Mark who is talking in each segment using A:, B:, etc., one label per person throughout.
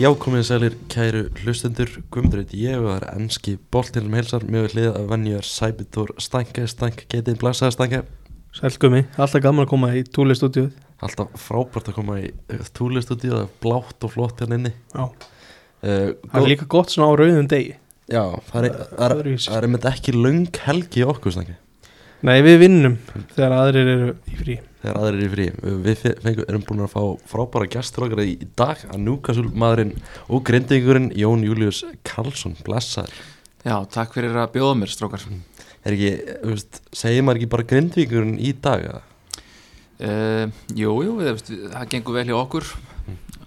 A: Já, komið sælir, kæru hlustendur, Guðmundur, ég var enski boltinum heilsar, mjög hlið að vennjar Sæbitur Stænke, Stænke, getið blæsaði Stænke
B: Sælgumi, alltaf gaman að koma í túlistúdíu
A: Alltaf frábært að koma í túlistudíu, það er blátt og flott hérna inni
B: Já,
A: uh,
B: það er líka gott svona á rauðum degi
A: Já, það er, það er,
B: Öðruvísi.
A: það er einmitt ekki löng helgi í okkur Stænke
B: Nei, við vinnum þegar aðrir eru í frí
A: Þegar aðrir eru í frí Eh, Við fe- fengum, erum búin að fá frábæra gestur okkar í í dag að Núkasul maðurinn og grindingurinn Jón Július Karlsson, blessaður
C: Já, takk fyrir að bjóða mér, strókar.
A: Er ekki, eh, þú veist, segir maður ekki bara grindvíkurinn í dag eða?
C: Uh, jú, jú, við, veist, við- það gengur vel hjá okkur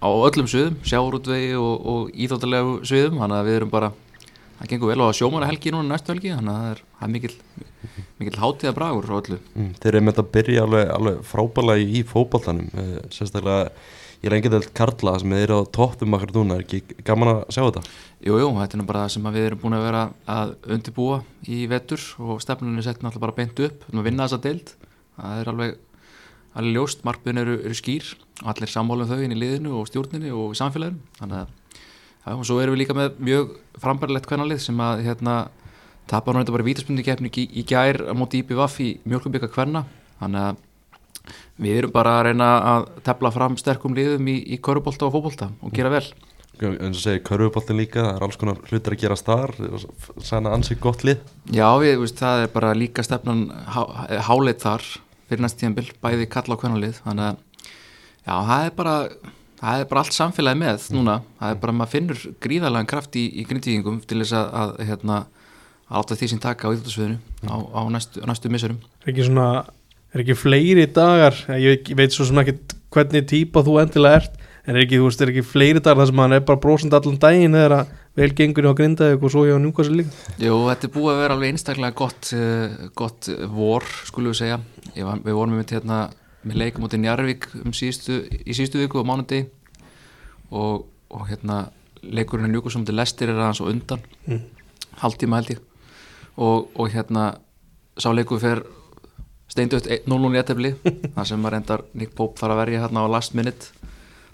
C: á öllum sviðum, sjáurútvegi og, og íþáttalegu sviðum, þannig að við erum bara, það gengur vel á sjómara helgi núna næstu helgi, þannig að það er, það er mikill, mikill hátíða bragur frá öllu.
A: Mm, þeir eru með þetta að byrja alveg, alveg frábælega í fótballtanum sérstaklega ég lengi til Karla sem þeir eru á toppum akkur núna er ekki gaman að sjá þetta
C: Jú, jú, þetta er nú bara það sem að við erum búin að vera að undirbúa í vetur og stefnunni er sett náttúrulega bara beint upp, við erum að vinna þessa deild, það er alveg, alveg ljóst, markmiðin eru, eru skýr, allir sammálum þau inn í liðinu og stjórninu og í samfélaginu, þannig að Já, og svo erum við líka með mjög frambærilegt kvennalið sem að hérna tapar nú þetta bara vítaspunni keppni í, í gær á móti IPVAF í mjölkumbygga kvenna þannig að við erum bara að reyna að tefla fram sterkum liðum í, í körubólta og fótbolta og gera vel
A: eins og segir körfuboltin líka, það er alls konar hlutir að gerast þar sann að ansið gott lið
C: Já, við, veist, það er bara líka stefnan há, háleit þar fyrir næst tíðanbill, bæði kalla og kvennalið þannig að já, það er bara það er bara allt samfélagi með núna það er bara að maður finnur gríðarlegan kraft í, í grindvíkingum til þess að, að hérna að láta því sem taka á íþjóttasviðinu á, á næstu, á næstu missurum
B: Er ekki svona, er ekki fleiri dagar Ég, ég veit svo sem ekki hvernig típa þú endilega ert En er ekki, þú veist, er ekki fleiri dagar þar sem hann er bara brosandi allan daginn þegar að vel gengur hjá grindaði og svo hjá njúkvæsir líka
C: Jú, þetta er búið að vera alveg einstaklega gott, uh, gott vor, skulum við segja. Ég Var, við vorum með, hérna, með leikum út í Njarvík um síðustu, í síðustu viku á mánundi og, og hérna, leikurinn er njúkur sem til lestir er aðeins og undan,
B: Mm.
C: halvtíma held ég. Og, og hérna, sá leikur fer steindögt 0-0 í ettefli, þar sem var endar Nick Pope þar að verja hérna á last minute.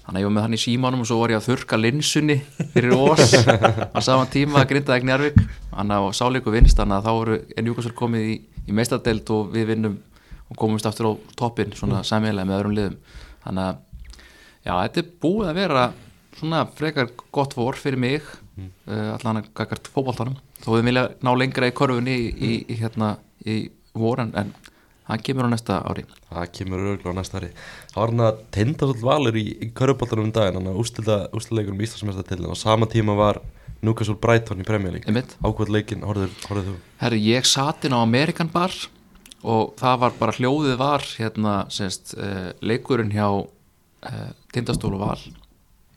C: Þannig að ég var með hann í símanum og svo var ég að þurka linsunni fyrir ós á saman tíma að grinda ekki njárvík þannig að sáleiku vinst þannig að þá eru Njúkvæmsvöld komið í, í meistardelt og við vinnum og komumst aftur á toppin svona sammelega með öðrum liðum þannig að já, þetta er búið að vera svona frekar gott vor fyrir mig mm. uh, allan að gagart fótboltanum þó við vilja ná lengra í korfunni í, í, í hérna í voran en hann kemur á næsta ári
A: það kemur örgulega á næsta ári það var hann að tenda svolítið valur í, í körfuboltanum um daginn, hann að ústilegurum í Íslandsmestaratillin og sama tíma var Núkasul Brighton í premjölík
C: Einmitt.
A: ákvæð leikin, horfður, horfður þú
C: Herri, ég sat inn á Amerikan bar og það var bara hljóðið var hérna, semst, uh, leikurinn hjá uh, tindastól og val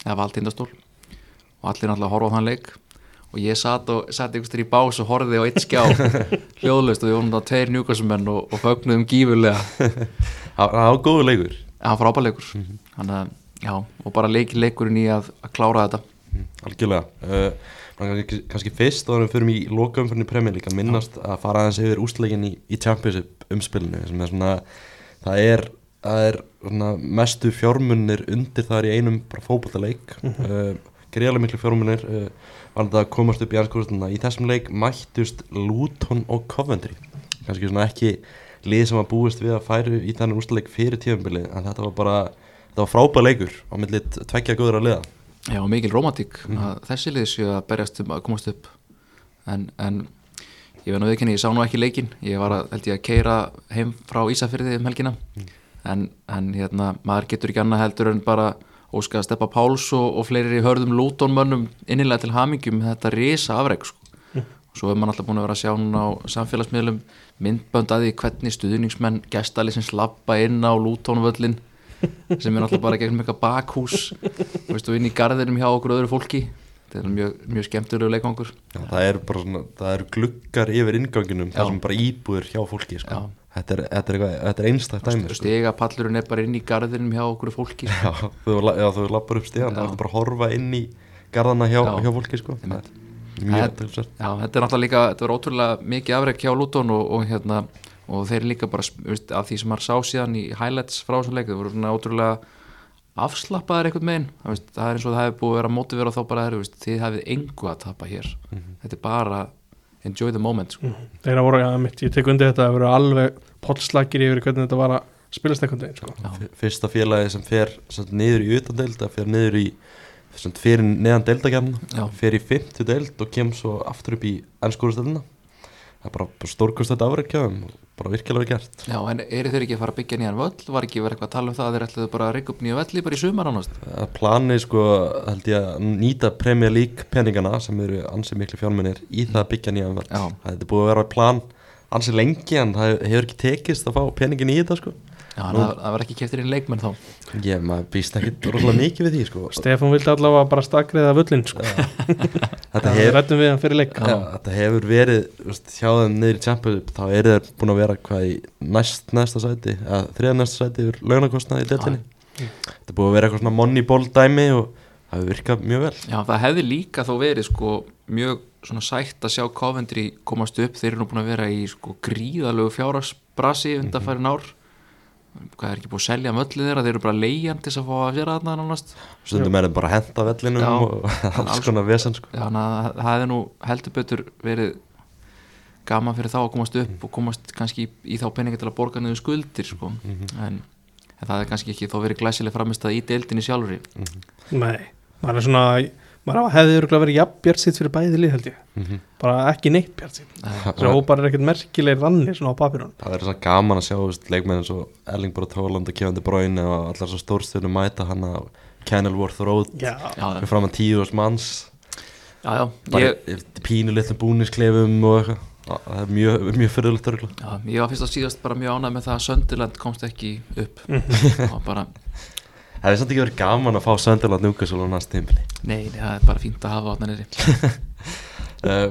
C: eða val tindastól og allir náttúrulega horfa á þann leik og ég sat, og, sat einhvers þér í bás og horfið á eitt skjá hljóðlust og við vorum það tveir njúkvæsmenn og, og fögnuðum gífurlega
A: það það var góður leikur
C: en hann frábæleikur þannig að, já, og bara leiki leikurinn í að, að klára þetta
A: Mm, Algjörlega uh, man kannski, kannski fyrst og þannig við förum í lokaumfyrinni premjör líka minnast að fara aðeins yfir úsleikin í, í Champions umspilinu sem er svona það er, það er svona, mestu fjármunir undir þar í einum bara fótballaleik mm uh, greiðlega miklu fjármunir uh, var þetta að komast upp í anskóðustunna í þessum leik mættust Luton og Coventry kannski svona ekki lið sem að búist við að færu í þannig úsleik fyrir tífumbilið en þetta var bara þetta var frábæð leikur á millit tveggja góður að liða
C: Já, og mikil romantík að þessi liði séu að berjast um að komast upp en, en ég veit nú ekki ég sá nú ekki leikin ég var að, held ég að keira heim frá Ísafyrði um helgina en, en hérna, maður getur ekki annað heldur en bara óska að steppa Páls og, og fleiri hörðum lútonmönnum innilega til hamingjum þetta risa afreg sko. svo er mann alltaf búin að vera að sjá núna á samfélagsmiðlum myndbönd að því hvernig stuðningsmenn gestalisins lappa inn á lútonvöllin sem er alltaf bara gegnum eitthvað bakhús þú veist, og inn í garðinum hjá okkur öðru fólki þetta er mjög, mjög skemmtilegu leikangur
A: Já, það eru bara svona, það eru gluggar yfir inganginum, það
C: Já.
A: sem bara íbúður hjá fólki, sko.
C: Já.
A: Þetta er, þetta er, eitthvað- þetta er einstætt dæmi, sko.
C: stega pallurinn er bara inn í garðinum hjá okkur fólki
A: Já, þú, la- já, þú lappar upp stíðan,
C: Já.
A: það er bara að horfa inn í garðana hjá,
C: Já.
A: hjá fólki, sko. Það
C: Einmitt.
A: er Mjög
C: Það-
A: tilsvært.
C: Já, þetta er náttúrulega líka, þetta var ótrúlega mikið afreg hjá Luton og, og hérna og þeir líka bara, sp- veist, að því sem maður sá síðan í highlights frá þessum leik, þeir voru svona ótrúlega afslappaðir einhvern megin það, veist, það er eins og það hefur búið að vera mótið vera þá bara þeir, veist, þið hafið engu að tapa hér þetta er bara enjoy the moment sko.
B: Þeirra voru, ja, mitt, ég tek undir þetta að vera alveg pollslakir yfir hvernig þetta var að spilast einhvern veginn sko.
C: Já,
A: fyrsta félagi sem fer sem sagt, niður í utan delta, fer niður í sem sagt, fer neðan
C: Já.
A: deltakefna fer í 50 delt og kem svo aftur upp í ennskúrustöldina það er bara, bara stórkust þetta afreikjaðum og bara virkilega vel gert
C: Já, en eru þeir ekki að fara að byggja nýjan völl var ekki verið eitthvað að tala um það að þeir ætluðu bara að rigga upp nýja velli bara í sumar ánast
A: að planið sko held ég að nýta Premier League peningana sem eru ansið miklu fjármunir í það að byggja nýjan völd
C: Já.
A: það er búið að vera plan ansið lengi en það hefur ekki tekist að fá peningin í þetta sko
C: Já, en það, það var ekki keftir inn leikmenn þá
A: ég maður býst ekki rosalega mikið við því sko
B: Stefán vildi allavega bara stakriða völlin sko.
A: þetta
B: Það
A: hefur
B: rættum við hann fyrir leik
A: Já, þetta hefur verið, þú veist, hjá þeim niður í Champions þá eru þeir búin að vera hvað í næst næsta sæti, eða þriða næsta sæti yfir launakostnaði í deltinni þetta er búið að vera eitthvað svona moneyball dæmi og það hefur virkað mjög vel
C: Já, það hefði líka þó verið sko mjög svona sætt að sjá Coventry komast upp, þeir eru nú búin að vera í sko gríðalögu fjárhagsbrasi undanfærin ár hvað er ekki búið að selja möllið þeirra, þeir eru bara leiðan til þess að fá að vera þarna nánast
A: stundum er þeim bara að henda vellinum
C: Já.
A: og alls konar vesen sko.
C: þannig að það hefði nú heldur betur verið gaman fyrir þá að komast upp og komast kannski í, í þá peninga til að borga niður skuldir sko en, en það hefði kannski ekki þó verið glæsileg framist í deildinni sjálfri
B: Nei, maður er svona maður hefði örgulega verið jafn bjart sitt fyrir bæði lið held ég, bara ekki neitt bjart sitt þessi hópar er ekkert merkilegir rannir svona á papirun
A: það er svona gaman að sjá þú veist, leikmenn eins og Erling Brot Holland og Kevin De Bruyne og allar svo stórstöðnum mæta hann að Kenilworth Road
B: Já,
C: Já,
A: við fram að tíu þús manns
C: já, já,
A: bara
C: ég,
A: ég... pínu litlum búnisklefum og eitthvað Þa- það er mjög, mjög fyrirlegt örgla
C: já, ég var fyrst og síðast bara mjög ánægð með það að Söndiland komst ekki upp og bara,
A: Það hefði samt ekki verið gaman að fá Söndaland Newcastle á næst tímpli
C: nei, nei, það er bara fínt að hafa átna nýri
A: uh,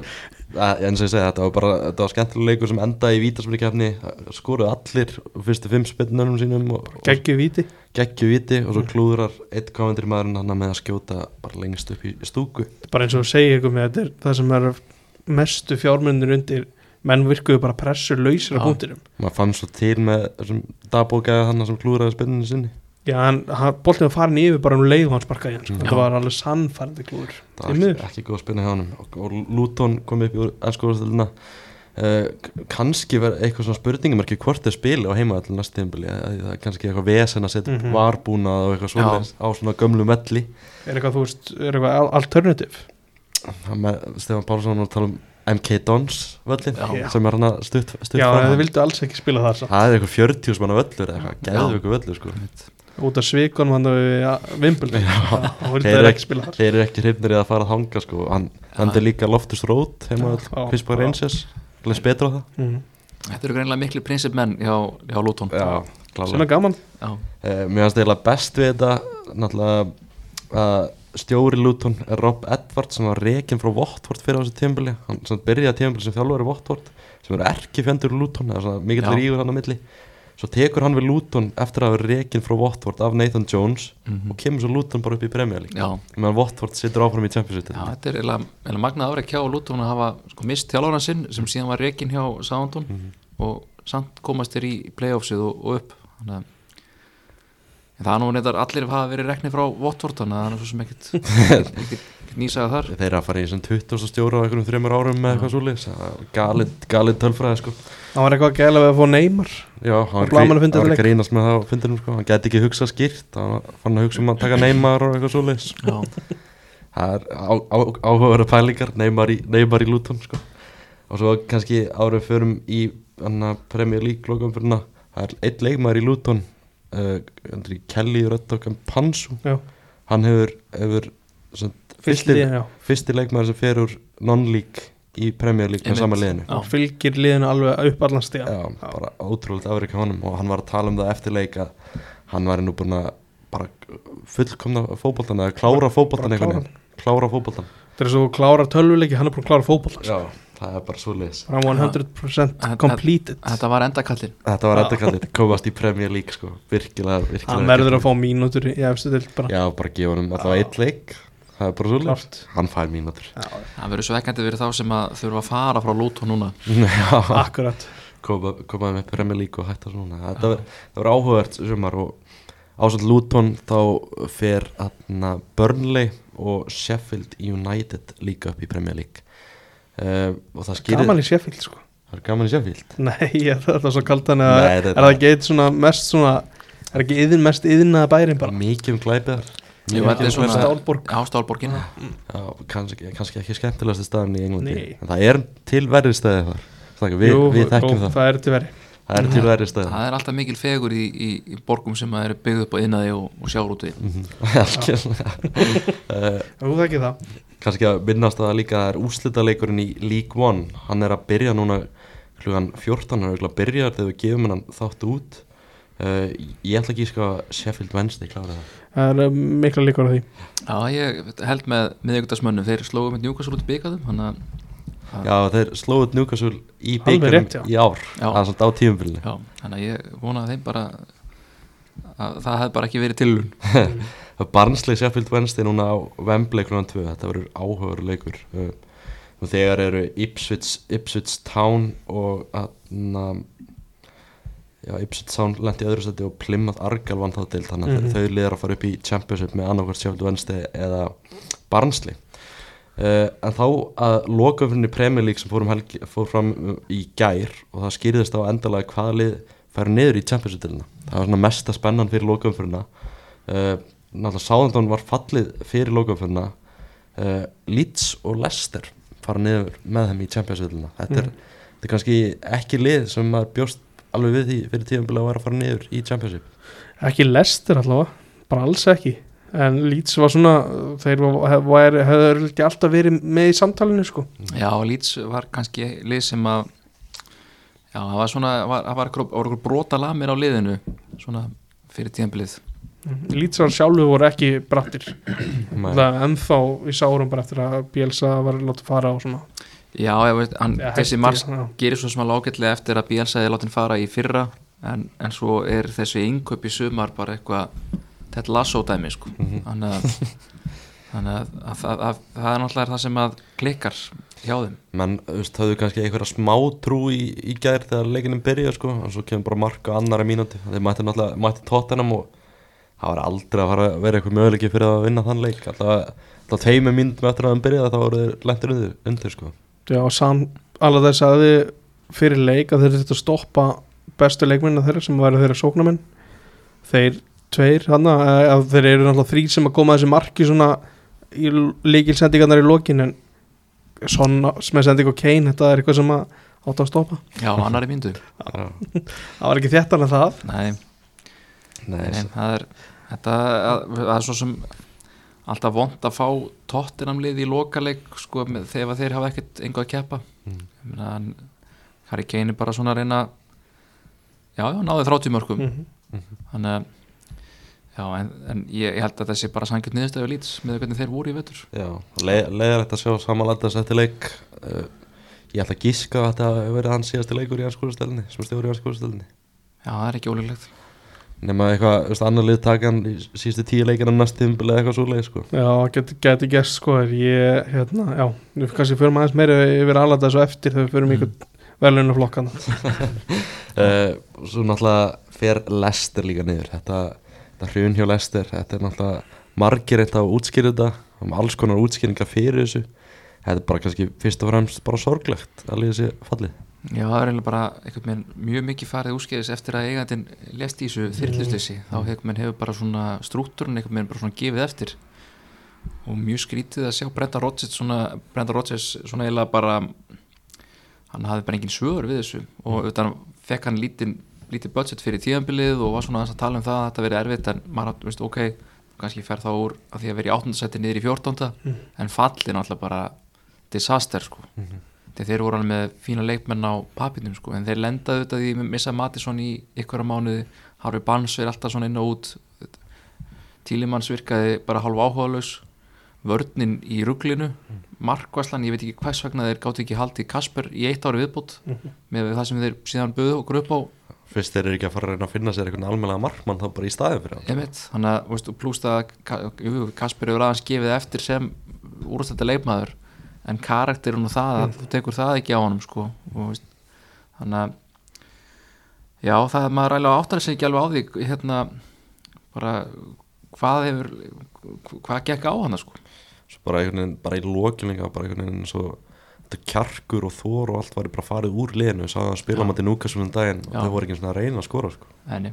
A: að- En svo ég segi þetta var bara þetta var skemmtilega leikur sem endaði í vítarsmyrkjafni skoruðu allir fyrstu fimm spinnunum sínum og, og
B: geggju víti
A: geggju víti og svo klúðrar eitt komendri maðurinn hann með að skjóta bara lengst upp í stúku
B: bara eins og þú segir ykkur með þetta er það sem er mestu fjármennir undir menn virkuðu bara pressur lausir
C: Já.
B: á punktinum
A: maður fann svo til með þessum dagbókaði hann sem klúðraði spinnunum sinni
B: Já, hann, hann boltið var farin yfir bara um leið og hann sparkaði í hann, sko.
A: Já.
B: þetta var alveg sannfærandi klúður
A: það
B: Því
A: var
B: miður.
A: ekki, ekki góð spinna hjá honum og, og Luton kom upp í ennskóðastöldina uh, kannski verið eitthvað svona spurningum ekki hvort þeir spila á heima allir næst tímbili það er kannski eitthvað vesen að setja upp
B: Mhm.
A: varbúnað og eitthvað svona á svona gömlu melli
B: er eitthvað, þú veist, er eitthvað al- alternative
A: Það með Stefán Pálsson var að tala um MK Dons völlin
C: Já.
A: sem er hann að stutt, stutt
B: Já,
A: fram.
B: það vildu alls ekki spila þar samt.
A: það er eitthvað 40 manna völlur eða eitthvað,
C: Já.
A: geðu eitthvað völlur sko
B: út af svikunum hann við vimbuldi og vildu
A: Þeir
B: það
A: eru-
B: ekki spila þar
A: þeir eru ekki hrifnir eða að fara að hanga sko hann endur líka Loftus Road heima
B: Já.
A: öll, Pittsburgh Rangers leist betra á það
B: Mhm.
C: Þetta eru greinlega miklu prinsipmenn hjá, hjá Lúton
A: klálega
B: sem er gaman
C: já,
A: Eh, Mér finnst eiginlega best við þetta náttúrulega að stjóri Luton er Rob Edwards sem var rekin frá Votvort fyrir á þessu tímbili hann sem byrjaði tímbili sem þjálfur í Votvort sem eru erki fjendur Luton eða svona mikill
C: Já.
A: rígur hann á milli svo tekur hann við Luton eftir að hafa rekin frá Votvort af Nathan Jones og kemur svo Luton bara upp í Premier League
C: Mhm. já
A: meðan Votvort situr áfram í Champions
C: Já,
A: League
C: þetta er eiginlega eiginlega magnað afrek hjá Lúton að hafa sko, mist þjálfana sinn sem síðan var rekin hjá Sándon og samt komast þér í playoffsið og, og upp þannig að en það er nú neitt allir hafa verið reknir frá Votvort þannig að það er nú svo sem ekkit, ekkit, ekkit nýsaga þar
A: Þeir eru að fara í þessum 20. stjóra á einhvernum þreymur árum með eitthvað svoleiðis Það er galið, galið tölfræði sko
B: hann var eitthvað gæla við að fá neymar
A: Já, hann var,
B: blaðamannafundi
A: grí- hann var
B: eftir
A: að
B: leik.
A: grínast með það á fundinum sko. hann gæti ekki hugsa skýrt hann var- fann að hugsa um að taka neymar og eitthvað svoleiðis
C: Já,
A: það er á- á- áhugaverða pælingar neymar í, neymar í Luton sko. og svo kannski árið förum í hana, Premier League lokum fyrir það er einn leikmaður í Luton uh, Andri Kelly Röttok Pansu
B: Já.
A: hann hefur, hefur sem,
B: fylgir
A: fyrsti,
B: liðinu, já.
A: fyrsti leikmaður sem fer úr non-league í Premier League með
C: Einmitt.
A: sama liðinu
C: Já.
B: og fylgir liðinu alveg upp allan stiga
A: já, bara ótrúlega afrik á honum og hann var að tala um það eftir leik að hann væri nú búin að bara fullkomna fótboltan eða klára fótboltan
B: bara
A: einhvern veginn klára fótboltan
B: þegar svo þú klárar tölvuleiki, hann er búin að klára fótboll
A: já, það er bara svo leiðis
B: hann var 100%
C: Þetta-
B: completed
C: þetta var endakallin
A: þetta var
B: Já.
A: þetta kallið, komast í Premier League sko, virkilega, virkilega
B: hann verður að fá mínútur í efstu dild bara
A: já, bara gefa honum allavega einn leik það er bara svo leiðis,
B: klart
A: hann fær mínútur
C: Það verður svo ekkert verið þá sem að þurfa að fara frá Lúton núna
A: já,
B: akkurat
A: koma, koma með Premier League og hætta svona þetta var, það var áhugavert sumar og Ásand Luton þá fer aðna Burnley og Sheffield United líka upp í Premier League uh, og það skýrir
B: Gaman í Sheffield sko
A: það er gaman í Sheffield
B: Nei, ég, það er það svo kalt hann að
A: Nei,
B: er,
A: þetta-
B: það ekki eitt svona mest svona Er ekki yðin mest yðinaða bærin bara
A: mikið um glæpiðar
C: Jú,
B: Ég
C: þetta er
B: held að
C: svona
B: Stálborg.
C: Já, Stálborgin
A: Já, kannski, kannski ekki skemmtilegasti staðan í Englandi
B: Nei.
A: en það er til verri staði þar Snakka, við,
B: Jú,
A: við þekkjum
B: jú,
A: það,
B: Það er til veri
A: það er til verri staði
C: Það er alltaf mikil fegur í, í, í borgum sem að eru byggð upp á innaði og, og sjárúti
A: uh,
B: Þú þekki það
A: kannski að minnast að það líka það er úrslitaleikurinn í League One hann er að byrja núna klugan 14 hann er örugglega að byrja þegar við gefum hann þátt út uh, ég ætla ekki sko Sheffield Wednesday klára það
B: Það er um, mikla líkur á því
C: Já, ég held með miðvíkudagsmönnum þeir slóðu með njúkasrúti byggadum þannig að
A: já þeir slóðut Newcastle í
B: Alveg
A: byggjum
B: rétt, já.
A: í ár
C: Já.
A: það er svolítið á tíumfylgni
C: Já, þannig að ég vona að þeim bara að það hefði bara ekki verið tilun
A: Barnsley Sheffield Wednesday núna á Wembley klugan 2, þetta verður áhugaður leikur uh, og þegar eru Ipswich, Ipswich Town og atna, já, Ipswich Town lendi í öðru seti og Plymouth Argyle vann þá til þannig að
B: Mhm.
A: þau liðar að fara upp í Championship með annarkvært Sheffield Wednesday eða Barnsley Uh, en þá að lokaumfinni Premier League sem fórum helgi, fór fram uh, í gær og það skýrðist á endalega hvaða lið færi niður í Champions-utilina það var svona mesta spennan fyrir lokaumfinna uh, náttúrulega Sáðandón var fallið fyrir lokaumfinna uh, Leeds og Leicester fara niður með þeim í Champions-utilina þetta, er- þetta er kannski ekki lið sem maður bjóst alveg við því fyrir tíðanbíla að vera að fara niður í Championship
B: Ekki lestir allavega Bara alls ekki En Leeds var svona Þeir var- var- höfðu ekki alltaf verið með í samtalinu sko
C: Já, Leeds var kannski lið sem að já, það var svona var- það var okkur brota lamir á liðinu svona fyrir tíðanbilið
B: Lýtsar sjálfu voru ekki brattir Það er ennþá í sárum bara eftir að Bielsa var látið fara og svona
C: Já, ég veit, hann,
B: Eða
C: þessi
B: hætti,
C: mars
B: já.
C: gerir svo sem að lágætlega eftir að Bielsa er látin fara í fyrra en, en svo er þessi inköp í sumar bara eitthvað þetta lasso dæmi sko þannig að, þannig að, að, að, að það er náttúrulega það sem að klikkar hjá þeim
A: menn þú veist, höfðu kannski einhverja smá trú í, í gær þegar leikinin byrja sko, og svo kemur bara marka annari mínúti þeir mætti náttúrulega, mætti tóttanum og það var aldrei að fara að vera eitthvað möguleiki fyrir að vinna þann leik alltaf, alltaf teimu mínútum eftir að hann byrjaði þá voru þeir lentur undir, undir sko.
B: Já, sam, alveg þess að þið fyrir leik að þeir þetta stoppa bestu leikminna þeirra sem væri þeirra sóknamenn þeir tveir hann að þeir eru náttúrulega þrý sem að koma að þessi marki svona í leikilsendingarnar í lokin en svona með sending og Kane þetta er eitthvað sem að átt að stoppa
C: Já, annari myndu
A: Já.
B: það var ekki þéttan að það
C: Nei,
A: Nei,
C: nei,
A: s-
C: það er þetta að- það er svo sem alltaf vond að fá tóttinamlið í lokaleik sko, með, þegar þeir hafa ekkert engu að keppa
A: Mm.
C: Ég meina, hann- Harry Kane er bara svona að reyna já, já, náði 30 mörgum
B: mm -hmm.
C: þannig að já, en, en ég, ég held að þessi bara sangjöld niðurstæðu lýts með hvernig þeir voru í vetur
A: já, le, leiðar þetta að sjá samanlandast eftir leik uh, ég ætla að gíska að þetta hefur verið hans síðasti leikur í hans skúrastelni sem stjóri í hans skúrastelni
C: já, það er ekki ólíklegt
A: nema eitthvað, þú veist, annar lið taka hann í síðustu tíu leikinum næst tíðumbilið eitthvað svo leik sko.
B: Já, geti, geti gæst sko er ég, hérna, já, við kannski förum aðeins meira yfir alveg þessu eftir þegar við förum mm. ykkur verðlunaflokkana
A: uh, svo náttúrulega fer Lester líka niður þetta, þetta hrjun hjá Lester þetta er náttúrulega margir eitt að útskýra þetta um alls konar útskýringar fyrir þessu þetta er bara kannski fyrst og fremst bara sorglegt að liða sér fallið
C: já, það er eiginlega bara einhvern veginn mjög mikið farið úrskeiðis eftir að eigandinn lest í þessu þyrlistleysi þá einhvern veginn hefur bara svona strútturinn einhvern veginn bara svona gefið eftir og mjög skrítið að sjá Brenda Rodgers svona, Brenda Rodgers svona eiginlega bara hann hafði bara engin svör við þessu og auðvitað fekk hann lítið, lítið budget fyrir tíðanbilið og var svona aðeins að tala um það að þetta verið erfitt en maður átt, veist, ok, kannski fer þá úr að því að vera í 18. seti niður í 14. en fallin alltaf bara disaster sko þegar þeir voru alveg með fína leikmenn á papinum sko, en þeir lendaðu auðvitað því missa Matisson í ykkur á mánuði Harfi Barnes er alltaf svona inn og út Tílimanns virkaði bara hálf áhugaðlaus vörninn í ruglinu markvæslan, ég veit ekki hvers vegna þeir gátt ekki haldið Kasper í eitt ári viðbútt með það sem þeir síðan buðu og grupp á
A: fyrst þeir eru ekki að fara að reyna að finna sér einhvern almennlega markmann þá bara í staðin fyrir hann
C: emitt, þannig að veist, plúst að Ka- jú, Kasper hefur aðeins gefið eftir sem úrstætta leikmaður en karakterun og það, að þú tekur það ekki á honum sko og, veist, þannig að já, það er maður ræðilega áttar sig ekki alveg á því hérna, bara hvað hefur hvað gekk á hana sko
A: svo bara einhvern veginn, bara í lokinu líka, bara einhvern veginn svo þetta kjarkur og þor og allt var bara farið úr liðinu, sá það að
C: Já.
A: spila mæti núkast um daginn og
C: Já.
A: þau voru ekki einu sinni að reyna að skora sko.
C: Nei,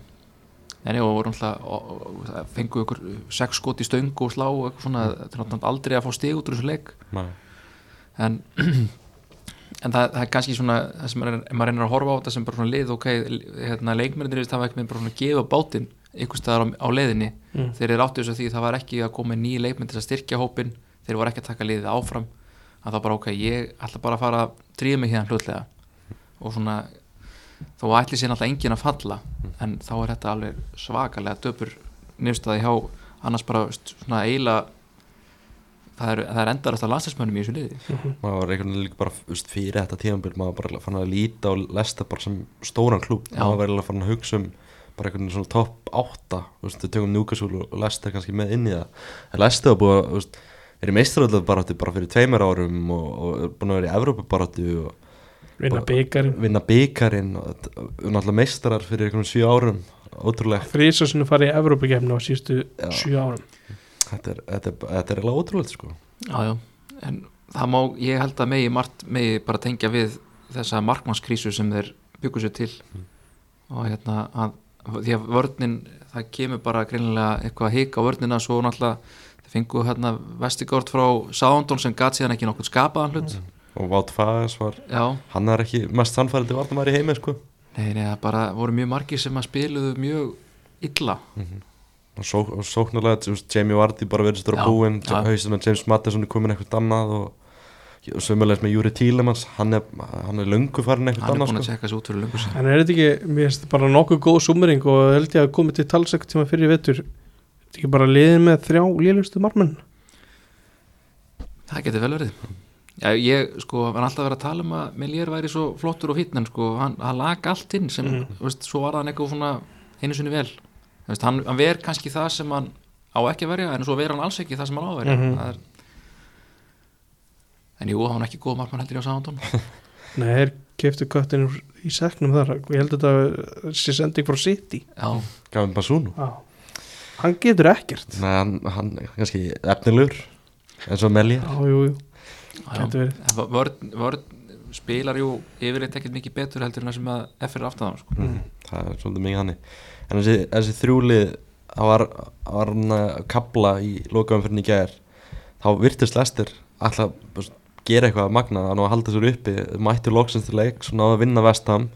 C: nei, og voru alltaf og, og, og, fengu ykkur sex skot í stöng og slá og eitthvað svona, þetta er náttúrulega aldrei að fá stig út úr þessu leik
A: Nei.
C: en, en það, það er kannski svona það sem maður er- maður reynir að horfa á þetta sem bara svona lið ok, hérna, leikmennir það var ekki með bara svona að gefa bátinn ykkur staðar á, á leiðinni
B: Mm.
C: þeir eru áttu þessu því það var ekki að koma nýja leikmenn til að styrkja hópin, þeir voru ekki að taka liðið áfram að það bara ok, ég ætla bara að fara að tríða mig hérna hlutlega og svona þó að ætli sér náttúrulega enginn að falla en þá er þetta alveg svakalega döpur nefnstæði hjá annars bara st- svona eila það er, það er endarast að landslagsmönnum í þessu liði
A: maður var einhvern veginn líka bara þú veist, fyrir þetta tímanbíl maður bara fann að líta og lesta bara sem stóran klúb
C: Já.
A: maður var eiginlega fann að hugsa um bara einhvern veginn svona topp 8 þú veist, við tökum Newcastle og Leicester kannski með inn í það en Leicester var búið að þú veist, er í meistaröldu baráttu bara fyrir tveimur árum og, og er búin að vera í Evrópu baráttu og
B: vinna
A: Bara-
B: byggar
A: vinna byggarinn og þetta- náttúrulega meistarar fyrir einhvern sjö árum ótrúlegt
B: þrísasinu farið í Evrópakefni á sístu
A: Já.
B: sjö árum
A: þetta er, þetta er, þetta er eiginlega ótrúlegt sko
C: Já, já, en það má, ég held að megi margt, megi bara tengja við þessa markmannskrísu sem þeir byggur sér til
A: Mm.
C: og hérna að, því að vörnin, það kemur bara greinilega eitthvað að hika á vörnina svo náttúrulega þeir fengu hérna vestigort frá Sándón sem gat síðan ekki nokkuð skapaðan hlut,
A: og Wout Faes var
C: já,
A: hann er ekki mest sannfærandi varnamæri í heimi sko
C: nei, nei, það bara voru mjög margir sem að spiluðu mjög illa
A: og, só, og sóknarlega, þú veist, Jamie Vardy bara verðist að
C: Já,
A: búinn,
C: já.
A: hausinn að James Madison er komin eitthvað annað og, og sömulegis með Júri Tílemans, hann er, hann er löngu farin eitthvað
C: hann er
A: annað
C: búin að
A: sko.
C: tjekka sér út fyrir löngu sér
B: en er þetta ekki, mér finnst þetta bara nokkuð góð summering og held ég að komið til talsæk tíma fyrir í vetur Er þetta ekki bara liðin með þrjá liðlustu marmenn
C: Það getur vel verið Já, ég sko, hann alltaf verið að tala um að Melier væri svo flottur og fítn en sko, hann, hann lag allt inn sem,
B: Mhm.
C: þú veist, svo var hann eitthvað svona einu sinni vel, Þú veist, hann, hann ver kannski það sem hann á ekki að verja en svo ver hann alls ekki það sem hann á að verja
B: Mhm.
C: Það er... En jú, hann var ekki góð markmann heldur í á sáhandón
B: nei, þeir keftu köttin úr- í seknum þar og ég held að þetta sé sending frá City
C: Já,
A: Gavin Bassunu
B: já. hann getur ekkert
A: Nei, hann, hann er kannski efnilegur eins og Melja
B: já, jú, jú,
C: já.
B: getur verið
C: En vörn, vörn spilar jú yfirleitt ekkert mikið betur heldur en það sem að F er aftan á sko.
A: Mhm. það er svolítið mikið hannig en þessi, þessi þrjúlið það var, það var hann að kabla í lokaðum fyrir nýgæðir þá virtist lestir alltaf bara svona gera eitthvað að magna að nú að halda sér uppi mættu loksins til leik, svo náðu að vinna vestam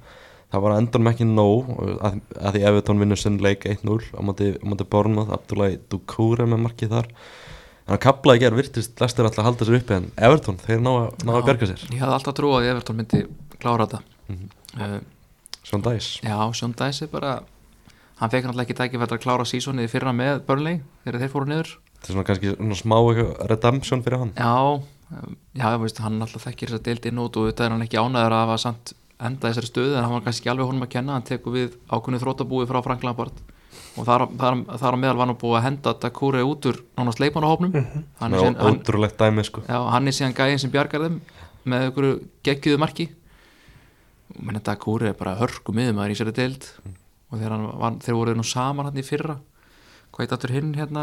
A: það var að endanum ekki nóg og að, að því Evertón vinnur sinn leik 1-0 á móti, á móti Bornað, Abdullahi Dukure með markið þar en að kabla í gerð virtist lestir alltaf að halda sér uppi en Evertón, þeir ná að, ná að
C: Já.
A: berga sér
C: Ég hafði alltaf trú að Everton myndi klára þetta
A: Mhm.
C: uh,
A: svona dæs
C: Já, Sean Dice er bara hann fekk náttúrulega ekki tækifært að klára sísonið í fyrra með Burnley þegar þeir fóru niður
A: þetta er svona kannski svona smá eitthvað redemption fyrir hann
C: Já, um, já, veist, hann náttúrulega þekkir þess að deildi inn út og þetta er hann ekki ánæður af að samt enda í þessari stöðu en hann var kannski ekki alveg honum að kenna hann tekur við ákunni þrótabúi frá Frank Lampard og þar, þar, þar á meðal var hann búið að henda Dakure út úr nánast leipanahófnum hann, er
A: Með
C: síðan- hann,
A: ótrúlegt dæmi sko
C: já, hann er síðan gæðin sem bjargar þeim með ykkur geggiðu marki menn þetta Kúri er bara hörku miðumæður í sér að deild
B: Mm.
C: og þegar hann var, þeir voru nú saman hann í fyrra hvað heit aftur hinn hérna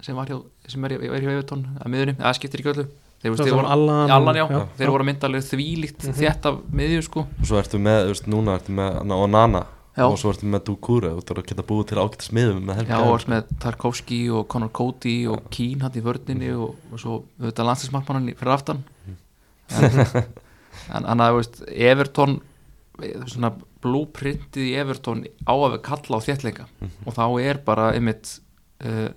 C: sem, var hjá, sem er, er hjá Evertón að miðunni, eða skiptir ekki öllu þeir,
B: Það
C: þeir
B: var
C: voru,
B: Allan-
C: Allan, já,
B: já, já. Mhm.
C: þeir voru að mynda alveg þvílíkt þétt af miðju sko
A: og svo ertu með, þú veist, núna ertu með hana Onana
C: Já.
A: og svo ertu með Dukure og þú ert að geta búið til ágætt smiðum með
C: Já,
A: helga
C: og allt með Tarkovski og Conor Cody og Keane hann í vördninni og, og svo auðvitað landsinsmarkmannan fyrir aftan en, en, en að, þú veist, Everton eh, svona blúprintið í Everton á að við kalla á þéttleika og þá er bara einmitt uh,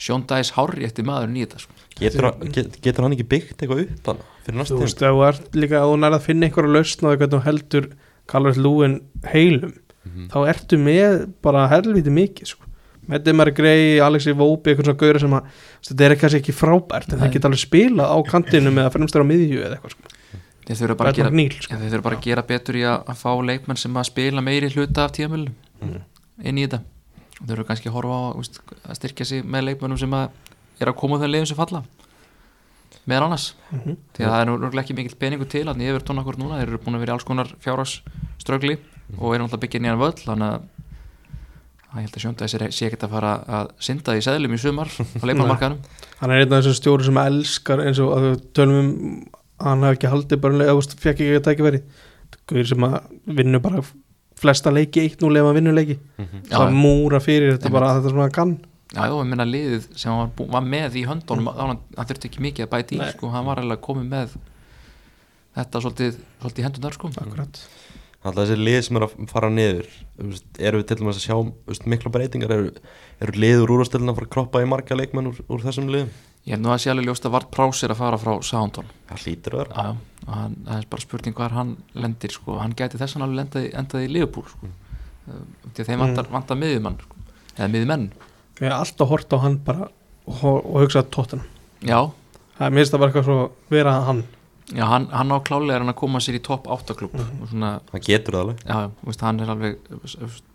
C: Sean Dice hárri eftir maðurinn í þetta sko.
A: getur, hann- get, getur hann ekki byggt eitthvað upp hann fyrir næstu tíma
B: þú veist, ef þú ert líka að þú nærð að finna einhverja lausn á því hvernig þú heldur Carlos Lúin heilum
C: Mhm.
B: þá ertu með bara helviti mikið sko. með Demar Grey, Alexi Vóbi eitthvað svona gauður sem að þú veist, þetta er kannski ekki frábært en
C: Nei.
B: það geta alveg spilað á kantinum eða fremstur á miðju eða eitthvað sko.
C: þeir þurfa bara að
B: Bertman
C: gera,
B: Gnýl sko.
C: já, þeir þurfa bara að gera betur í að, að fá leikmenn sem að spila meiri hluta af tíamil inn í þetta og þeir eru kannski að horfa á þú veist, að styrkja sig með leikmennum sem að er að koma á þeim leiðum sem falla meðan annars
B: Mhm.
C: því að það er nú örugglega ekki mikill peningur til þannig að yfir tónakort núna, þeir eru búin að vera í alls konar fjárhás ströggli og eru alltaf byggja nýjan völl þannig að ég held að sjönda þessi sé ekkert að fara að synda í seðlum í sumar á leikmannamarkaðanum
B: hann er einn af þessum stjóri sem elskar eins og að við tölum um að hann hafði ekki haldið bara eða veist, fekk ekki að tækja veri Guður sem að vinnur bara flesta leiki 1-0 ef hann vinnur leiki
C: Já,
B: það
C: Mhm. já.
B: múra fyrir þetta er bara að þetta er svona kann
C: Já, já, ég minna liðið sem hann var, bú, var með í höndunum mm. hann, hann þurfti ekki mikið að bæta í
B: Nei.
C: sko, hann var alveg komið með þetta svolítið, svolítið í hendunar sko
B: akkurat
A: Alltaf þessi lið sem er að fara niður þú veist, eru við til dæmis að sjá þú veist, mikla breytingar eru, eru liður úrvastelina að fara að kroppa í marga leikmenn úr, úr þessum liðum
C: Ég hef nú að sé alveg ljóst að Vart Prás er að fara frá Soundon
A: það hlýtur að vera
C: Já, já, og hann, það er bara spurning hvað hann lendir sko, hann gæti þess að hann alveg lendaði, endaði í Liverpool sko, mm. því að þeim vantar, vantar miðjumann sko, eða miðjumenn,
B: ég hef alltaf hort á hann bara og, og hugsað tóttina
C: já
B: það er minnst að bara eitthvað svo vera hann
C: já, hann, hann á klálega er hann að koma sér í topp 8 klub og svona,
A: það getur það alveg
C: já, já, þú veist, hann er alveg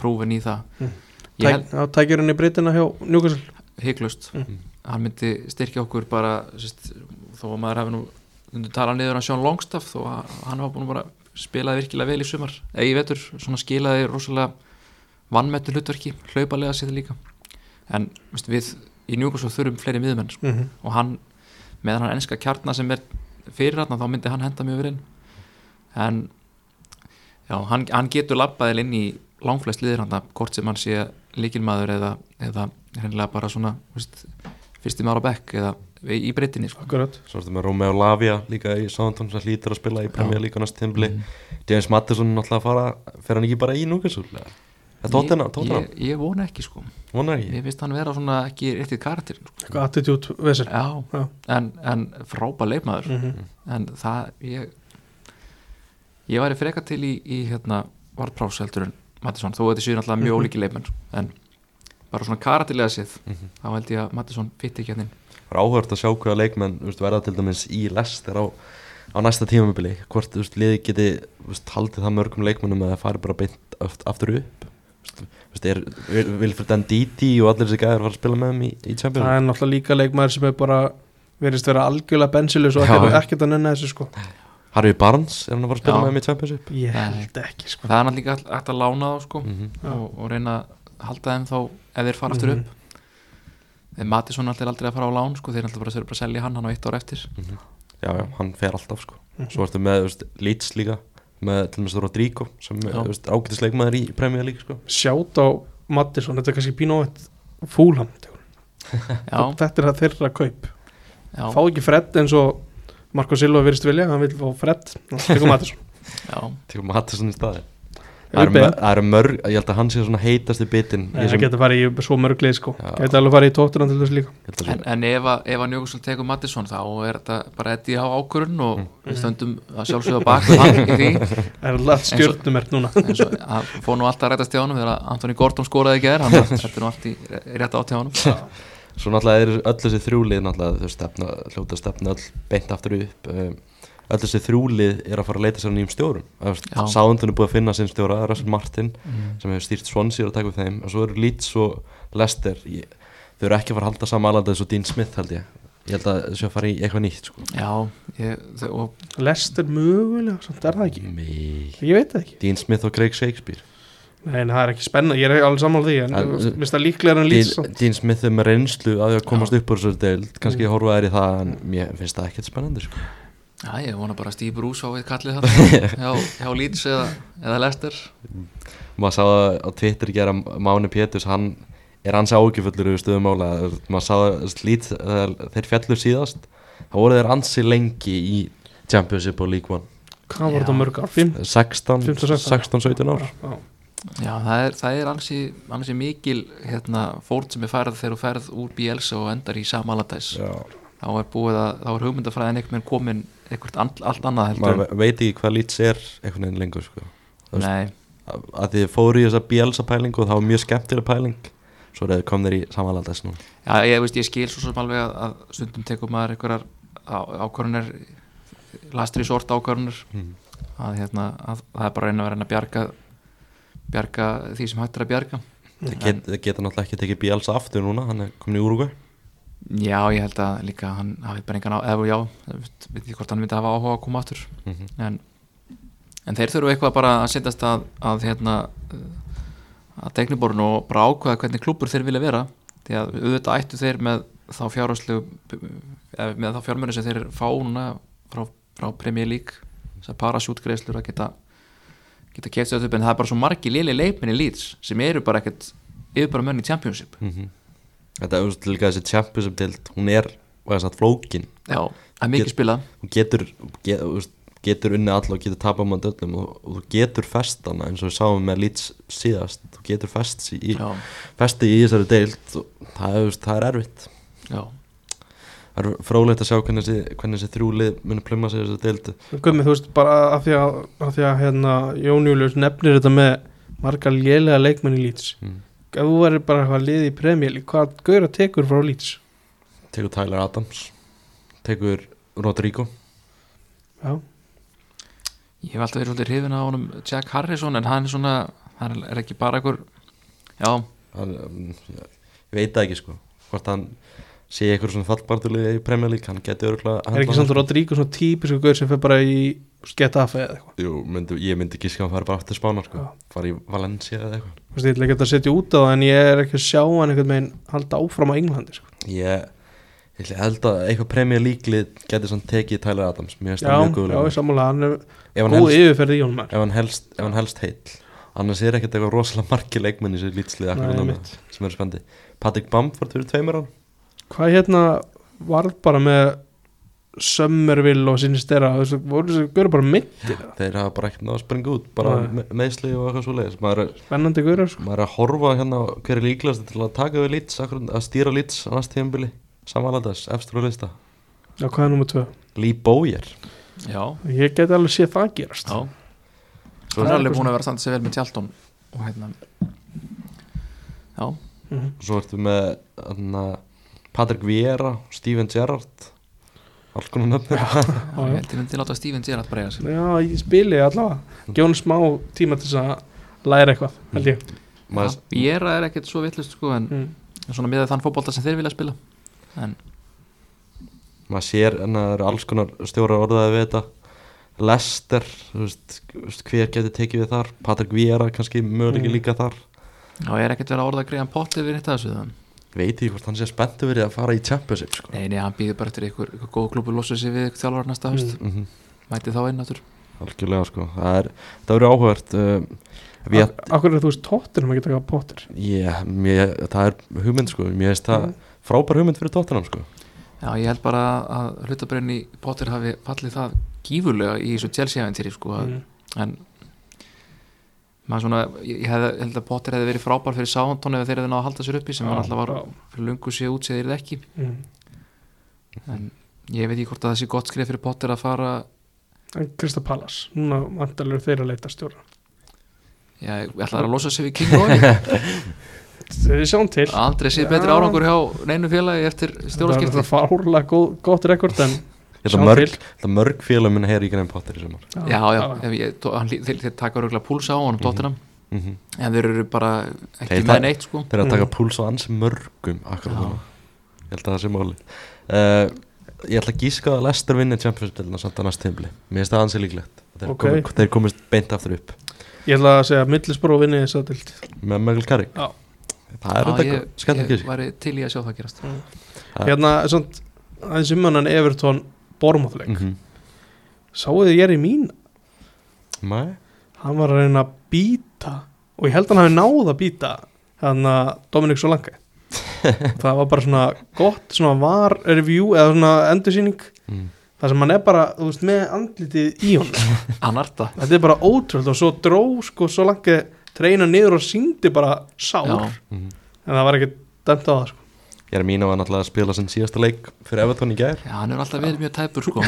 C: prófin í það
B: Mm.
C: ég held,
B: Tæk, þá tækir hann í breytina hjá Newcastle
C: hygglust hann myndi styrkja okkur bara sérst, þó að maður hafi nú undir tala niður að Sean Longstaff þó að hann var búin að bara spilaði virkilega vel í sumar eða í vetur, svona skilaði rosalega vannmættu hlutverki, hlaupalega sér það líka en veist, við í Newcastle þurfum fleiri miðmenn sko.
B: mm
C: og hann, meðan hann enska kjarna sem er fyrir hann, þá myndi hann henda mjög verið en já, hann, hann getur labbaðil inn í langflest liðir hann, hvort sem hann sé líkilmaður eða, eða hreinlega bara svona, veist, fyrsti maður á bekk eða í í breytinni, sko
B: akkurat
A: svo ertu með Romeo Lavia líka í Southampton sem hlýtur að spila í Premier League á næst tímbli
C: Mhm.
A: James Mattisson náttúrulega að fara fer hann ekki bara í Núkesúl það tóttina, tóttina,
C: ég, ég vona ekki, sko,
A: vonar ekki
C: ég finnst hann vera svona ekki réttið karakter, sko
B: eitthvað attitude vesel Mhm.
C: já,
B: Já.
C: en, en frábær leikmaður en það, ég ég væri frekar til í, í hérna, varprás heldur en Mattisson, þó þetta séu náttúrulega mjög ólíki leikmenn en bara svona karatilega séð þá held ég að Mattisson fytti ekki hérna inn.
A: Það er áhört að sjá hvaða leikmenn þú veist, verða til dæmis í lester á, á næsta tímabili hvort þú veist, liði geti þú veist, haldið það mörgum leikmennum að það fari bara beint aft, aftur upp Þú veist, þú veist, er Vilfred Nditi og allir þessi gæðar fara að spila með þeim í, í
C: Mm.
A: Champions
B: það er náttúrulega líka leikmaður sem er bara verðist vera algjörlega bensilis og
A: Já.
B: ekkert- ekkert að nenni þessu sko
A: League Harry Barnes er hann að fara að spila
C: Já.
A: með þeim í Champions League
B: ég
C: Nei.
B: held ekki sko
C: það er náttúrulega líka hægt að lána þá sko,
A: Mhm.
C: og, og reyna að halda þeim þá ef þeir fara
B: Mhm.
C: aftur
B: Mm.
C: upp þeir Mattisson náttúrulega er aldrei að fara á lán sko, þeir náttúrulega bara þurfa bara að selja hann, hann á eitt ár eftir
A: mhm. já, já, hann fer alltaf sko svo ertu með þú veist, Leeds líka með til dæmis Rodrigo sem er
C: Já.
A: þú veist, ágætis leikmæður í Premier League sko.
B: sjátt á Mattisson, þetta er kannski pínóett fúlam,
C: já,
B: þetta er það þeirra kaup
C: já,
B: fá ekki Fred eins og Marko Silva virðist vilja, hann vil fá Fred tekum Mattisson,
C: já
A: til Mattisson í staði það
B: Ég
A: eru
B: beðið.
A: mör- það eru mörg, ég held að hann sé svona heitasti bitin
B: Nei, það getur farið í svo mörg lið sko
A: Já.
B: getur alveg farið í tóttunan til þess líka
C: En, en ef að, ef að Njókusson tekur Mattisson þá er þetta bara Eddi á ákvörun og við stöndum að sjálfsögða bak við hann í því
B: það er alltaf stjórnum er núna
C: eins og að fór nú alltaf að rætast hjá honum þegar að Antoni Gordon skoraði ekki þér hann þetta er nú allt í rétt átt hjá honum
A: Svo náttúrulega eru öll þessi þrjúlið náttúrulega þau stefna, hljóta að stefna öll beint aftur upp um, öll þessi þrjúlið er að fara að leita sér að nýjum
C: Já.
A: stjórum Sáðundun er búið að finna sinn stjóra, Russell Martin sem hefur stýrt Swansea og að taka við þeim og svo eru Leeds og Leicester ég, þau eru ekki að fara að halda saman alveg þessu Dean Smith held ég ég held að þessu að fara í eitthvað nýtt sko.
C: Já, ég, þau- og
B: Lester mögulega, samt er það ekki
A: Nei.
B: ég veit það ekki,
A: Dean Smith og Craig Shakespeare
B: nei en það er ekki spenna ég er alveg sammála því, en
A: En- uh,
B: þú veist, mér finnst það líklega en sko. lýs
A: Dean, Dean Smith er með reynslu að því að komast upp úr þessu deild kannski mm. horfa þær í það en mér finnst það ekkert spennandi sko.
C: já, ég vona bara að Steve Bruce á eitt kallið það hjá, hjá Leeds eða, eða Lester
A: maður sá það á Twitter gera Máni Péturs, hann er hans ágjöfullur yfir stöðum mála, maður sá það slít, þegar þeir fjallu síðast þá voru þeir ansi lengi í Championship og League One
B: hvað var þetta mörg ár, 5
A: 16,
B: 15,
A: 16, 17 ár
C: Já, það er, það er ansi, ansi mikil hérna, fórn sem er færð þegar þú færð úr Bielsa og endar í Sam Allardyce
A: Já,
C: þá er búið að, þá er hugmyndafræðin einhvern veginn komin eitthvað allt, allt annað heldur
A: maður
C: en,
A: ve- veit ekki hvað lít sér einhvern veginn lengur sko. veist-
C: nei,
A: að að þið fóru í þessa Bielsa pælingu og það var mjög skemmtileg pæling svo er þeir kom þeir í samanlaldast nú
C: já, ég, veist, ég skil svo sem alveg að, að stundum tekur maður einhverjar ákvörunir lastri sort ákvörunir
A: Mhm.
C: að, hérna, að það er bara að reyna að vera að bjarga bjarga því sem hægt er að bjarga
A: þeir get, þeir geta náttúrulega ekki tekið Bielsa aftur núna hann er komin í Úrugvæ
C: já, ég held að líka hann hafi bara engan á, eða já, veit veit ekki hvort hann myndi hafa áhuga á að koma aftur en, en þeir þurfu eitthvað bara að setjast að, að hérna að teikniborun og bara ákveða hvernig klúpur þeir vilja vera því að auðvitað ættu þeir með þá fjárhastlegu með þá fjármönu sem þeir fá núna frá, frá Premier League þessar parasjútgreislur að geta geta keft þetta upp en það er bara svo margi lili leikminni lýts sem eru bara ekkert yfir bara mönn í Championship
A: Mhm. Þetta er til líka þessi Champions League-dild, hún er og þess að flókin,
C: Já, það er mikið
A: Get-
C: spilað
A: hún getur get, þú veist, getur unni alla og getur tapað mann öllum og, og þú getur festana eins og við sáum með Leeds síðast, þú getur fest í, í-
C: Já,
A: festi í þessari deild og það, er, þú veist, það er erfitt
C: já,
A: það er frólægt að sjá hvernig þessi, hvernig þessi þrjúlið muni pluma sig í þessari deild
B: Gummi, þú veist, bara af því að, af því að hérna, Jón Július nefnir þetta með marga lélega leikmenn í Leeds
A: Mm.
B: ef þú verður bara eitthvað liði í premjöli hvað gauðra tekur frá Leeds
A: tekur Tyler Adams tekur Rodrigo
B: já,
C: ég hef alltaf verið svolítið hrifin á honum Jack Harrison en hann er svona, hann er ekki bara einhver já,
A: hann, um, ég ég veit það ekki sko hvort hann sé eitthvað svona fallbartulið í Premier League, hann sko. getur örgulega
B: er ekki samt Rodrigo svona típisku gauð sem fer bara í sketta af eða eitthvað
A: Jú, myndi, ég myndi gíska að hann fara bara aftur spánar sko.
B: Já.
A: fara í Valencia eða eitthvað
B: þú veist, ég ætla ekki að setja út á það en ég er ekki að sjá hann einhvern veginn halda áfram á Englandi sko.
A: ég, ég held að eitthvað Premier League-lið getur svona tekið Tyler Adams mér finnst
B: já,
A: það mjög
B: já,
A: góðulega
B: ég sammála hann er
A: ef, hann
B: góð
A: helst-
B: yfirferð í honum
A: ef, hann helst- ef hann helst heill annars er ekkert eitthvað rosalega margir leikmenn í sér lýtslið akkur
B: Nei,
A: núna
B: mitt.
A: sem eru spandi Patrick Bamford fyrir tveimur án
B: hvað hérna varð bara með Summerville og sinistera þú veist, voru þessi gauðra bara mittir
A: þeir hafa bara ekkert náða að springa út bara
B: Nei.
A: me- meiðsli og eitthvað svo leiðis maður, er-
B: spennandi gauðra sko.
A: maður er að horfa hérna á hver er líklegast til að taka við lýts að stýra lýts á næst tíðanbili samanlætas, efstur og lista
B: já, hvað er nummer 2?
A: Lee Bowyer
C: já,
B: ég geti alveg séð það gerast
C: já
A: Svo
C: hann
A: er-
C: er alveg búin að vera að standa sig vel með tjaldum og hérna já,
B: Mhm.
A: svo ertu með hana, Patrick Vieira, Steven Gerrard alls konar nöfnir
C: já,
B: já.
C: ég held ég myndi láta Steven Gerrard breyga sig
B: já, ég spili
A: Mm.
B: allavega gefa hann smá tíma til þess að læra eitthvað held ég
C: Já,
A: maður,
C: Viera er ekkert svo vittlust sko en
B: mm.
C: svona með þann fótbolta sem þeir vilja spila en
A: maður sér en það eru alls konar stjóra orðaði við þetta Lester, þú veist, þú veist, hver getur tekið við þar Patrick Vieira kannski möguleiki
B: Mm.
A: líka þar
C: já, ég er ekkert verið að orða að greiða potti við þetta þessu þann
A: veit ég hvort hann sé spenntu verið að fara í championship sko.
C: nei, nei, hann býður bara eftir ykkur, ykkur góð klúbu losa sig við ykkur þjálfur næsta
B: Mm.
C: höst
A: mm
C: mæti þá inn áttur
A: Algjörlega sko, það er, það verður áhugavert um,
B: Ak-
A: Viet,
B: Akkur er þú veist tóttir um að geta eitthvað pottir
A: ég, mér, það er hugmynd sko, mér finnst það
B: Mm.
A: frábær hugmynd fyrir tóttunum sko
C: já, ég held bara að hlutabreinni Potter hafi fallið það gífurlega í þessu Chelsea-eventýri sko að
B: mm.
C: en maður svona, ég ég hefði, held að Potter hefði verið frábær fyrir Southampton ef þeir hefði náða að halda sér uppi sem
B: Já,
C: hann alltaf var
B: já.
C: fyrir lungu séð út séð þeir ekki
B: mm.
C: en ég veit ekki hvort að það sé gott skrif fyrir Potter að fara
B: En Krista Pallas, núna vantalur þeir að leita stjóra
C: já, ég ætla að losa sig við King Roy
B: Þeir sjáum til
C: aldrei sé
B: Já.
C: betri árangur hjá neinu félagi eftir
B: Það er
C: stjóraskipti
B: það fárlega góð, gott rekord en
A: Ég held að
B: Sjáum
A: mörg,
B: til.
A: það mörg félum minna heyri í grein Potter í sumar
C: já, já, ef ég, tó- hann, lí- þeir, þeir taka röglega púlsa á
B: Mhm.
C: honum Tottenham,
A: mm
C: en þeir eru bara ekki
A: Þeir
C: með
A: ta-
C: neitt sko
A: Þeir eru að taka
B: Mm.
A: púls á ansi mörgum akkurat
C: Já.
A: núna Ég held að það sé máli uh, Ég ætla að gíska að Lester vinni championship-delina samt að næst tímli Mér finnst það ansi líklegt Þeir,
B: Ok.
A: komi, þeir komist beint aftur upp
B: Ég ætla að segja að millisbró vinni þess að dild
A: með Mögul Karrik
B: Já.
A: Það er
C: Já,
A: þetta
C: ég-
A: skemmt að
C: ég
A: gíska
C: væri til í að sjá það gerast
A: Ja.
B: Hérna, svona, aðeins um hann Evertón Bormáþleik mm.
A: Mhm.
B: Sáuðu ég er í mín
A: Nei,
B: Hann var að reyna að býta Og ég held að hann hafi náð að býta Þannig að Dominik Solange Það var bara svona gott Svona var review eða svona endursýning
A: Mm.
B: Það sem hann er bara, þú veist, með andlitið í honum
C: Anarta
B: Þetta er bara ótrúld og svo dró sko Solange treyna niður og síndi bara sár
C: Já.
A: Mhm.
B: En það var ekki dæmt á það sko
A: ég er mín á að náttúrulega spila sinn síðasta leik fyrir Everton í gær
C: Já, hann er alltaf verið mjög tæpur sko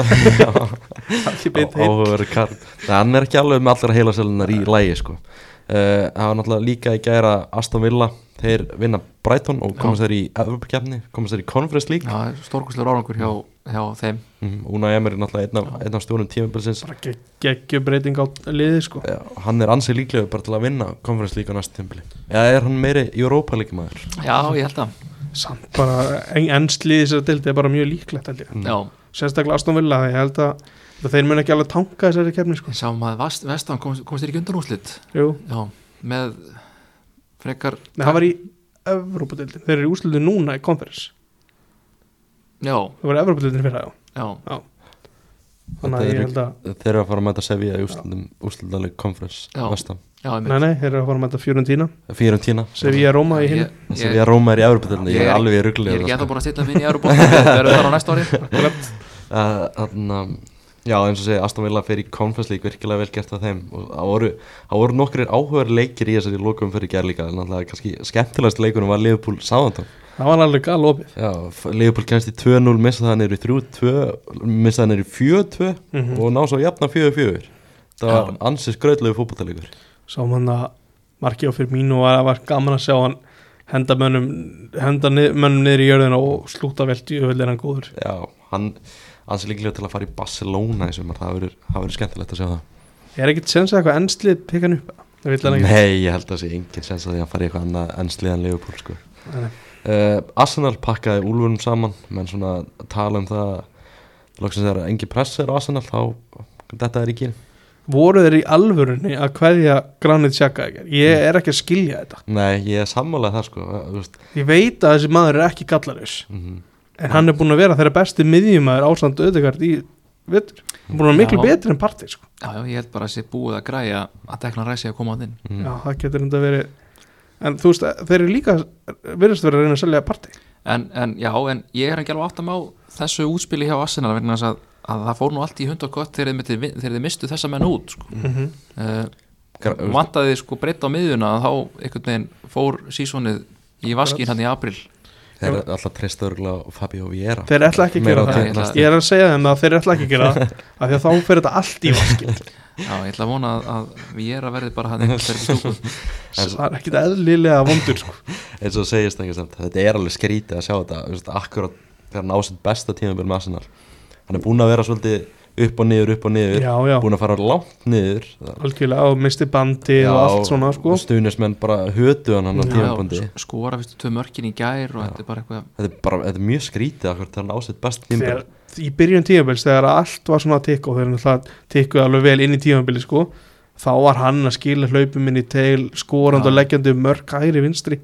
B: Allir beitt heitt
A: áhugaveru karl Nei, hann er ekki alveg með allra heilaselunar í lægi sko. uh, hann var náttúrulega líka í gæra Aston Villa, þeir vinna Brighton og komast þeir í Evropakefni komast þeir í Conference League
C: Já, stórkustlega árangur hjá, hjá þeim
A: Mhm, Unai Emery er náttúrulega einn af, einn af stjórnum tímabilsins
B: Bara geg- geggjubreiting á liði sko
A: Já, hann er ansið líklega bara til að vinna Conference League á næstu tímabili eða er hann meiri Europa League maður
C: Já, ég held að
B: Samt bara ennsliði þessar dildi er bara mjög líklegt held ég
A: Mm. Mhm.
C: Já,
B: Sérstaklega Aston Villa þegar ég held að að þeir mun ekki alveg tanka
C: um
B: þessari kefni sko
C: ég sá maður vast, vestan komst, komst þér ekki undan úrslit
B: Jú,
C: Já, með frekar
B: Nei, hann var í Evrópadeildin Þeir eru í úrslutu núna í konferens
C: já,
B: Þeir voru í Evrópadeildin fyrir það
C: já,
B: Þannig
A: Þetta
B: að
A: er
B: ég held að
A: Þeir eru að fara að mæta Sevilla í úrslutum úrslutaleg konferens
C: Já.
A: Vestam
C: já einmitt.
B: Nei, nei, þeir eru að fara að mæta Fiorentina
A: Fyrir um tína
B: Sevilla Roma í hinn
C: ég, ég,
A: Sevilla Róma er í Evropadelni Ég
C: Ég
A: er
C: er-
A: alveg í
C: ég er
A: ruggli
C: ekki ennþá búin að stilla minn í Európa það eru þar á næsta ári
A: Þannig að Eh, Já, eins og segja, Aston Villa fer í Conference League virkilega vel gert af þeim og það voru, það voru nokkur áhugaður leikir í þessari lokum fyrir gerð líka, en alltaf kannski skemmtilegast leikunum var Liverpool Southampton
B: Það var alveg gal opið
A: Já, f- Liverpool kemst í 2-0, missa það niður í 3-2, missa það niður í 4-2
B: Mhm.
A: og ná svo jafna 4-4. Það var ansið skröðlegu fótballtalegur.
B: Sá hann að Marki á fyrir mínu var, var gaman að sjá hann henda mönnum, henda nið, mönnum niður í jörðina og slúta velt í öðvöld er hann góður
A: Já, hann ansið líklega til að fara í Barcelona í sumar, það verður- það verður skemmtilegt að sjá það.
B: Er ekkert sens að eitthvað ennslið pikka hann upp? Það vil hann ekki
A: Nei, ég held að það sé engin sens að því að hann fari í eitthvað annað enn sliðan Liverpool sko.
B: Nei, nei.
A: uh, Arsenal pakkaði úlfunum saman menn svona tala um það loksins þegar engin press er á Arsenal þá þetta er ekki
B: Voru þeir í alvörunni að hverja grannit sjaka ekkert? Ég er ekki að skilja þetta
A: Nei, ég er sammálað það sko uh, þú veist,
B: Ég veit að þessi maður er ekki gallarus
A: mm
B: en hann er búin að vera þeirra besti miðjumæður ásand öðegard í vettur hann er búin að vera miklu
C: Já.
B: betri en partí sko.
C: já, já, ég held bara að sé búið að græja að dekna ræsi að koma á þinn
A: Mm.
B: já, það getur enda verið en þú veist, þeir eru líka verðist verið að reyna að selja partí
C: en, en já, en ég er ekki alveg áttam á þessu útspili hjá Arsenal vegna þess að, að það fór nú allt í hund og gott þegar þið myndir- þegar þið mistu þessa menn út sko.
A: Mhm.
B: mm -hmm.
C: uh,
A: Gra- þú veist,
C: vantaði sko breytt á miðjuna að þá einhvern veginn fór sísonið í vaskinn hann í april
A: Þeir eru alltaf treystöðurlega og Fabio Vieira
B: þeir ætla ekki að
A: Meira
B: gera
A: á
B: það
C: Ég ætla-
B: ég er að segja þeim að þeir ætla ekki að gera það af því að þá fer þetta allt í vaskinn
C: já, ég ætla að vona að, að við erum að verði bara hann einhvern veginn stúku
B: það er ekkit eðlilega vondur sko.
A: eins og segist ekki samt, þetta er alveg skrítið að sjá þetta þú veist, akkurat þegar hann á sitt besta tímabil með Arsenal hann er búinn að vera svolítið upp og niður, upp og niður
B: já, já,
A: búinn að fara langt niður
B: algjörlega og misti bandi og allt svona sko.
A: stuðnismenn bara hötu hann hann á
B: Já,
A: tímabundi
C: skora fyrstu tvö mörkin í gær og þetta er bara eitthvað
A: þetta er bara, þetta er mjög skrítið akkurat þegar hann á sitt besta tímabil
B: þegar, í byrjun tímabils þegar allt var svona að tikka og þegar náttúrulega tikkuði alveg vel inn í tímabili sko, þá var hann að skila hlaupum inn í teil, skorand
C: Já.
B: og leggjandi um mörk hægri vinstri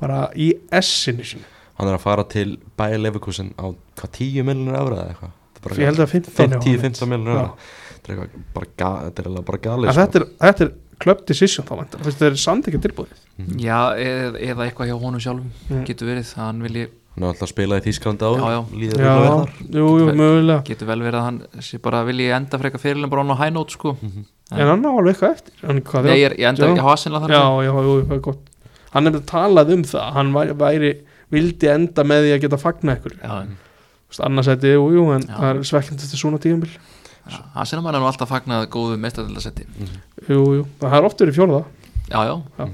B: bara í S-inu sinu
A: hann er að fara til Bayer Leverkusen á hvað 10 miljonur eura eða eitthvað Þetta er bara
B: ég held að 15
A: 50, 15 miljonur
B: Já.
A: eura þetta er eitthvað bara ga- þetta er eiginlega bara
B: En
A: galið sko.
B: þetta er, þetta er club decision þá vantar þetta er samt ekki tilbúið
C: já, eð, eða eitthvað hjá honum sjálfum
B: Mm.
C: getur verið, að hann vilji
A: hann er alltaf að spila í Þísklandi á
C: Já, já.
A: líður
B: já,
A: illa við þar
B: jú, jú, mögulega
C: getur vel verið að hann sé bara vilji enda frekar fyrirlega bara án á high note sko
B: en hann á alveg eitthvað eftir hann, hvað,
C: Nei, ég, er- ég enda
B: Mhm. Já.
C: ekki hasinlega
B: já,
C: þar
B: já, já, jú, það er gott hann hefði talað um það hann væri, væri vildi enda með því að geta fagna ykkur
C: já.
B: Þú veist, annars þetta, jú, jú, en
C: Já.
B: það er svekkjandi eftir svona tíumbil
C: Já, Arsenal mann er nú alltaf fagnað góðu meistardildasetti
B: jú, jú, það er oft verið fjórða
C: Já, já,
B: Já.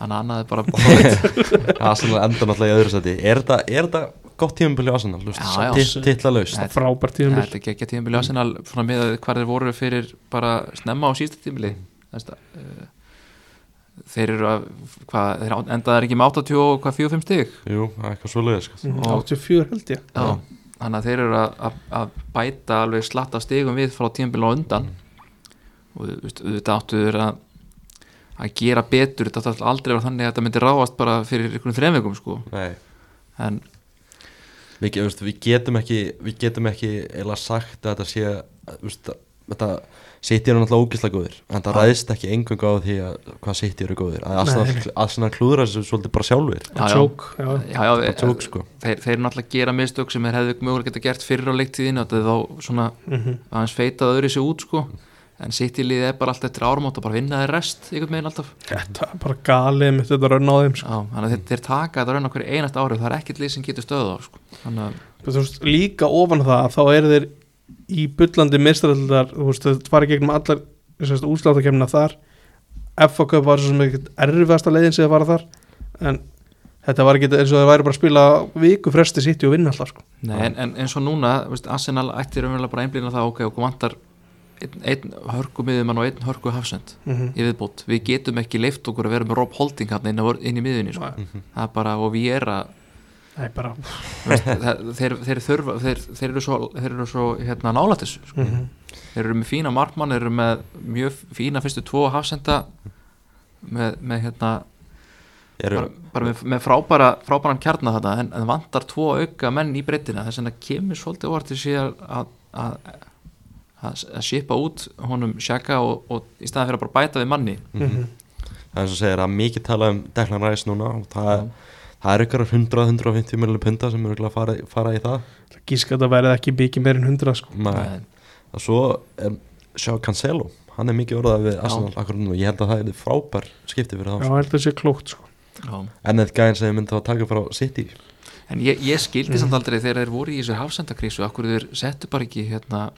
C: þannig að annað er bara borðið.
A: Arsenal enda náttúrulega í öðru seti er þetta, er þetta gott tímabili á Arsenal
C: Já, já.
A: titla laust
C: Nei.
B: frábært
C: Þetta
B: tíumbil
C: er ekki ekki tíðanbili Arsenal svona með að hvað þeir voru fyrir bara snemma á síðasta tíðanbili eh, Þeir eru að hvað, þeir endaðar ekki með 80 og hvað 45 stig
A: jú, það er eitthvað svo leiðis sko.
B: Mm,
C: Og-
B: 84 held ég
A: Já.
C: Þannig að þeir eru að, að, að bæta alveg slatta stigum við frá tíðanbili á undan og þú veist, auðvitað áttu þeir að að gera betur, þetta átti aldrei að vera þannig að þetta myndi ráðast bara fyrir einhvern þreimveikum sko,
A: nei
C: en
A: við, ge- veist, við getum ekki við getum ekki eila sagt að þetta sé að, veist, að þetta City eru náttúrulega ógislega góðir en það ræðist ekki engang á því að hvað City eru góðir að Arsenal, Arsenal klúðra þessu svolítið bara sjálfur
C: Já, já.
B: tjók, já,
C: já, já,
A: bara tjók sko
C: þeir, þeir náttúrulega gera mistök sem þeir hefðu mögulega geta gert fyrir á leiktíðinu þetta er þá svona
B: Mhm.
C: aðeins feitað öðru sér út sko en sittilið er bara allt eftir áramót og bara vinna þeir rest einhvern veginn alltaf
A: Sko.
B: þetta er bara galið mitt þetta raun á þeim sko.
C: Já, þannig að þeir, þeir taka þetta raun okkur einast árið það er ekkert lið sem getur stöðu á sko. þannig að
B: Þú veist, líka ofan á það þá eru þeir í bullandi mistraldar, þú veist, þau fara í gegnum allar útsláttakemna þar FA Cup var svo sem ekkert erfiðasta leiðin sem þeir fara þar en þetta var ekki eins og þeir væri bara að spila á viku fresti sitt og vinna alltaf sko.
C: Nei, en, en eins og núna, veist, Arsenal ætti raunverulega bara einblýna það, ok, okkur vantar einn, einn hörku miðjumann og einn hörku hafsend
B: Mhm.
C: í viðbót, við getum ekki leift okkur að vera með Rob Holding hann inn, á vör- inn í miðjunni sko.
B: Nei,
C: það er bara, og við erum
B: það er bara
C: Veist, það- þeir, þeir, þurfa, þeir, þeir eru svo, þeir eru svo hérna, nálætt þessu sko.
B: Mhm.
C: þeir eru með fína markmann, þeir eru með mjög fína fyrstu tvo hafsenda með, með hérna
A: eru,
C: bara, bara með, með frábæra, frábæran kjarna þetta en, en vantar tvo auka menn í breytina þess að kemur svolítið orðið síðan að, að, að, að skipa út honum sjaka og, og í staðan fyrir að bara bæta við manni
A: mhm.
B: Mhm.
A: það er eins og segir að mikið tala um Declan Rice núna og það, það er ykkur 100-150 miljonir punta sem eru örugglega að fara, fara í það
B: Gíska að það verið ekki mikið meir en 100 sko.
A: Nei. og svo um, sjá Cancelo hann er mikið orðað við Arsenal akkur nú ég held að það er frábær skipti fyrir
B: Já,
A: þá
B: heldur þessi klókt sko.
C: Já.
A: en þetta gæðin sem ég myndi þá taka frá City
C: en ég, ég skildi samt
B: Mhm.
C: aldrei þegar þeir voru í þessu hafsendakrísu akkur þeir settu bara ekki hérna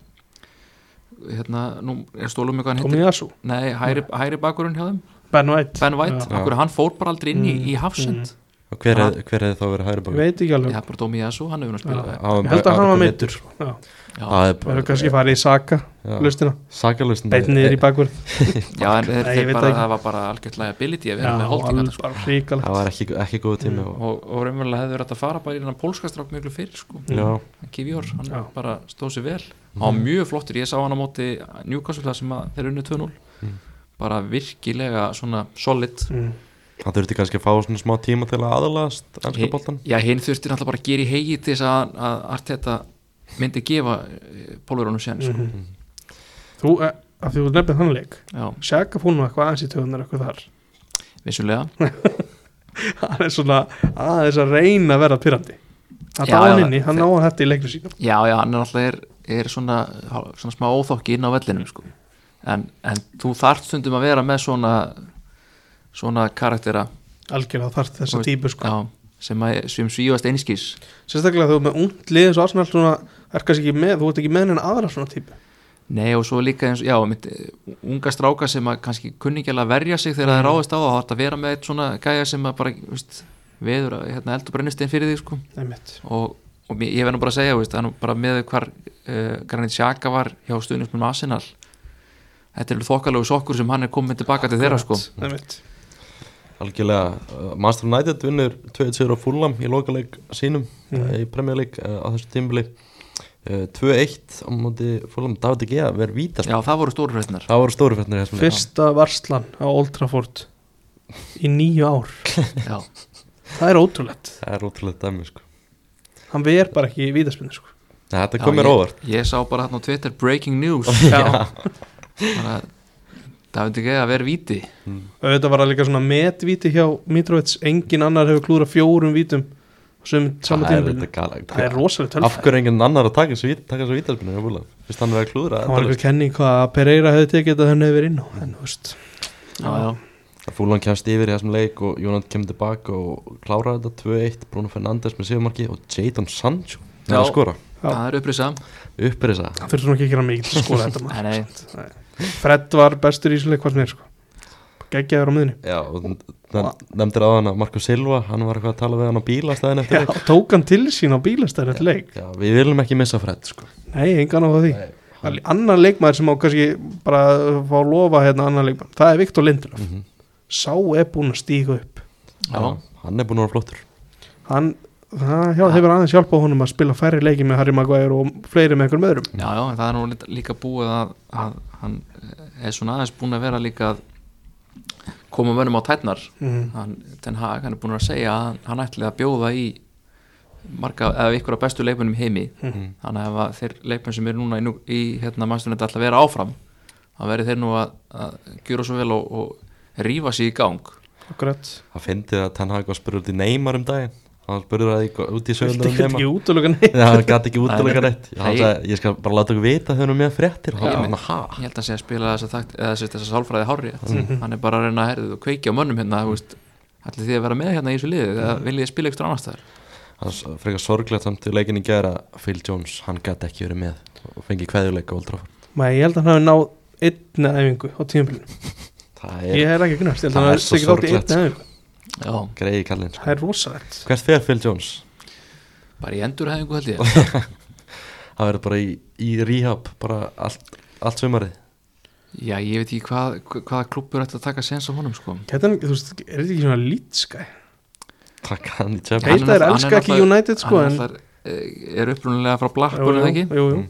C: hérna, nú er stólum eitthvað hann
B: Komið í
C: heitir
B: Asu
C: Nei, hæri, hæri bakurinn hjá þeim
B: Ben White,
C: Ben White,
A: Já.
C: akkur hann fór bara aldrei inn í,
B: Mm.
C: í hafsend
A: og hver er, hver er þá verið hægri
B: Ég
A: baka
B: veit ekki alveg
C: Já, bara Dómi Jassu, hann hefur nú spilað
B: Ég held að hann var meittur Já,
C: sko. Já.
A: það er
B: það
A: bara
B: er kannski farið í Saka lustina,
A: sakalust
B: beitt niður í bakvörð
C: Já, en þeir,
B: Nei, ég
C: þeir
B: veit
C: bara,
B: ekki.
C: það var bara algjört liability að
B: Já,
C: vera með holdingar
B: alveg
C: sko.
B: bara
A: það
B: ríkalegt
A: var ekki, ekki góð
B: Mm.
A: tími og,
C: og, og raunverulega hefur þetta fara bara í þennan pólska strák miklu fyrir sko.
B: Mm.
A: já,
C: Kivjór, hann
B: Já.
C: bara stóð sér vel hann var mjög flottur, ég sá hann á móti Newcastle þar sem að þeir unnu 2-0 bara virkilega svona solid
B: Mm.
A: það þurfti kannski að fá svona smá tíma til að aðalast ennska
C: Hi-
A: boltan
C: Já, hinn þurfti náttúrulega bara að gera í heigi til þess að, að Arteta myndi gefa pólverunum sen sko.
B: Mhm. Þú, eh, af því þú nefnir þannig leik
C: Já,
B: Sjaka fónum eitthvað aðeins í töðunar eitthvað þar
C: vissulega
B: hann er svona aðeins að reyna að vera pyrrandi hann
C: Já,
B: á hann
C: já,
B: inni, hann á hann þetta í leiknum sínum
C: Já, já, hann er alltaf er, er svona, hál- svona smá óþokki inn á vellinum sko. en, en þú þarft stundum að vera með svona svona karaktera
B: algjörlega þarf þessa
C: Þú veist,
B: típu sko
C: já, sem, að, sem svífast einskís
B: sérstaklega þegar þú ert með ungt lið eins og Arsenal svona, er kannski ekki með, þú ert ekki með henni aðra svona típu
C: Nei og svo líka eins, já, mitt, unga stráka sem að kannski kunningjalega verja sig þegar það er ráðist á það, þá þarf að vera með eitt svona gæja sem að bara, veist, veður að hérna, eldur brennist einn fyrir því, sko
B: einmitt,
C: og, og mér- ég verð nú bara að segja, veist, að nú bara með hvar uh, Granit Xhaka var hjá stuðnismunum Arsenal þetta eru þokkalegu sokkur sem hann er komin tilbaka til þeirra, sko
B: einmitt.
A: algjörlega, uh, Master United vinnur 2-2 á Fulham í lokaleik sínum mm. í Premier League uh, á þessu tímbili uh, 2-1 á móti Fulham David Gea verið vítast
C: Já, það voru stóru hreitnar
A: það voru stóru fjarnir þessum leik
B: fyrsta varslan á Old Trafford í nýju ár
C: Já,
B: það er ótrúlegt,
A: það er ótrúlega dæmi sko.
B: hann ver bara ekki í vítaspinnu sko.
A: Nei, þetta
C: Já,
A: kom mér
C: ég-
A: óvart
C: Ég sá bara hann á Twitter breaking news
B: Já.
C: bara, Það veit ekki að vera víti
B: auðvitað var það líka svona metvíti hjá Mitrovic, engin annar hefur klúra fjórum vítum á sömu-
A: það
B: sama
A: er
B: tímabilinu.
A: þetta galegt
B: það er rosalega tölf
A: af hverju enginn annar að taka þessu vít- taka þessu vítaspinu fyrst hann verið að klúðra
B: Það var einhver kenning hvað að Pereira hefði tekið þetta henni yfir inn á en þú veist
C: Já, já
A: Fúlan kemst yfir í þessum leik og Jónand kemur tilbaka og klára þetta 2-1 Bruno Fernandes með sigurmarki og Jadon Sancho með að
C: Já.
A: skora
C: Það er upprisa
A: upprisa
B: það þurftur nú ekki að gera mikið til að skora þetta
C: Nei,
B: maður
C: nei,
B: Fred var bestur í ísleik hvað sem er sko geggjaður á miðunni
A: Já, og n- n- nefndir á hana Marco Silva, hann var eitthvað að tala við hann á bílastæðin eftir
B: Já,
A: leik
B: tók hann til sín á bílastæðin eftir leik
A: Já, við viljum ekki missa Fred sko.
B: nei, engan á það því
A: Nei,
B: Al- annar leikmaður sem á kannski bara að fá að lofa hérna annar leikmaður það er Viktor Lindelöf
A: Mhm.
B: sá er búin að stíga upp
C: já,
A: Hann er búin að vera flottur
B: hann Það hjá, hefur aðeins hjálpað honum að spila færri leiki með Harry Maguire og fleiri með einhverjum öðrum
C: já, já en Það er nú lít- líka búið að, að hann eh, er svona aðeins búin að vera líka að koma mönnum á tætnar
B: mm.
C: hann, Ten Hag, hann er búin að segja að hann, hann ætli að bjóða í marga, eða ykkur af bestu leikmennum í heimi
B: Mhm.
C: þannig að ef að þeir leikmenn sem eru núna í, nú, í hérna mannstunni ætla að vera áfram þá verður þeir nú að, að gjöra svo vel og, og rífa sig í gang
B: akkurat
A: Það fyndi að Ten Hag var spurður út í Neymar um daginn Hann spurður að því út í
B: Vildi
A: sögulega um
B: ekki
A: Neymar
B: ekki útlöka neitt
A: Já, hann gæti ekki útlega
C: Nei.
A: rétt Hann
C: Nei.
A: sagði, ég skal bara láta okkur vita þegar hann er með fréttir Og
C: Ég
A: Hann
C: meina,
A: bara, ha?
C: ég held að segja að spila þess að þakt eða þess að sálfræði hári hann er bara að reyna að herðu og kveikja á mönnum hérna þú veist, ætli þið að vera með hérna í þessu liði eða viljið þið spila eitthvað annars þar
A: Það er s- frekar sorglegt samt til leikin í gera Phil Jones, hann gæti ekki verið með og fengi kveðjuleika Old Trafford
B: Maður, ég held að hann hafi náð einni æfingu á tímabilinu
A: Það er
B: Ég hef ekki gnast,
A: Það
B: ég held að hann
A: er
B: hafi
A: svo
B: tekið þátt í
A: sorglegt,
B: einni æfingu
C: Já,
A: greiði kallinn
B: Það
A: sko.
B: er rosalegt
A: Hvert fer Phil Jones?
C: bara í endurhæðingu held ég
A: Það verður bara í, í rehab bara allt, allt sumarið
C: Já, ég veit ekki hvað, hvaða klubur ætla að taka sens á honum sko
B: Ketan, þú veist, er þetta ekki svona lítskæ?
A: Takka hann í tjöfn
C: Hann
B: Heita
C: er
B: er
C: náttúrulega-
B: elska
C: hann er
B: ekki
C: náttúrulega-
B: United sko
C: hann
B: en
C: alltaf, er upprunlega frá Blackburn
B: Jú,
C: eða
B: jú,
C: ekki
B: jú, jú.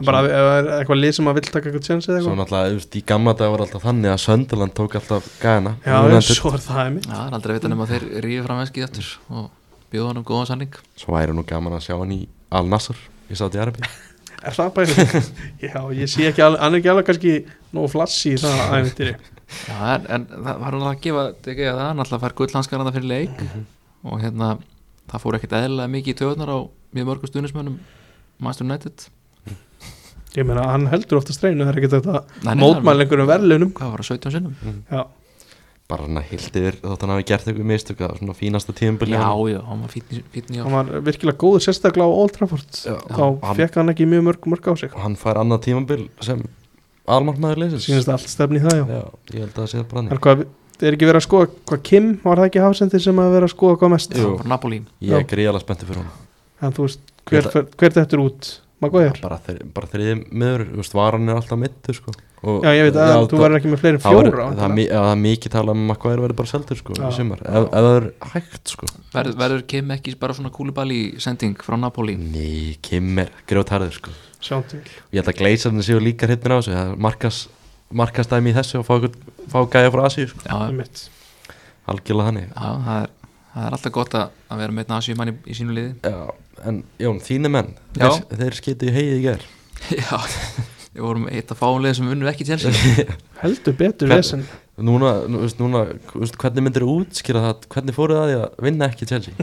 B: En bara ef það er eitthvað lið sem að vill taka eitthvað tjensi
A: Svo
B: eða eitthvað
A: náttúrulega, þú veist, í gamla dag var alltaf þannig að Söndaland tók alltaf gæðina
B: Já, já, svo er það einmitt
C: Já, það er aldrei að vita nema að þeir rífi fram eskið aftur og bjóða hann um góðan sanning
A: Svo væri nú gaman að sjá hann í Al Nassr í Saudi Arabi
B: Er það bara Já, ég sé ekki alveg, hann er ekki alveg kannski nógu flassi í það æfintir
C: Já, en, en það var náttúrulega að gefa ekki að það, náttúrulega fær gullhanskaranda fyrir leik og hérna, það fór ekkert eðlilega mikið í töðunar á mjög mörgum stuðnismönnum Master United
B: Ég meina, hann heldur ofta streinu, það er ekki þetta
C: Nei, nei,
B: mótmæl einhverjum verðlunum
C: Hvað var það, 17 sinnum?
B: Já,
A: Bara hann að hildi yfir þótt hann hafi gert eitthvað mistök að svona fínasta tíðumbil
C: Já, já, hann var fínn í- fínn í
B: hann var virkilega góður sérstaklega á Old Trafford
A: Já,
B: Þá
A: hann-
B: fekk hann ekki mjög mörg, mörg á sig
A: og hann fær annað tíðumbil sem almarkmaður leysins
B: Sýnist allt stefni í það, já
A: Já, ég held að það sé bara
B: Það
A: brannig
B: er, hvað, er ekki verið að skoða hvað Kim var það ekki hafsendir sem að vera að skoða hvað mest
A: Jú.
C: Það var Napoli
A: Ég er
B: Já.
A: gríðalega spenntur fyrir hann
B: en þú veist,
A: Ég
B: hver,
A: ætla-
B: hver, hver þetta er út Maguire?
A: Bara, þri, bara þriði meður, þú veist, varan er alltaf mittur sko. Og-
B: Já, ég veit að þú
A: það-
B: verður ekki með fleiri en
A: það
B: fjóra
A: var- Það er
B: væntanlega.
A: mi- já, það er mikið talað um að Maguire verður bara seldur sko,
B: Já.
A: í sumar, ef, ef það er hægt sko.
C: Verður, verður kem ekki bara svona kúlibali sending frá
A: Mm.
C: Napoli?
A: Nei, Kim er grjótarður sko.
B: Sjáum til
A: Ég held að gleysarnir séu líka hittin á þessu Það er markas, markastæmi í þessu og fá, einhvern- fá gæja frá Asíu sko.
C: Já, já,
B: einmitt.
A: Algjörlega þannig
C: það er, það er alltaf gott að, að vera með einn asjumann í, í sínu liði
A: Já, en Jón, þínu menn
C: Já.
A: þeir, þeir skiti í heið í ger
C: Já, við vorum eitt að fáum liði sem unnu ekki Chelsea
B: Heldur betur
A: Hvern-
B: vesen
A: Núna, nú, veist, núna veist, hvernig myndir þú útskýra það Hvernig fóruð það að því að vinna ekki Chelsea?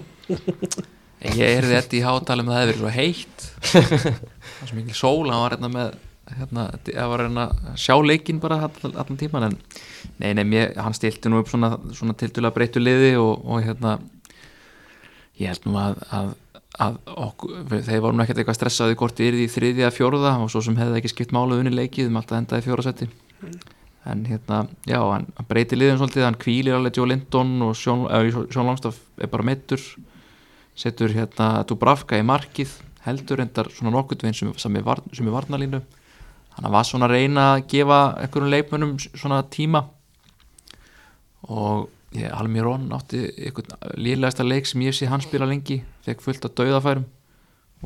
C: En Ég heyrði þetta í hátalum að það hefði verið svo heitt Það var svo mikil sól hann var hérna með hérna, það var hérna að sjá leikinn bara allan, allan tíman en nei, nei, mér, hann stilti nú upp svona, svona tildulega breyttu liði og, og hérna ég held nú að, að, að okkur, við- þeir voru nú ekkert eitthvað stressaði hvort þið yrði í þriði að fjórða og svo sem hefði ekki skipt máluð unni leikið um alltaf endaði fjórasetti en hérna, já, hann, hann breyti liðum svolítið, hann kvílir alveg Joe Linton og Sean, eh, Sean Longstaff er bara meittur setur hérna Dubravka í markið heldur endar svona nokkurt veginn sem, sem, er varn- sem er varnalínu þannig að var svona að reyna að gefa einhverjum leikmönnum s- svona tíma og ég, Almirón átti einhvern líðlegasta leik sem ég sé hann spila lengi fekk fullt af dauðafærum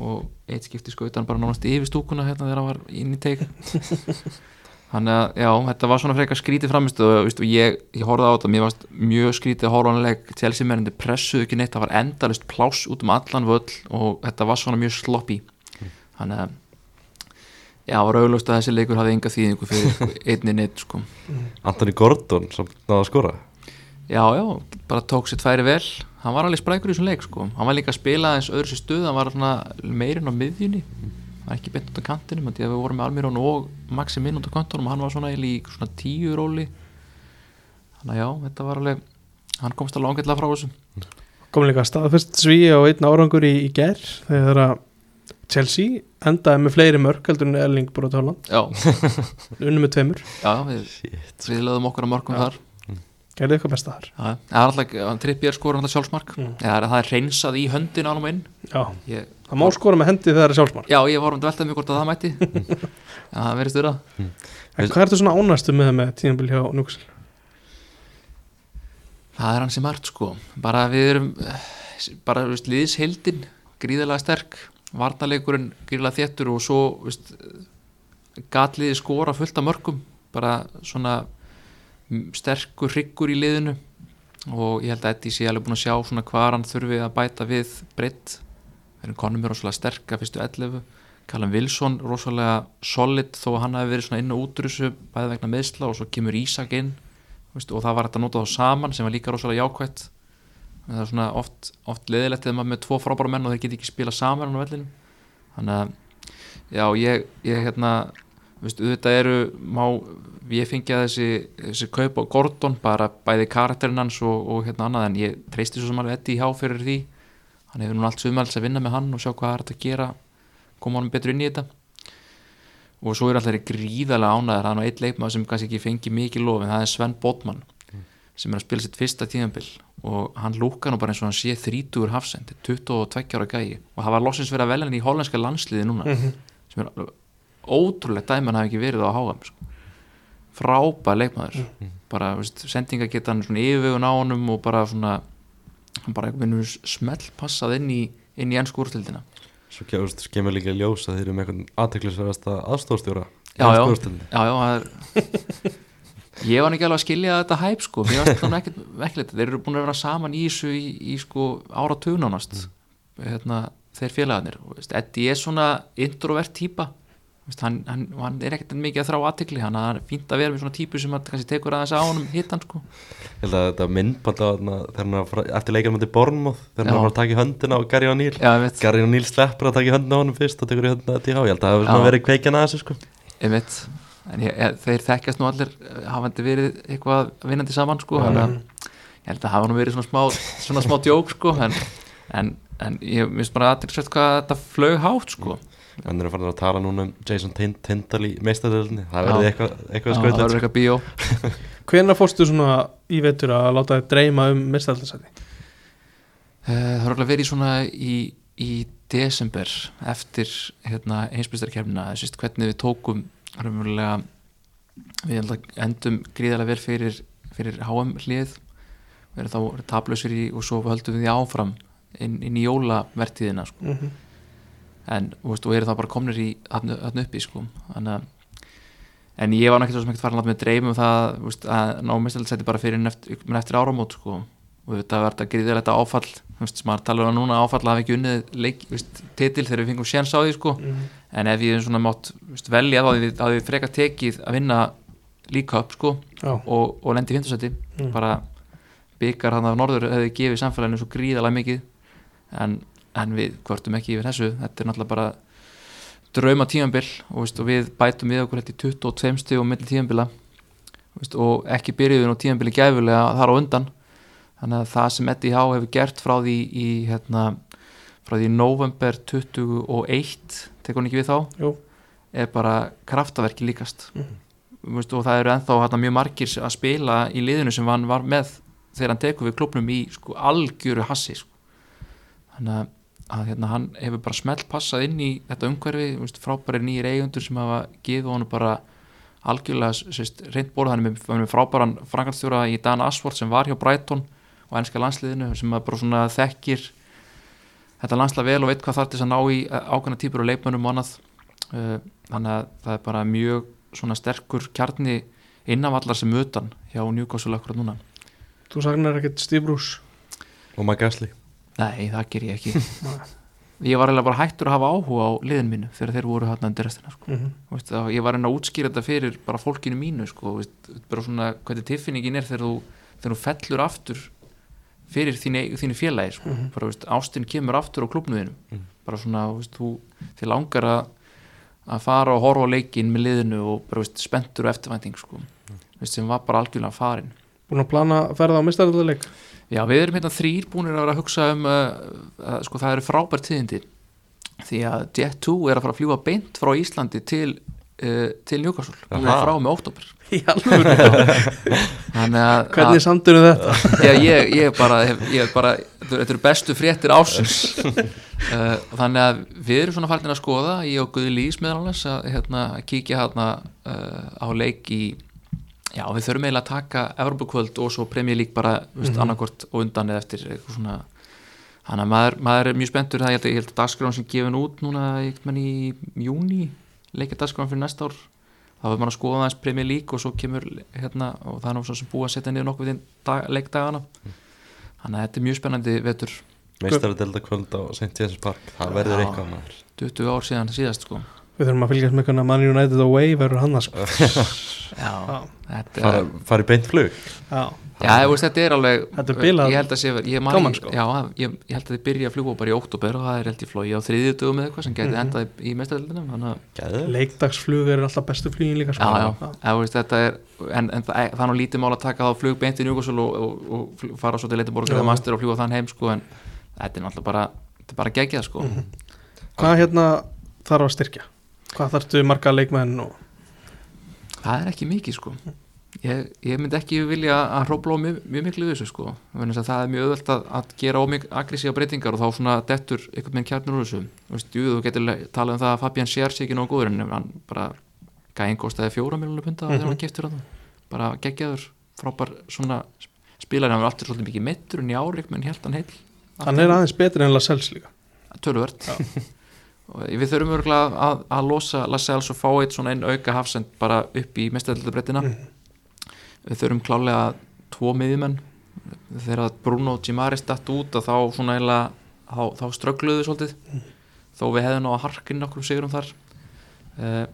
C: og eitt skipti skautan bara nánast yfir stúkuna hérna þegar hann var inn í teik þannig að já, þetta var svona frekar skrítið framist og, veist, og ég, ég horfði á þetta, mér varst mjög skrítið að horfa á hann leik, Chelsea mennandi pressuðu ekki neitt það var endalust pláss út um allan völl og þetta var svona mjög sloppy þannig að já, var auðlust að þessi leikur hafði enga þýðingu fyrir einni neitt sko
A: Anthony Gordon sem náða að skora
C: Já, já, bara tók sér tværi vel hann var alveg sprækur í þessum leik sko hann var líka að spila aðeins öðru sér stuð hann var svona meirinn á miðjunni hann var ekki beint út á kantinum af því að við vorum með Almirón og Maximin út á kantinum og hann var svona eiginlega í svona tíu róli þannig að já, þetta var alveg hann komst alveg ángætlega frá þessu
B: Kom líka staðfest svíja og einn árangur í, í ger þegar að Chelsea endaði með fleiri mörg heldur en Erling Brot Haaland
C: já,
B: unnu með tveimur,
C: já, við, við löðum okkur að mörgum
B: Já.
C: þar
B: gerði eitthvað besta þar
C: já, já. það er alltaf, hann trippið er skora alltaf sjálfsmark
B: Mm.
C: já, það er reynsað í höndin ánum inn
B: Já,
C: ég,
B: það má skora með hendi þegar það er sjálfsmark
C: já, ég vorum að velta mig hvort að það mætti já, það verið störa
B: En hvað ertu svona ánastu með með tíðanbíl hjá Núksel?
C: Það er hansi margt sko bara við erum eh, bara þú veist, liðshildin gríðilega sterk varnaleikurinn gríðilega þéttur og svo þú veist, gatliði skora fullt af mörgum bara svona mm, sterkur hryggur í liðinu og ég held að Eddi sé alveg búin að sjá svona hvað hann þurfi að bæta við breytt við erum konum er rosalega sterk að fyrstu 11 Callum Wilson rosalega solid þó að hann hafi verið svona inn og út úr þessu bæði vegna meðsla og svo kemur Ísak inn veist, og það var hægt að nota þá saman sem var líka rosalega jákvætt En það er svona oft, oft leðilegt eða maður er með tvo frábæra menn og þeir geti ekki spila saman á vellinu þannig að já, ég, ég hérna veist, auðvitað eru má ég fengi að þessi, þessi kaup á Gordon bara bæði karakterinn hans og, og hérna annað en ég treysti svo sem alveg Eddi í hjá fyrir því hann hefur núna allt sumals að vinna með hann og sjá hvað það er hægt að gera koma honum betur inn í þetta og svo eru alltaf þeir gríðarlega ánæðar það er nú eitt leikmaður sem kannski ekki fengi mikið lof en það er Sven Botman sem er að spila sitt fyrsta tíðanbill og hann lúkar nú bara eins og hann sé 30 hafsend 22 ára gæi og það var loksins verið að velja hann í hollenska landsliði núna sem er alveg ótrúlegt dæmi að hann hafi ekki verið á háam sko. frábær leikmaður bara veist, sendinga geta hann svona yfirvegun á honum og bara svona hann bara einhvern veginn smell passað inn í, inn í ennsku úrstildina
A: Svo ke- þú veist, kemur líka í ljós að þeir eru með einhvern aðteklisverðasta aðstofstjóra
C: Já, já. já, já það er... ég var ekki alveg að skilja þetta hæp sko, mér varst þannig ekkert vekkilegt þeir eru búin að vera saman í þessu í, í sko ára tugnánast
A: Mm.
C: hérna, þeir félagarnir Og, veist, Eddi er svona introvert típa veist, hann, hann, hann er ekkert mikið að þrá aðtekli hann er fínt að vera með svona típu sem að, kannski tekur aðeins á honum hittan sko
A: Ég held að þetta myndband á þarna þegar hann var að fara- eftir leikanum til Bornmoth þegar hann
C: Já.
A: var að taka í höndina á Gary O'Neill
C: já, ég veit,
A: Gary O'Neill sleppur að taka í höndina á honum fyrst og tekur í höndina að TH ég held að það hefur svona
C: Já.
A: verið kveikjan að þessu sko
C: ég veit en ég, ég, þeir þekkjast nú allir eh, hafandi verið eitthvað vinnandi saman
A: Já.
C: sko hann
B: Mm.
C: að ég held að hafa nú verið svona smá, svona smá djók sko en, en, en ég minnst bara aðtilsvægt hvað þetta flög hátt sko
A: Hann er að fara að tala núna um Jason Tind Tindall í meistaröldinni það
C: Já.
A: verði eitthvað, eitthvað
C: það verður
A: skröðlega
C: eitthvað bíó
B: Hvenær fórstu svona í vetur að láta þið dreyma um mestaldarsæti?
C: Eh, það verður alveg verið svona í, í desember eftir hérna, heimsbyrsterkefnina Sýst, hvernig við tókum raunverulega við held að endum gríðarlega vel fyrir, fyrir HM hlið við erum þá taplausir í og svo höldum við því áfram inn, inn í jólavertíðina sko.
B: Mm -hmm.
C: en þú veist, og eru þá bara komnir í þarna þarna uppi sko Þannig, að- en ég var náttúrulega svo sem ekkert farin að láta mig dreymum það þú veist, að ná mestaldsæti bara fyrir en eftir, menn eftir áramót sko og þetta var þetta gríðilegt áfall þú veist, sem maður talar um núna áfall að hafa ekki unnið leik, þú veist, titil þegar við fengum séns á því sko
B: Mhm.
C: en ef ég svona mátt þú veist, velja þá hefði við, við frekar tekið að vinna líka upp sko
B: Já,
C: og, og lendi í fimmtasæti
B: Mm.
C: bara byggar hann af norður hefði gefið samfélaginu svo gríðalega mikið en, en við kvörtum ekki yfir þessu þetta er náttúrulega bara drauma tímambil og, veist, og við bætum við okkur þetta í 22 stig og milli tímambila veist, og ekki byrjuðin og tímambili gæfulega þar á undan þannig að það sem Eddie H. hefur gert frá því í hérna, frá því í november 21 tekur hann ekki við þá
B: jú,
C: er bara kraftaverki líkast
B: Mhm.
C: mm. veist, og það eru ennþá hérna, mjög margir sem- að spila í liðinu sem hann var með þegar hann tekur við klubnum í sko, algjöru hassi sko. þannig að- að hérna, hann hefur bara smelt passað inn í þetta umhverfi þú veist, frábæri nýjir eigundur sem hafa gefið honum bara algjörlega sérst, reynd borð hann er með, hann er með frábæran frangalstjóra í Dan Asford sem var hjá Brighton og ennska landsliðinu sem að bara svona þekkir þetta landslað vel og veit hvað þarf til þess að ná í eh, ákveðna típur og leikmönnum og annað Eh, þannig að það er bara mjög svona sterkur kjarni innanvallar sem utan hjá Newcastle akkurat núna
B: þú sagnar ekkert stíbrús
A: og maður gasli
C: Nei, það ger ég ekki Ég var eiginlega bara hættur að hafa áhuga á liðin mínu þegar þeir voru hann undir restina sko.
B: mm -hmm.
C: Þú veist, þá- Ég var einn að útskýra þetta fyrir bara fólkinu mínu sko, þú veist, bara svona hvernig tilfinningin er þegar þú, þegar þú fellur aftur fyrir þínu, þínu félagi sko. bara þú veist, ástin kemur aftur á klubnuðinu
A: Mhm.
C: bara svona þú veist, þú, þið langar að, að fara og horfa á leikinn með liðinu og bara þú veist, spenntur og eftirvænting sko. þú veist, sem var bara algjörlega farin
B: Búin að plana að ferða á mestaldarleik
C: Já, við erum hérna þrýr búinir að vera að hugsa um uh, uh, sko, það eru frábært tíðindi því að Jet2 er að fara að fljúa beint frá Íslandi til, uh, til Newcastle hún er
A: Aha.
C: frá með óttúber
B: Í alvöru,
C: Þannig að,
B: hvernig samdur um þetta?
C: að já, ég, ég bara, hef- ég hef bara þetta eru- þetta eru bestu fréttir ásins uh, þannig að við erum svona farin að skoða ég og Guði Lís meðal annars að hérna, að kíkja hérna uh, á leik í já, við þurfum eiginlega að taka Evropakvöld og svo Premier League bara mm -hmm. annarkvort og undan eða eftir eitthvað svona Þannig að maður, maður er mjög spenntur það, ég held, að- ég held að dagskráin sem gefin út núna einhvern veginn í júni, leikja dagskráin fyrir næsta ár, þá verður maður að skoða aðeins Premier League og svo kemur hérna og það er nú svo sem búið að setja niður nokkuð þinn dag, leikdagana, þannig að þetta er mjög spennandi vetur,
A: meistarölda kvöld á St. James Park það verður
C: Já.
A: eitthvað maður
C: 20 ár síðan síðast sko.
B: Við þurfum að fylgjast með hvernig að Man United away verður hann að sko
C: Já,
B: Já,
C: þetta
A: fara,
C: er...
A: fara í beint flug
B: já,
C: Já, ég veist, þetta er alveg
B: Þetta er bilað.
C: Ég held að sé ég man,
B: Gaman, sko.
C: Já, ég, ég held að þið byrja að fljúa bara í óttúber og það er held í flói á þriðju dögum eða eitthvað sem
B: Mhm.
C: gæti endað í mestadeldinum Þannig að
A: Gæður.
B: leikdagsflug er alltaf bestu flugin líka sko
C: já, já, já. Veist, þetta er en, en það það er nú lítið mál að taka þá flug beint í Newcastle og, og, og flug- fara svo til Leitiborg
B: Já.
C: eða Master og fljúa þann heim sko, en þetta er náttúrulega bara þetta er bara geggjað
B: Mhm.
C: sko
B: Hvað hérna þarf að styrkja? Hvað þarftu marga leikmenn og
C: það er ekki mikið sko ég, ég myndi ekki vilja að hrópla á mjög, mjög miklu við þessu sko Vegna þess að það er mjög öðvöld að, að gera ómik agressíva breytingar og þá svona dettur einhvern veginn kjarnur úr þessu Þú veist, jú, þú getur le- talað um það að Fabian Sér sé ekki nógu góður en hann bara gæðin kostaði fjóra miljónu punta þegar hann keftur að það bara geggjaður, frábær svona spilar hann var aftur svolítið mikið mittur en í árik menn held hann heil
B: hann er aðeins betri en Lascelles líka
C: tölvört og við þurfum örgulega að, að losa Lascelles og fá eitt svona einn auka hafsend bara upp í mestadöldabrettina við þurfum klálega tvo miðjumenn þegar að Bruno Gimaris datt út að þá svona eiginlega þá, þá ströggluðu svolítið þó við hefðum á að harkinn okkur sigurum þar uh,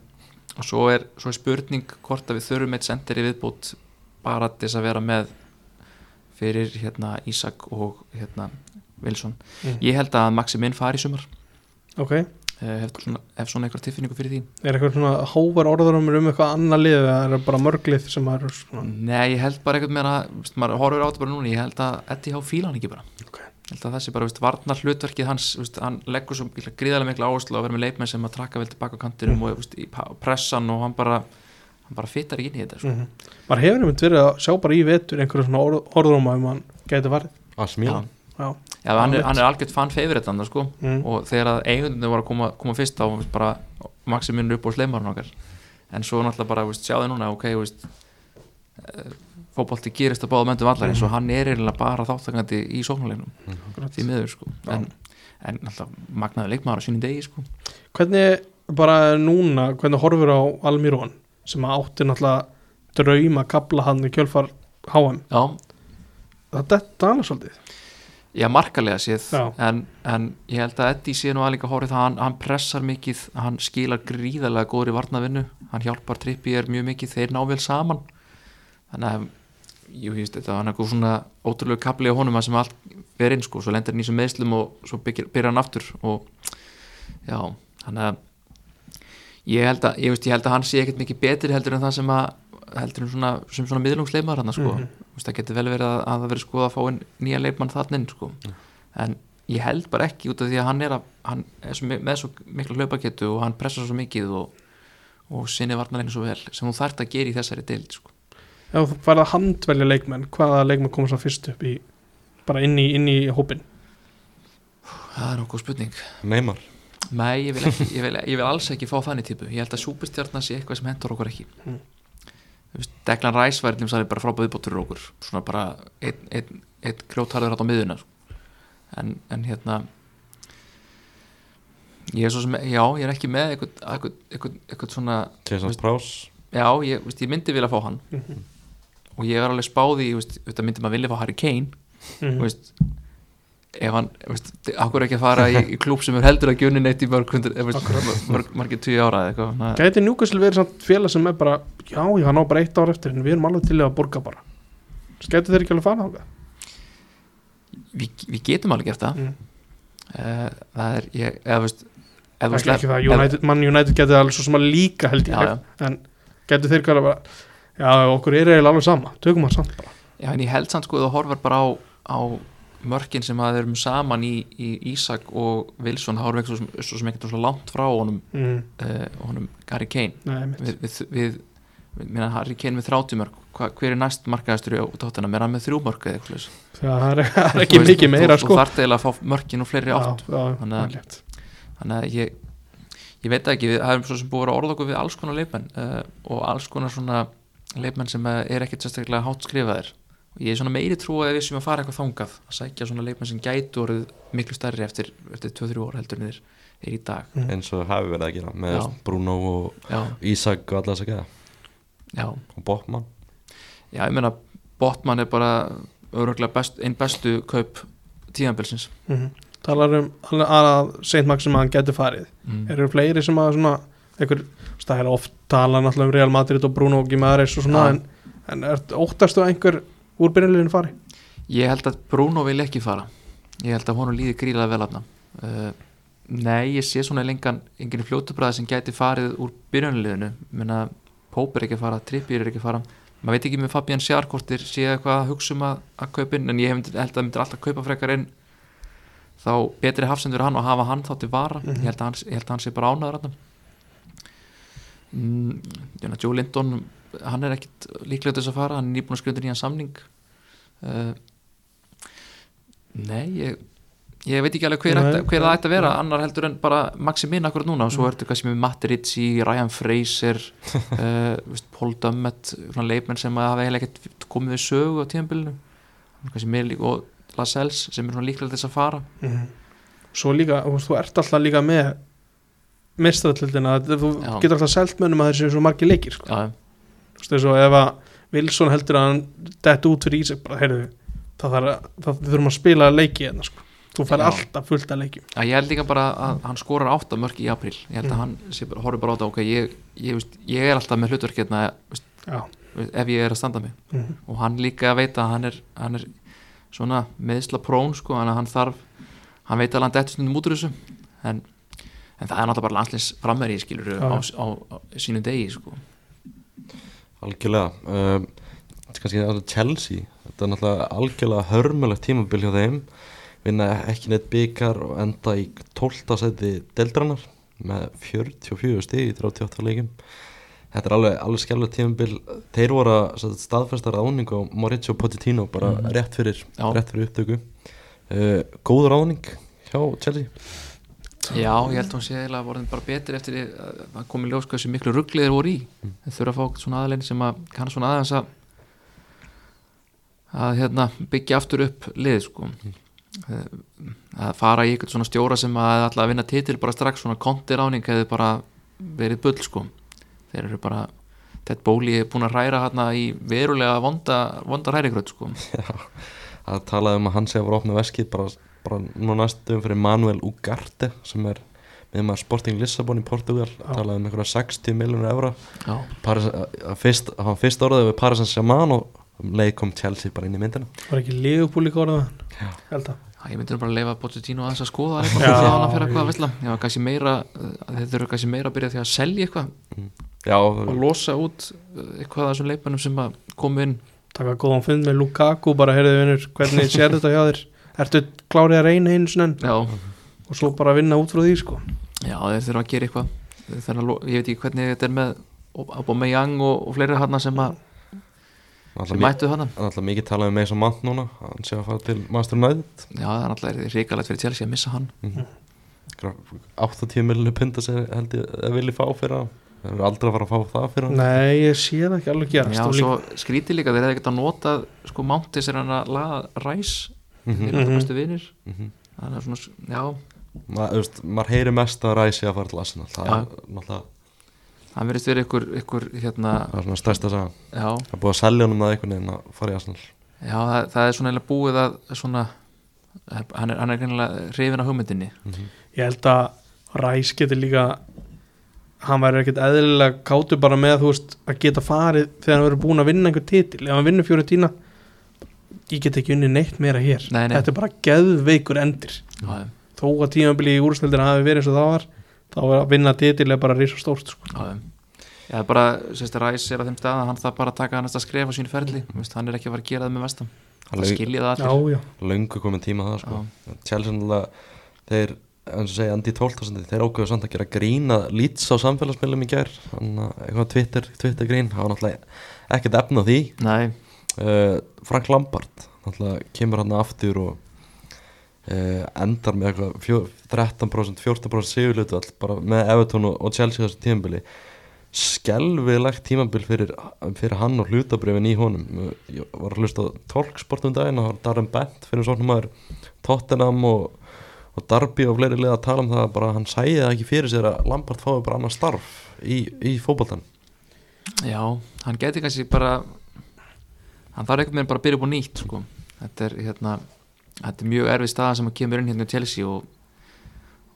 C: og svo er, svo er spurning hvort að við þurfum eitt sendir í viðbútt bara til þess að vera með fyrir hérna Ísak og hérna Wilson
B: Mm.
C: ég held að Maximin fari í sumar
B: ok, er
C: eh, hef svona, hef svona einhver tilfinningu fyrir því
B: eitthvað svona hóvar orðarumur um eitthvað annað lið eða er það bara mörglið sem er svona
C: Nei, ég held bara eitthvað meira veist, maður horfir á þetta bara núna, ég held að Eddie Há fíla hann ekki bara
B: Ok.
C: ég held að það sé bara, veist, varnar hlutverkið hans veist, hann leggur svo mikla- gríðarlega mikla áherslu á að vera með leikmenn sem að trakka vel tilbaka á kantinum og veist, í pa- pressan og hann bara hann bara fytar ekki inn í þetta sko.
B: mm maður hefur einmitt verið að sjá bara í vetur einhverju svona orð, orðarumar um hann gæti farið
A: Asmíla
B: já,
C: Já, hann er,
B: Alveg.
C: hann er algjört fan favorite hann sko.
B: mm.
C: og þegar að eigundinu var að koma, koma fyrst þá veist, bara Maximinn upp á sleimarinn okkar en svo náttúrulega bara veist, sjáði núna ok, veist eh, fótbolti gerist að báða möndum allar eins og hann er eiginlega bara þáttakandi í sóknulegnum því miður sko
B: Mhm. Já.
C: en, en náttúrulega magnaði leikmaður á sínum degi sko
B: hvernig bara núna, hvernig horfur á Almirón sem að átti náttúrulega drauma kapla hann í kjölfar HM,
C: já,
B: það detta annars svolítið
C: já markalega séð
B: Já.
C: en, en ég held að Eddie sé nú aðlíka hórið það hann, hann pressar mikið, hann skilar gríðarlega góðri varnavinnu, hann hjálpar trippi er mjög mikið, þeir ná vel saman þannig að jú, ég veist þetta var eitthvað svona ótrúlega kapli á honum að sem allt verið inn sko, svo lendir hann í sem meðslum og svo byggir, byrjar hann aftur og já, þannig að ég held að, ég veist, ég held að hann sé ekkert mikið betur heldur en það sem að heldur en svona, sem svona miðlungsleimar hann sko,
B: Mhm.
C: Þú veist, það getur vel verið að, að það verið sko að fá inn nýja leikmann þannig sko, en ég held bara ekki út af því að hann er að hann er svo, mi- með svo mikla hlaupaketu og hann pressar svo mikið og, og sinni varnarlegin svo vel sem þú þarft að gera í þessari deild sko.
B: Já, þú færði að handvelja leikmenn hvaða leikmenn kom svo fyrst upp í bara inn í, inn í hópin
C: það er nokkuð spurning
A: Neymar
C: Nei, ég vil, ekki, ég, vil, ég vil alls ekki fá þannig típu Ég held að súpistjarnar sé eitthvað sem hendur okkur ekki
B: Mm.
C: Þú veist, Declan Rice var einnig bara frábæð viðbótt fyrir okkur Svona bara einn ein, ein grjótarður átt á miðuna sko. en, en hérna Ég er svo sem, já, ég er ekki með eitthvað, eitthvað, eitthvað, eitthvað svona
A: Jason
C: Veist-
A: Prás
C: Já, ég, veist, ég myndi vilja fá hann
B: Mhm.
C: Og ég er alveg spáði, ég veist, þetta myndi maður vilja fá Harry Kane
B: mm.
C: þú veist ef hann, þú veist, akkur ekki að fara í, í klúb sem er heldur að gjönu neitt í mörg hundur, ef veist, mörg- mörg, margir tíu ára eða eitthvað, þannig að-
B: Gæti njúkvæslega verið samt félag sem er bara já, ég hann á bara eitt ár eftir en við erum alveg til í að borga bara Gæti þeir ekki alveg fara þangað?
C: við við getum alveg gert það
B: Mm.
C: Eh, það er, ég, eða veist ef
B: Ekki,
C: slepp-
B: ekki það, United, Man United gæti það alveg svo sem að líka held ég
C: já, já,
B: en gæti þeir ekki alveg bara já, okkur er eiginlega alveg sama, tökum hann samt bara
C: já, en ég held samt sko þú horfar bara á, á mörkin sem að þeir eru saman í, í Ísak og Wilson, þá erum við ekki svo sem, svo sem ekkert svo langt frá honum,
B: mm.
C: uh, honum Gary Kane
B: Nei, mitt,
C: við, við, við, við minna Harry Kane með 30 mörg hva, hver er næst markaðastur á tóttina, er hann með þrjú mörg eða eitthvað svoleiðis?
B: það er, það er ekki
C: Þú veist,
B: mikið meira
C: þú,
B: sko
C: þú þarft eiginlega að fá mörkin og fleiri átt
B: já,
C: Þannig að-
B: já, rétt.
C: þannig að ég, ég veit það ekki við hefum svo sem búið að orða okkur við alls konar leikmenn uh, og alls konar svona leikmenn sem eh, er ekkert sérstaklega hátt skrifaðir og ég er svona meiri trú að við sem að fara eitthvað þangað að sækja svona leikmenn sem gætu orðið miklu stærri eftir, eftir 2-3 óra heldur en þeir er í dag
A: eins og hafi verið að gera með
C: Já.
A: Bruno og
C: já,
A: Ísak og alla þess að geða
C: já,
A: og Botman
C: já, ég meina Botman er bara öruglega best, einn bestu kaup tíðanbilsins
B: Mhm. talar um að- að seint makk sem að hann gæti farið
C: mm.
B: eru fleiri sem að svona einhver, þú veist, það er oft tala náttúrulega um Real Madrid og Bruno Guimaraes og svona
C: Já.
B: en, en er, óttastu að einhver úr byrjunleginu fari?
C: Ég held að Bruno vil ekki fara Ég held að honum líði gríðlega vel aðna uh, Nei, ég sé svona lengan enginn fljótubræði sem gæti farið úr byrjunliðinu, menna Pope er ekki að fara, Trippier er ekki að fara maður veit ekki með Fabian Sjarkortir sé eitthvað að hugsa um að, að kaupin en ég hef- held að myndir alltaf kaupa frekar inn þá betri hafsendur hann og hafa hann þá til vara
B: Mhm.
C: ég, held að hann, ég held að hann sé bara ánaður aðna mm, ég meina, Joe Lindon hann er ekkit líklega til þess að fara hann er nýbúin að skrifa undir nýjan samning uh, Nei, ég, ég veit ekki alveg hver,
B: Nei,
C: ætti,
B: nei,
C: hver það
B: Mm.
C: ætti að vera annar heldur en bara Maximin akkur núna og svo ertu kannski með Matt Ritchie, Ryan Fraser uh, veist, Paul Dummett svona leikmenn sem að hafa eiginlega ekkert komið við sögu á tíðanbylunum kannski með líka og Mhm. Lascelles sem er svona líklega til þess að fara
B: Svo líka, þú veist, þú ert alltaf líka með mistratildina þú
C: Já.
B: getur alltaf selt mönnum að þeir séu svo margir leikir sko.
C: já,
B: þú veist þessu ef að Wilson heldur að hann dett út fyrir Ísak bara heyrðu það, þarf að- það við þurfum að spila leiki hérna sko þú fær
C: Já.
B: alltaf fullt af leikjum
C: Já, ég held líka bara að hann skorar átta mörg í april ég
B: Mm.
C: held að hann sé bara, horfir bara á þetta ok, ég, ég, veist, ég er alltaf með hlutverk hérna, veist,
B: já,
C: veist, ef ég er að standa mig
B: Mhm.
C: og hann líka veit að hann er, hann er svona meðsla prón sko, þannig að hann þarf hann veit að hann dettur stundum út úr þessu en, en það er náttúrulega bara landslins framverið skilur
B: Já.
C: á, á, á sínu degi sko.
A: algjörlega um, kannski það er Chelsea þetta er náttúrulega algjörlega hörmulegt tímabil hjá þeim vinna ekki neitt byggar og enda í 12. seti deildranar með 44 stig í 38 leikum þetta er alveg, alveg skjálfilegt tímabil þeir voru að sem sagt, staðfesta ráðning á Maurizio Pochettino bara rétt, fyrir,
C: Já.
A: rétt fyrir upptöku uh, góð ráðning hjá Chelsea
C: já, ég held að hann sé eiginlega voru bara betri eftir að hann kom í ljós hversu miklu ruggliðir voru í en þurfa að fá svona aðlein sem að kann svona aðeins að að hérna, byggja aftur upp lið sko. Eh, að fara í eitthvað svona stjóra sem að ætla að vinna titil bara strax svona kontiráning hefði bara verið bull sko. þeir eru bara Ted Bóli er búin að hræra hérna í verulega vonda, vonda hrærigröð sko.
A: að tala um að hann sé að voru opna veskið bara, bara nú næstum fyrir Manuel Ugarte sem er með maður Sporting Lissabon í Portugal tala um einhverja 60 miljónur evra
C: já,
A: Paris, að, að fyrst, að hann fyrst orðið við Paris Saint-Germain og um leið kom Chelsea bara inn í myndina
B: var ekki Liverpool líka orðað hann held að
C: Æ, ég myndi nú bara að leifa Pochettino aðeins að skoða eitthvað
B: Já.
C: fyrir hann að fyrir eitthvað að veitla já, kannski meira, eh, þeir þurfa kannski meira að byrja því að selja eitthvað
A: já,
C: og losa út eh, eitthvað af þessum leikmennum sem að komu inn
B: taka góðan fund með Lukaku bara heyrðu vinnur hvernig sér þetta hjá þér ertu klárið að reyna einu sinni enn?
C: já,
B: og svo bara vinna út frá því sko
C: já þeir þurfa að gera eitthvað Þeir þurfa að lo- ég veit ekki hvernig þetta er með Aubameyang og, og fleiri hana sem, að, sem
A: alltaf
C: mættu hana
A: mikið talað um með þessum mann núna hann sé að fara til Master United
C: já, það er náttúrulega ríkalegt fyrir Chelsea að missa hann
A: Einhverjar 80 miljónur punta sem held ég að vilji fá fyrir hann það er aldrei að fara að fá það fyrir hann
B: nei, ég sé það ekki alveg gerast
C: já,
B: og líka-
C: svo skríti líka þeir hefði ekkert að nota sko Mounti sem hann að laða ræs þeir eru
B: Mhm.
C: alltaf bestu vinir
A: Mhm.
C: þannig að svona, já,
A: Ma, þú veist, maður heyri mest að ræsi að fara til Arsenal það er náttúrulega
C: hann verðist verið ykkur, ykkur hérna,
A: það er svona stærsta sagan
C: já,
A: Það er búið að selja honum það einhvern veginn að fara í Arsenal
C: já það, það er svona eiginlega búið að svona, hann er, hann er greinilega hrifin af hugmyndinni
B: ég held að Ræs getur líka hann væri ekkert eðlilega kátur bara með þú veist, að geta farið þegar hann verður búin að vinna einhver titil ef hann vinnur fjóru tína ég get ekki unni neitt meira hér
C: Nei, nei.
B: þetta er bara geðveikur endir
C: já,
B: þó að tímabilið í úrstöldinu hafi verið eins og það var þá er að vinna titil er bara risa stórt sko.
C: já, já. Já, það er bara, sérst, Ræs er á þeim stað að hann það bara að taka hann að skref á sínu ferli mm. Vist, hann er ekki að fara að gera það með vestam
A: Hann
C: það
A: er
C: skilja það
B: já,
C: allir
B: já,
A: löngu komið tíma á það sko. Chelsea náttúrulega þeir, eins og segja, Andy 12.000 þeir ákveðu samt að gera grína lýts á samfélagsmiðlum í gær hann að eitthvað Twitter, Twitter grín það var náttúrulega ekkert efna því
C: Nei,
A: uh, Frank Lampard náttúrulega kemur hann aftur og uh, endar með eitthvað fjó, 13% 14% sigurlutu bara með Everton og, og Chelsea á þessu tímabili skelvilegt tímabil fyrir, fyrir hann og hlutabrifin í honum ég var að hlusta á Torksport um daginn og það var Darren Bent fyrir svona maður Tottenham og, og Darby og fleiri liða að tala um það að bara hann sæði það ekki fyrir sér að Lampard fái bara annað starf í, í fótboltan
C: já, hann geti kannski bara hann þarf einhvern veginn bara að byrja upp á nýtt sko. þetta, er, hérna, þetta er mjög erfið staða sem að kemur inn hérna í Chelsea og,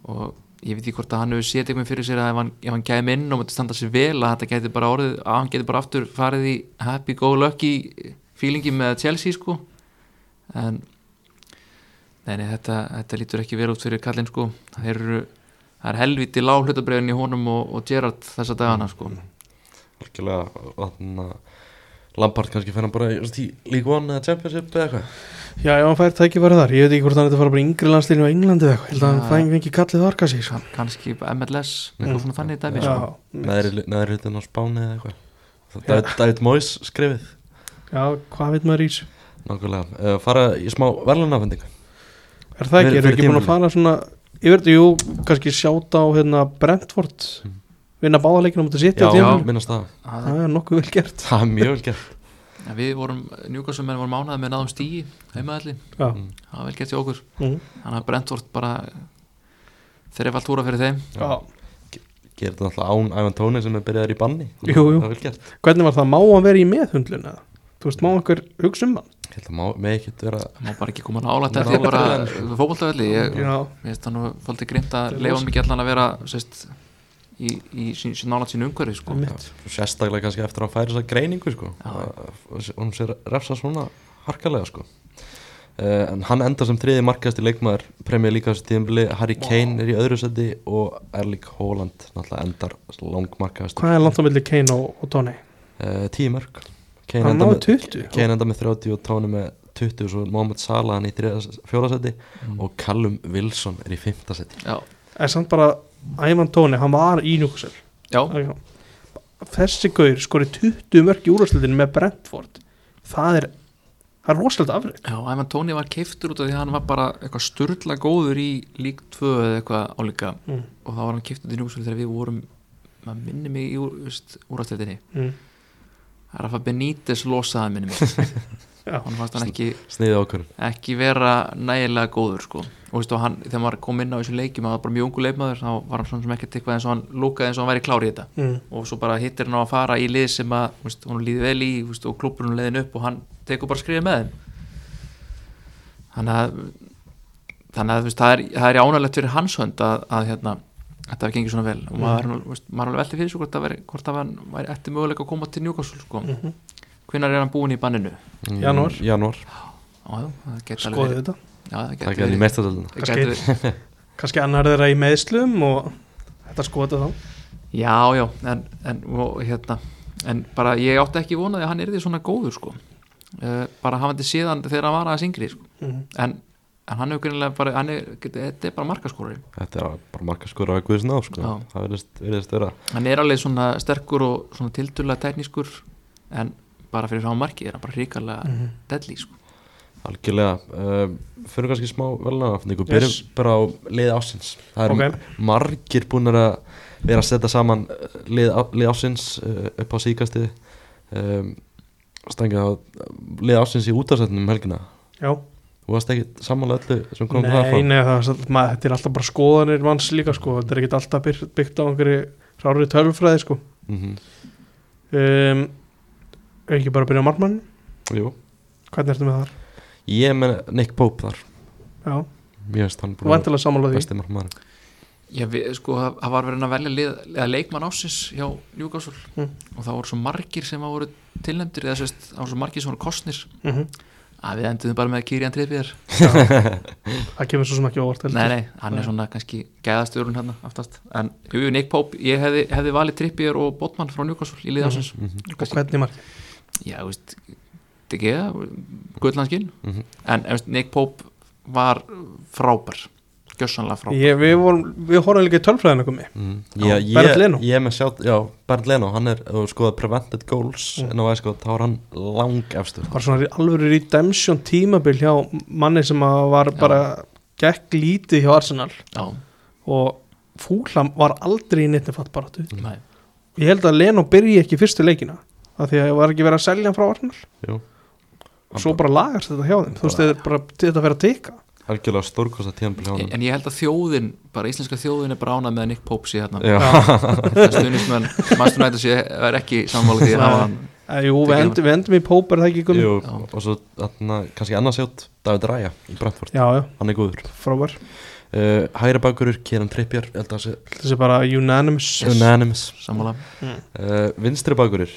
C: og ég veit ekki hvort að hann hefur setið einhvern fyrir sér að ef hann, ef hann kæmi inn og myndi standa sér vel að þetta geti bara orðið að hann geti bara aftur farið í happy go lucky feelingi með Chelsea sko en nei, nei, þetta, þetta lítur ekki vel út fyrir kallinn sko það eru það er helviti lág hlutabreyðin í honum og, og Gerard þessa dagana sko
A: algjörlega og þannig að Lampard kannski fennar bara í þú veist, í League One eða Championship eða eitthvað
B: já, ef hann fær tækifæri þar ég veit ekki hvort hann er að fara bara í yngri landstilinu á Englandi eða eitthvað, ég held að
C: Já.
B: hann fæði ekki kallið þar kannski sko.
C: Kann- kannski MLS eitthvað svona þannig dæmi
B: já,
C: sko.
A: neðri neðri hlutin á Spáni eða eitthvað Það- David, David Moyes skrifið
B: já, hvað veit maður í þessu
A: nákvæmlega, uh, fara í smá verðlunafendingu
B: Er það
A: Fyrir-
B: ekki, erum við ekki
A: fyrir
B: búin að fara svona Ég verði, jú, kannski sjáta á hérna Brentford Vinna báðaleikina mútið sitt
A: já,
B: á tímabilinu.
A: minnast það,
C: Það-
B: Það er nokkuð vel gert
A: það er mjög vel gert
C: ja, við vorum, njúkvæmsumenn vorum ánæðið með að náðum stígi heimaðalli,
B: Já,
C: það var vel gett hjá okkur
B: mm.
C: þannig að Brentford bara þeir eru allt úra fyrir þeim
B: já.
A: gerir þetta náttúrulega án Ivan Tóni sem er byrjaður í banni
B: Jú, jú.
A: það er vel gert
B: Hvernig var það, má hann vera í meðhundluna? Þú veist, má okkur hugsa um hann?
A: Ég held að má, með ekkert vera
C: Það má bara ekki koma nálægt að
A: Nálægt
C: því bara
A: því.
C: fókbaltavelli ég
B: Já,
C: veist það nú fólkið grimt
B: Þetta
C: að
B: er
C: leifa
B: rosa.
C: mikið allan að vera sest, í, í sín, sín nálægt sín umhverfi sko.
B: Einmitt.
A: ja, sérstaklega kannski eftir að hann færi þessa greiningu sko
C: Já.
A: Að- honum sér refsa svona harkalega sko Uh, en hann endar sem þriði markast í leikmaður premjör líka þessu tíðumli, Harry Kane er í öðru seti og Erling Haaland náttúrulega endar langmarkast
B: hvað er langt á milli Kane og, og Tony?
A: uh, tíu mörg Kane
B: Hann
A: endar
B: náði
A: með,
B: 20
A: Kane endar með 30 og Tóni með 20 og svo Mohamed Salah hann í fjólasæti mm. og Callum Wilson er í fymtasæti
C: Já,
B: En samt bara, Ivan Tóni, hann var í Newcastle
C: já,
B: Já. Þessi gaur skori 20 mörg í úrvarslutinni með Brentford Það er, það er rosalega afrið
C: já Æman Tóni var keiftur út af því að hann var bara eitthvað sturla góður í lík 2 eða eitthvað álíka
B: Mm.
C: og þá var hann keiftur í njúksvöld þegar við vorum maður minni mig í úr, veist, úrastildinni
B: mm.
C: Rafa Benítez losaði minni mig
B: Já.
C: hann fannst hann ekki
A: sniðið ákvörðun
C: ekki vera nægilega góður sko. og veistu, hann, þegar maður kom inn á þessu leikjum hann var bara mjög ungu leikmaður, þá var hann svona sem ekki tikvað eins og hann lúkaði eins og hann væri klár í þetta
B: Mm.
C: og svo bara hittir hann á að fara í lið sem að veistu, hún líði vel í veistu, og klubburinn leiðin upp og hann tekur bara skrifið með þeim þannig að þannig að veistu, það, er, það er ánægilegt fyrir hans hönd að, að hérna, þetta hafi gengið svona vel og maður, er nú, veistu, maður er alveg veltið fyrir sig hvort, það væri, hvort það var, væri eftir möguleika að koma til Newcastle sko. mm hvenær er hann búin í banninu
B: Janúar.
A: Mm, Janúar,
C: Á, já, það geti alveg
B: Skoðu
C: verið.
B: þetta
C: Já, það geti
A: það gerði í
C: verið.
A: mestasöldina
C: Það gæti verið.
B: Kannski annar þeirra í meðslum og þetta skoða þá
C: Já, já, en, en, og, hérna, en bara ég átti ekki vonaði að hann yrði svona góður sko. uh, bara hafandi síðan þegar hann var aðeins yngri sko.
B: Mhm.
C: en, en hann hefur greinilega bara hann er, þetta er bara markaskóri
A: þetta er bara markaskur á Guðsná sko.
C: Já.
A: það virðist- virðist vera
C: hann er alveg svona sterkur og svona tildulega teknískur en bara fyrir frá marki er hann bara ríkalega mm deadly sko.
A: algjörlega uh, fyrir kannski smá velnaðafningu
B: Yes.
A: byrjum bara á lið ásins það eru
B: mm. Ok.
A: margir búin að vera að setja saman eh, lið, á- lið ásins uh, upp á síkasti um, stengið á lið ásins í útarsætnum um helgina
B: Já,
A: Þú varst ekki sammála öllu sem kom það
B: nei,
A: fram
B: nei, það, var satt- maður, þetta er alltaf bara skoðanir manns líka sko Þetta er ekkert alltaf byr- byggt á einhverju rári tölfræði sko
A: Mhm.
B: um, Er ekki bara að byrja á markmann?
A: Jú,
B: Hvernig ertu með þar?
A: Ég er með Nick Pope þar
B: Já,
A: Mér finnst hann búin að
B: vantilega sammála því
A: besti markmaður
C: Já, við, sko, það það var verið að velja lið, eða leikmann ásins hjá Newcastle
B: Mm.
C: og það voru svo margir sem að voru tilnæmdir eða sérst, það voru svo margir sem voru kostnir
B: mm
C: að við enduðum bara með Kirian Trippiðar
B: Það kemur svo sem ekki á óvart heldur.
C: Nei, nei, hann
B: Nei.
C: er svona kannski gæðastjórun hérna aftast En jú, jú, Nick Pope, ég hefði, hefði valið Trippier og Botman frá Newcastle í liðasins mm
A: Mhm.
C: -hmm.
B: Og hvernig markið?
C: Já, þú veist, þetta ekki það, gullanskinn
A: Mhm.
C: En þú veist, Nick Pope var frábær, gjössanlega frábær
B: Ég, við, vorum, við horfum líka í tölfræðinu komi
A: mm.
B: Já,
A: ég,
B: Bernd Leno.
A: ég, ég er með sjátt Já, Bernd Leno, hann er ef þú skoða prevented goals
B: Mm.
A: en á æskot, þá er hann lang efstur
B: var svona alvöru redemption tímabil hjá manni sem að var
C: Já.
B: bara gekk lítið hjá Arsenal
C: Já,
B: og Fúlam var aldrei í neittni fattbaráttu
A: Mhm.
C: nei,
B: ég held að Leno byrji ekki fyrstu leikina af því að það var ekki verið að selja hann frá Arsenal
A: Jú.
B: og svo bara lagast þetta hjá þeim þú veist þetta er bara þetta fyrir að teka
A: Algjörlega stórkosta tíðanbíl hjá hann
C: en ég held að þjóðin, bara íslenska þjóðin er bara ánað með að Nick Pope sé hérna
A: Já,
C: Það stuðnismenn, Master United sé, er ekki sammála því að hafa hann
B: Eh, jú, við,
C: Tekið
B: end, við endum í Póper það ekki komið
A: jú,
C: Já.
A: og svo þarna, kannski annars sjátt David Raja í Brentford,
B: já, já,
A: hann er góður
B: frábær
A: uh, Hæra bakurur, Kieran Trippjar yes.
B: þessi bara unanimous
A: Unanimous
C: sammála
A: uh, Vinstri bakurur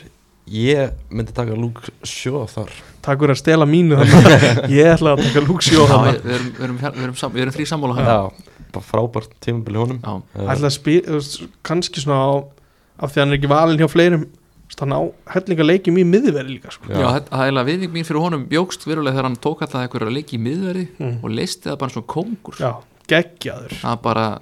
A: Ég myndi taka Luke Shaw þar
B: takk fyrir að stela mínu þarna. ég ætla að taka Luxjó
C: Já,
B: ætla
C: við erum, við erum, við erum, sam- við erum þrý sammála hann
A: Já, bara frábært tímabili honum
C: Já.
A: uh,
B: að spila þú veist, kannski svona á, af því að hann er ekki valin hjá fleirum þannig á hellinga leikjum í miðverði líka sko.
A: Já.
C: Já, þetta- það er eiginlega viðning mín fyrir honum bjókst verulega þegar hann tók alltaf einhverja leik í miðverði
B: Mm.
C: og leisti það bara svona kongur
B: já, geggjaður
C: það bara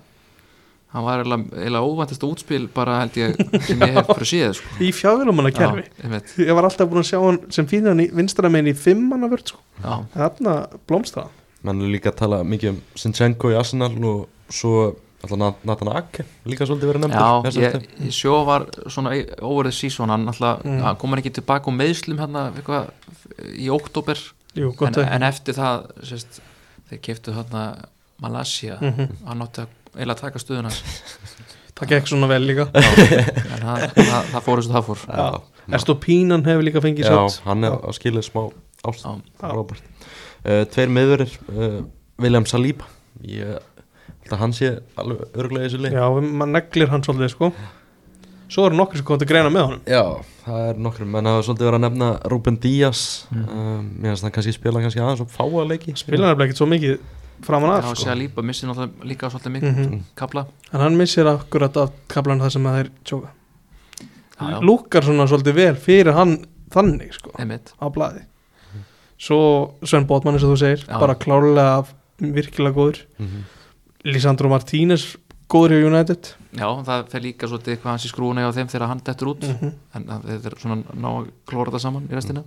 C: hann var eiginlega, eiginlega óvæntasta útspil bara held ég sem ég hef fyrir síða sko.
B: í fjárvélumanna kerfi
C: Já, einmitt.
B: ég var alltaf búin að sjá hann sem fyrir hann í vinstra megin í fimm manna vörð sko.
C: Já,
B: þarna blómstra hann.
A: Menn er líka að tala mikið um Sinchenko í Arsenal og svo alltaf Na- Nathan Ake líka svolítið verið nefndur
C: já
A: þessar
C: ég,
A: stefn.
C: ég sjó var svona í- over the season hann alltaf,
B: Mm.
C: hann kom hann ekki tilbaka og meðslum hérna eitthvað í oktober
B: Jú,
C: en,
B: gott að
C: en eftir það sérst, þeir keiftu þarna Malaysia
B: Mhm.
C: hann átti að eiginlega taka stöðuna hans
B: það það gekk svona vel líka
C: Já, en það, það, það fór eins og það fór
A: Já,
B: Erst og Pínan hefur líka fengið
A: já
B: satt
A: hann er á skilið smá ást
C: Já.
A: Robert uh, Tveir meðurir uh, William Saliba Ég held að hann sé alveg örglega í þessu leik
B: Já, maður neglir hann svolítið sko Svo eru nokkur sem kom til greina með honum
A: Já, það er nokkrum menn hafa svolítið verið að nefna Ruben Díaz mm. mér finnst hann kannski spila kannski aðeins og fáa leiki
B: Spila hann er ekkert svo mikið framan af
C: Já,
B: sko.
C: sé að lípa, missi náttúrulega líka svolítið mikið
B: Mhm.
C: kapla
B: En hann missir akkurat af kaplan það sem að þeir tjóka
C: Já, já.
B: Lúkar svona svolítið vel fyrir hann þannig sko
C: einmitt
B: á blaði Svo Sven Bótmann eins og þú segir
C: Já.
B: bara klárlega virkilega góður
A: mm -hmm.
B: Lisandro Martínez góður hjá United
C: Já, það fer líka svolítið hvað hans í skrúna hjá þeim þegar hann dettur út
B: mm -hmm.
C: en það- þetta er svona ná að klóra það saman í restina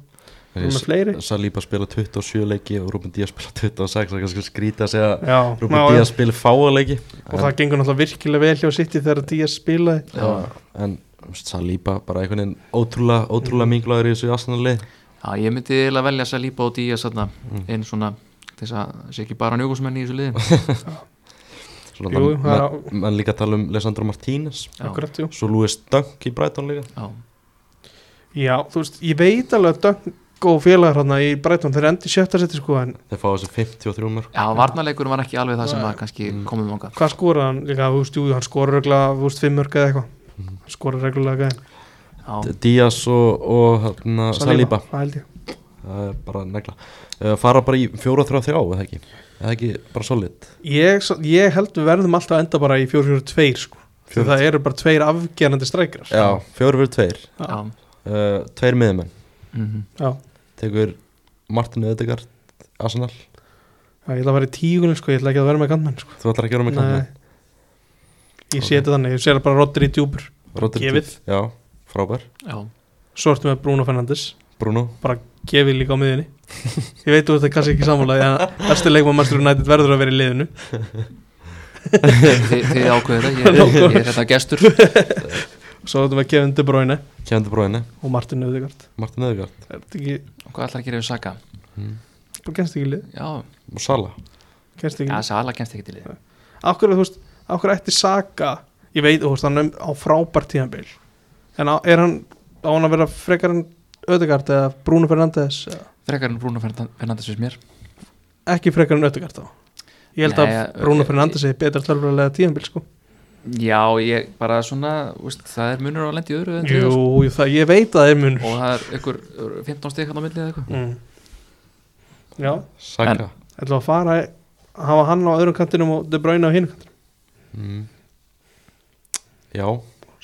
B: með fleiri
A: Saliba spila 27 leiki og Ruben Díaz spila 26 það er kannski skrítið að segja að
B: Já,
A: Ruben
B: ná,
A: Díaz spila fáa leiki
B: og það gengur náttúrulega virkilega vel hjá City þegar Díaz spilaði
A: Já, en þú veist, Saliba bara einhvern veginn ótrúlega, ótrúlega minglaður í þessu astanarlið
C: Já, ég myndi eiginlega velja að lípa og dýja satna
B: Mm.
C: inn svona þess að sé ekki bara njögusmenn í þessu liðin
A: Svona
B: Jú,
A: það-
B: það er á-
A: menn- menn líka tala um Lesandro Martínez
C: Já.
B: akkurat, jú
A: svo Louis Dunk í Brighton líka
C: Já,
B: Já, þú veist, ég veit alveg að Dögg og félagar hana í Breitón þeir endi sjötta seti sko en
A: þeir fá þessi 53 mörg
C: já varnarleikur var ekki alveg það sem
B: Nei.
C: að kannski komum vanga
B: hvað skoraði hann líka, þú veist, jú, hann skoraði reglulega, þú veist, fimmörk eða eitthvað hann skoraði reglulega gæðin
C: Já,
A: Díaz og, og hérna, Saliba
B: Það held ég
A: það er bara negla uh, fara bara í 4-3-3 eða ekki eða ekki bara solid
B: ég, s- ég held við verðum alltaf að enda bara í 4-4-2 sko Því
A: 4-4-2.
B: það eru bara tveir afgerandi strækrar
A: já, 4-4-2
B: Já.
C: já
A: uh, tveir miðumenn
C: mhm.
B: Já, tekur
A: Martin Ödegard, Arsenal
B: Ég ætla að vera í tígunin sko, ég ætla ekki að vera með kantmenn sko
A: þú ætlar ekki að vera með
B: Nei. Ég seti þannig, ég sér bara Rodri djúpur
A: kannan
B: Gefið.
A: já, frábær
C: Já,
B: Svo ertu með Bruno Fernandes
A: Bruno
B: bara gefið líka á miðunni ég veit þú þetta kannski ekki samanlega en bestu leikmann Manchester United verður að vera í liðinu
C: Þi, þið ákveðu þetta, ég, ég er þetta gestur
B: svo þetta var Kevin De Bruyne
A: Kevin De Bruyne,
B: og Martin Öðegard
A: Martin Ödegard
B: er þetta ekki,
C: Og Hvað ætlar að gera við Saka?
A: Mm.
B: bara kennst ekki í lið
C: Já,
A: og Sala
B: kennst ekki í
C: já
B: lið
C: Sala kemst ekki til þið
B: akkur, þú veist, akkur ætti Saka ég veit, þú veist, hann er á frábært tíðanbíl en á, er hann á hann að vera frekar en Ödegard eða Bruno Fernandes eða?
C: Frekar en Bruno Fernan- Fernandes við mér
B: ekki frekar en Ödegard þá ég held
C: Nei,
B: að Bruno
C: Ødegaard-
B: Fernandes er betra tölvölega tíðanbíl sko
C: Já, ég bara svona, úst, það er munur á lendi öðru en
B: jú,
C: þriðja, sko.
B: jú, það, ég veit að það er munur
C: Og það er ykkur 15 stík hann á millið eða eitthvað
B: mm. já
A: Saka
B: ætla að fara að hafa hann á öðrum kantinum og De Bruyne á hinn kantinum
A: mm. já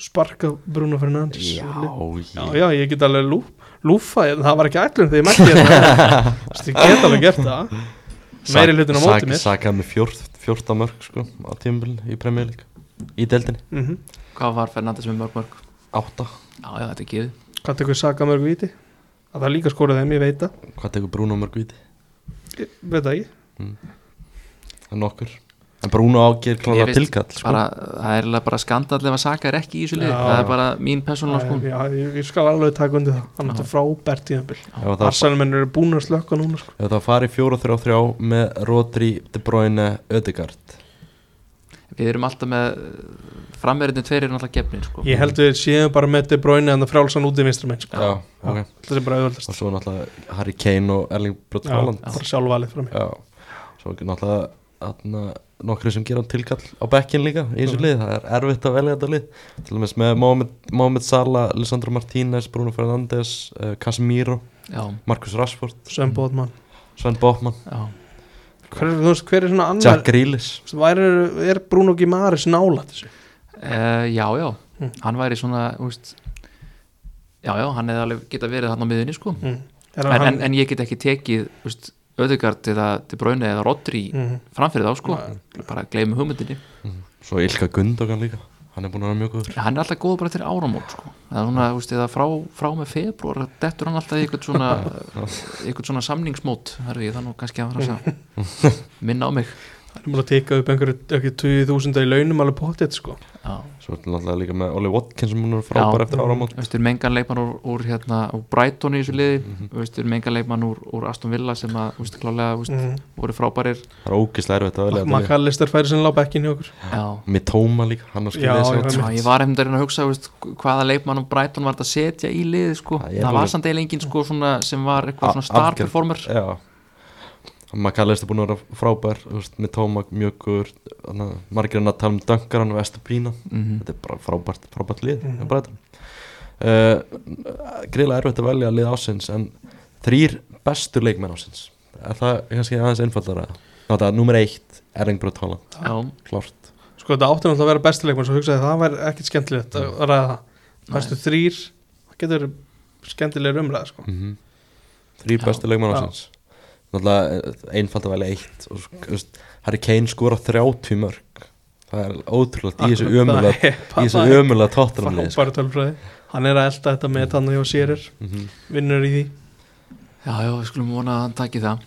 B: sparka Bruno Fernandes já,
A: já,
B: já, ég get alveg lú, lúfa en það var ekki ætlun þegar ég mætti hérna Þú veist, ég get alveg gert það meiri hlutin á móti mér
A: Saka með 14 fjórta mörg sko á tímabilinu í Premier League í deildinni,
B: mm -hmm.
C: Hvað var Fernandes með mörg mörg?
A: 8
C: Já, já, þetta er gefið
B: hvað tekur Saka mörg viti að það er líka skorað þeim, ég veit það
A: hvað tekur Bruno mörg viti?
B: ég veit það ekki,
A: það er nokkur en Bruno ágir
C: Ég
A: klára
C: veit
A: tilkall sko.
C: bara, það er eiginlega bara skandall ef að Saka er ekki í þessu liði
B: Já.
C: það er bara mín persónulega
B: Æ,
C: skoðun
B: já, ég, ég skal alveg taka undir það hann er þetta frábært tíðanbíl
A: ef það, ef
B: Arsalmenn eru búin að slökka núna sko.
A: það fari 4-3-3 með Rodri, De Bruyne, Ödegard
C: við erum alltaf með framverðinu tveir eru alltaf gefnir sko.
B: ég held við séum bara með De Bruyne en það frjálsan út í vinstramenn sko.
A: já, ok
B: það er bara auðvöldast
A: og svo náttúrulega Harry Kane og Erling Brot Haaland
B: bara sjálfvalið frá mér
A: já, svo ekki náttúrulega atna, nokkru sem gera tilkall á bekkin líka í þessu
B: Mhm.
A: lið, það er erfitt að velja þetta lið til dæmis með Mohamed, Mohamed Salah Lissandro Martínez, Bruno Fernandes uh, Casemiro,
C: já,
A: Marcus Rashford
B: Sven Bóðmann
A: Sven Bófmann,
C: já,
B: hver, er- þú veist, hver er svona annar
A: Jack Grealish
B: Þú veist, væri, er Bruno Gimaris nálat þessu
C: uh, já, já.
B: Mm.
C: hann væri svona úst, já, já, hann hefði alveg geta verið hann á miðunni sko.
B: mm.
C: en, en, en ég get ekki tekið úst, Ödegard eða De Bruyne eða Rodri
B: mm.
C: framfyrir þá sko,
B: Hm.
C: bara gleymi hugmyndinni
A: Mhm. svo Ilka Gundogan líka hann er búin að vera mjög góður
C: hann er alltaf góð bara til áramót sko. eða, svona, úst, eða frá, frá með februar dettur hann alltaf í eitthvað svona eitthvað svona samningsmót herri, þannig kannski að vera að segja minna á mig
B: hann er múin að teka upp einhverju ekki 20.000 í launum alveg pottet sko
C: já,
A: Svo er náttúrulega líka með Oli Watkins sem hún er frábær
C: Já.
A: eftir áramót
C: veist, er mengan leikmann úr, úr, hérna, úr Brighton í þessu liði
A: Mhm.
C: veist, er mengan leikmann úr, úr Aston Villa sem að, veist, klálega, veist,
B: mm.
C: voru frábærir
A: Það er ógislega erfitt að velja þetta lið.
B: Makalister færi sinni lápa ekki hjá okkur
C: já,
A: Mitoma líka, hann er
B: Já,
A: skilðið
B: já,
A: sér
C: Já, ég var einmitt að reyna að hugsa veist, hvaða leikmann á Brighton var þetta að setja í liði sko.
A: Það
C: það,
A: er alveg-
C: var samt eiginlega enginn sko, svona, sem var
A: A-
C: eitthvað svona star
A: algjör-
C: performer
A: Já Makalist er búin að vera frábær þú veist, Mitoma mjög guður margir en að tala um Dungaran og Estupina
C: Mhm.
A: þetta er bara frábært, frábært lið
B: Mhm.
A: mm -hmm. uh, greiðlega erfitt að velja lið ásins en þrýr bestu leikmenn ásins er það kannski aðeins einfaldara þetta er nummer eitt Erling Brot Holland
C: Já,
A: klárt
B: sko þetta átti náttúrulega að vera bestileikmann svo hugsaði að það væri ekkit skemmtilegt
A: Mm.
B: að að ræða það bestu þrýr, það getur verið skemmtilegur umræða sko
A: mm þrýr
C: Já,
A: bestu leikmenn
B: já.
A: ásins náttúrulega eh, einfalt að velja eitt og þú veist, Harry Kane skora 30 mörg það er ótrúlega í þessu ömulega í þessu sko. ömulega tóttunum
B: frábæra tölfræði hann er að elda þetta
A: Mm.
B: með tanna hjá sérir
A: Mhm.
B: vinnur í því,
C: já, já, við skulum vona að hann taki það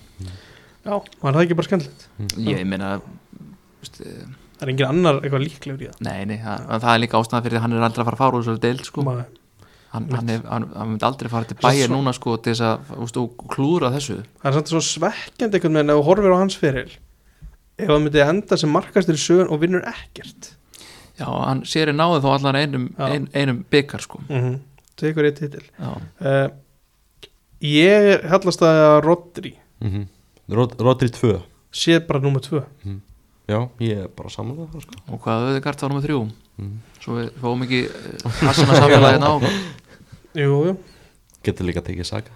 B: já, var það ekki bara skemmtilegt
C: Ég meina veist, eh,
B: það er engin annar eitthvað líklegur í það
C: Nei, nei, það, það er líka ástæðan fyrir að hann er aldrei að fara að fara úr þessu deild sko.
B: Maður-
C: hann,
B: mitt.
C: hann, hef, hann, hann myndi aldrei fara til
B: Það er
C: bæja
B: svo-
C: núna sko, til þess að úst, og klúðra þessu
B: það er samt svo svekkjandi einhvern veginn ef þú horfir á hans fyrir ef hann myndi enda sem markastur í sögun og vinnur ekkert
C: Já, hann séri náði þó allan einum,
B: Já.
C: ein, einum byggar sko.
B: mm -hmm. tekur eitt titil
C: Já,
B: uh, ég hallast að Rodri
A: Mhm. Rodri 2
B: sé bara númer tvö
A: já, ég er bara saman með það sko.
C: og hvað auðvitað var nummer þrjú
A: Mhm.
C: svo við fáum ekki eh, hassana samfélagið ná
B: jú, jú.
A: getur líka tekið saga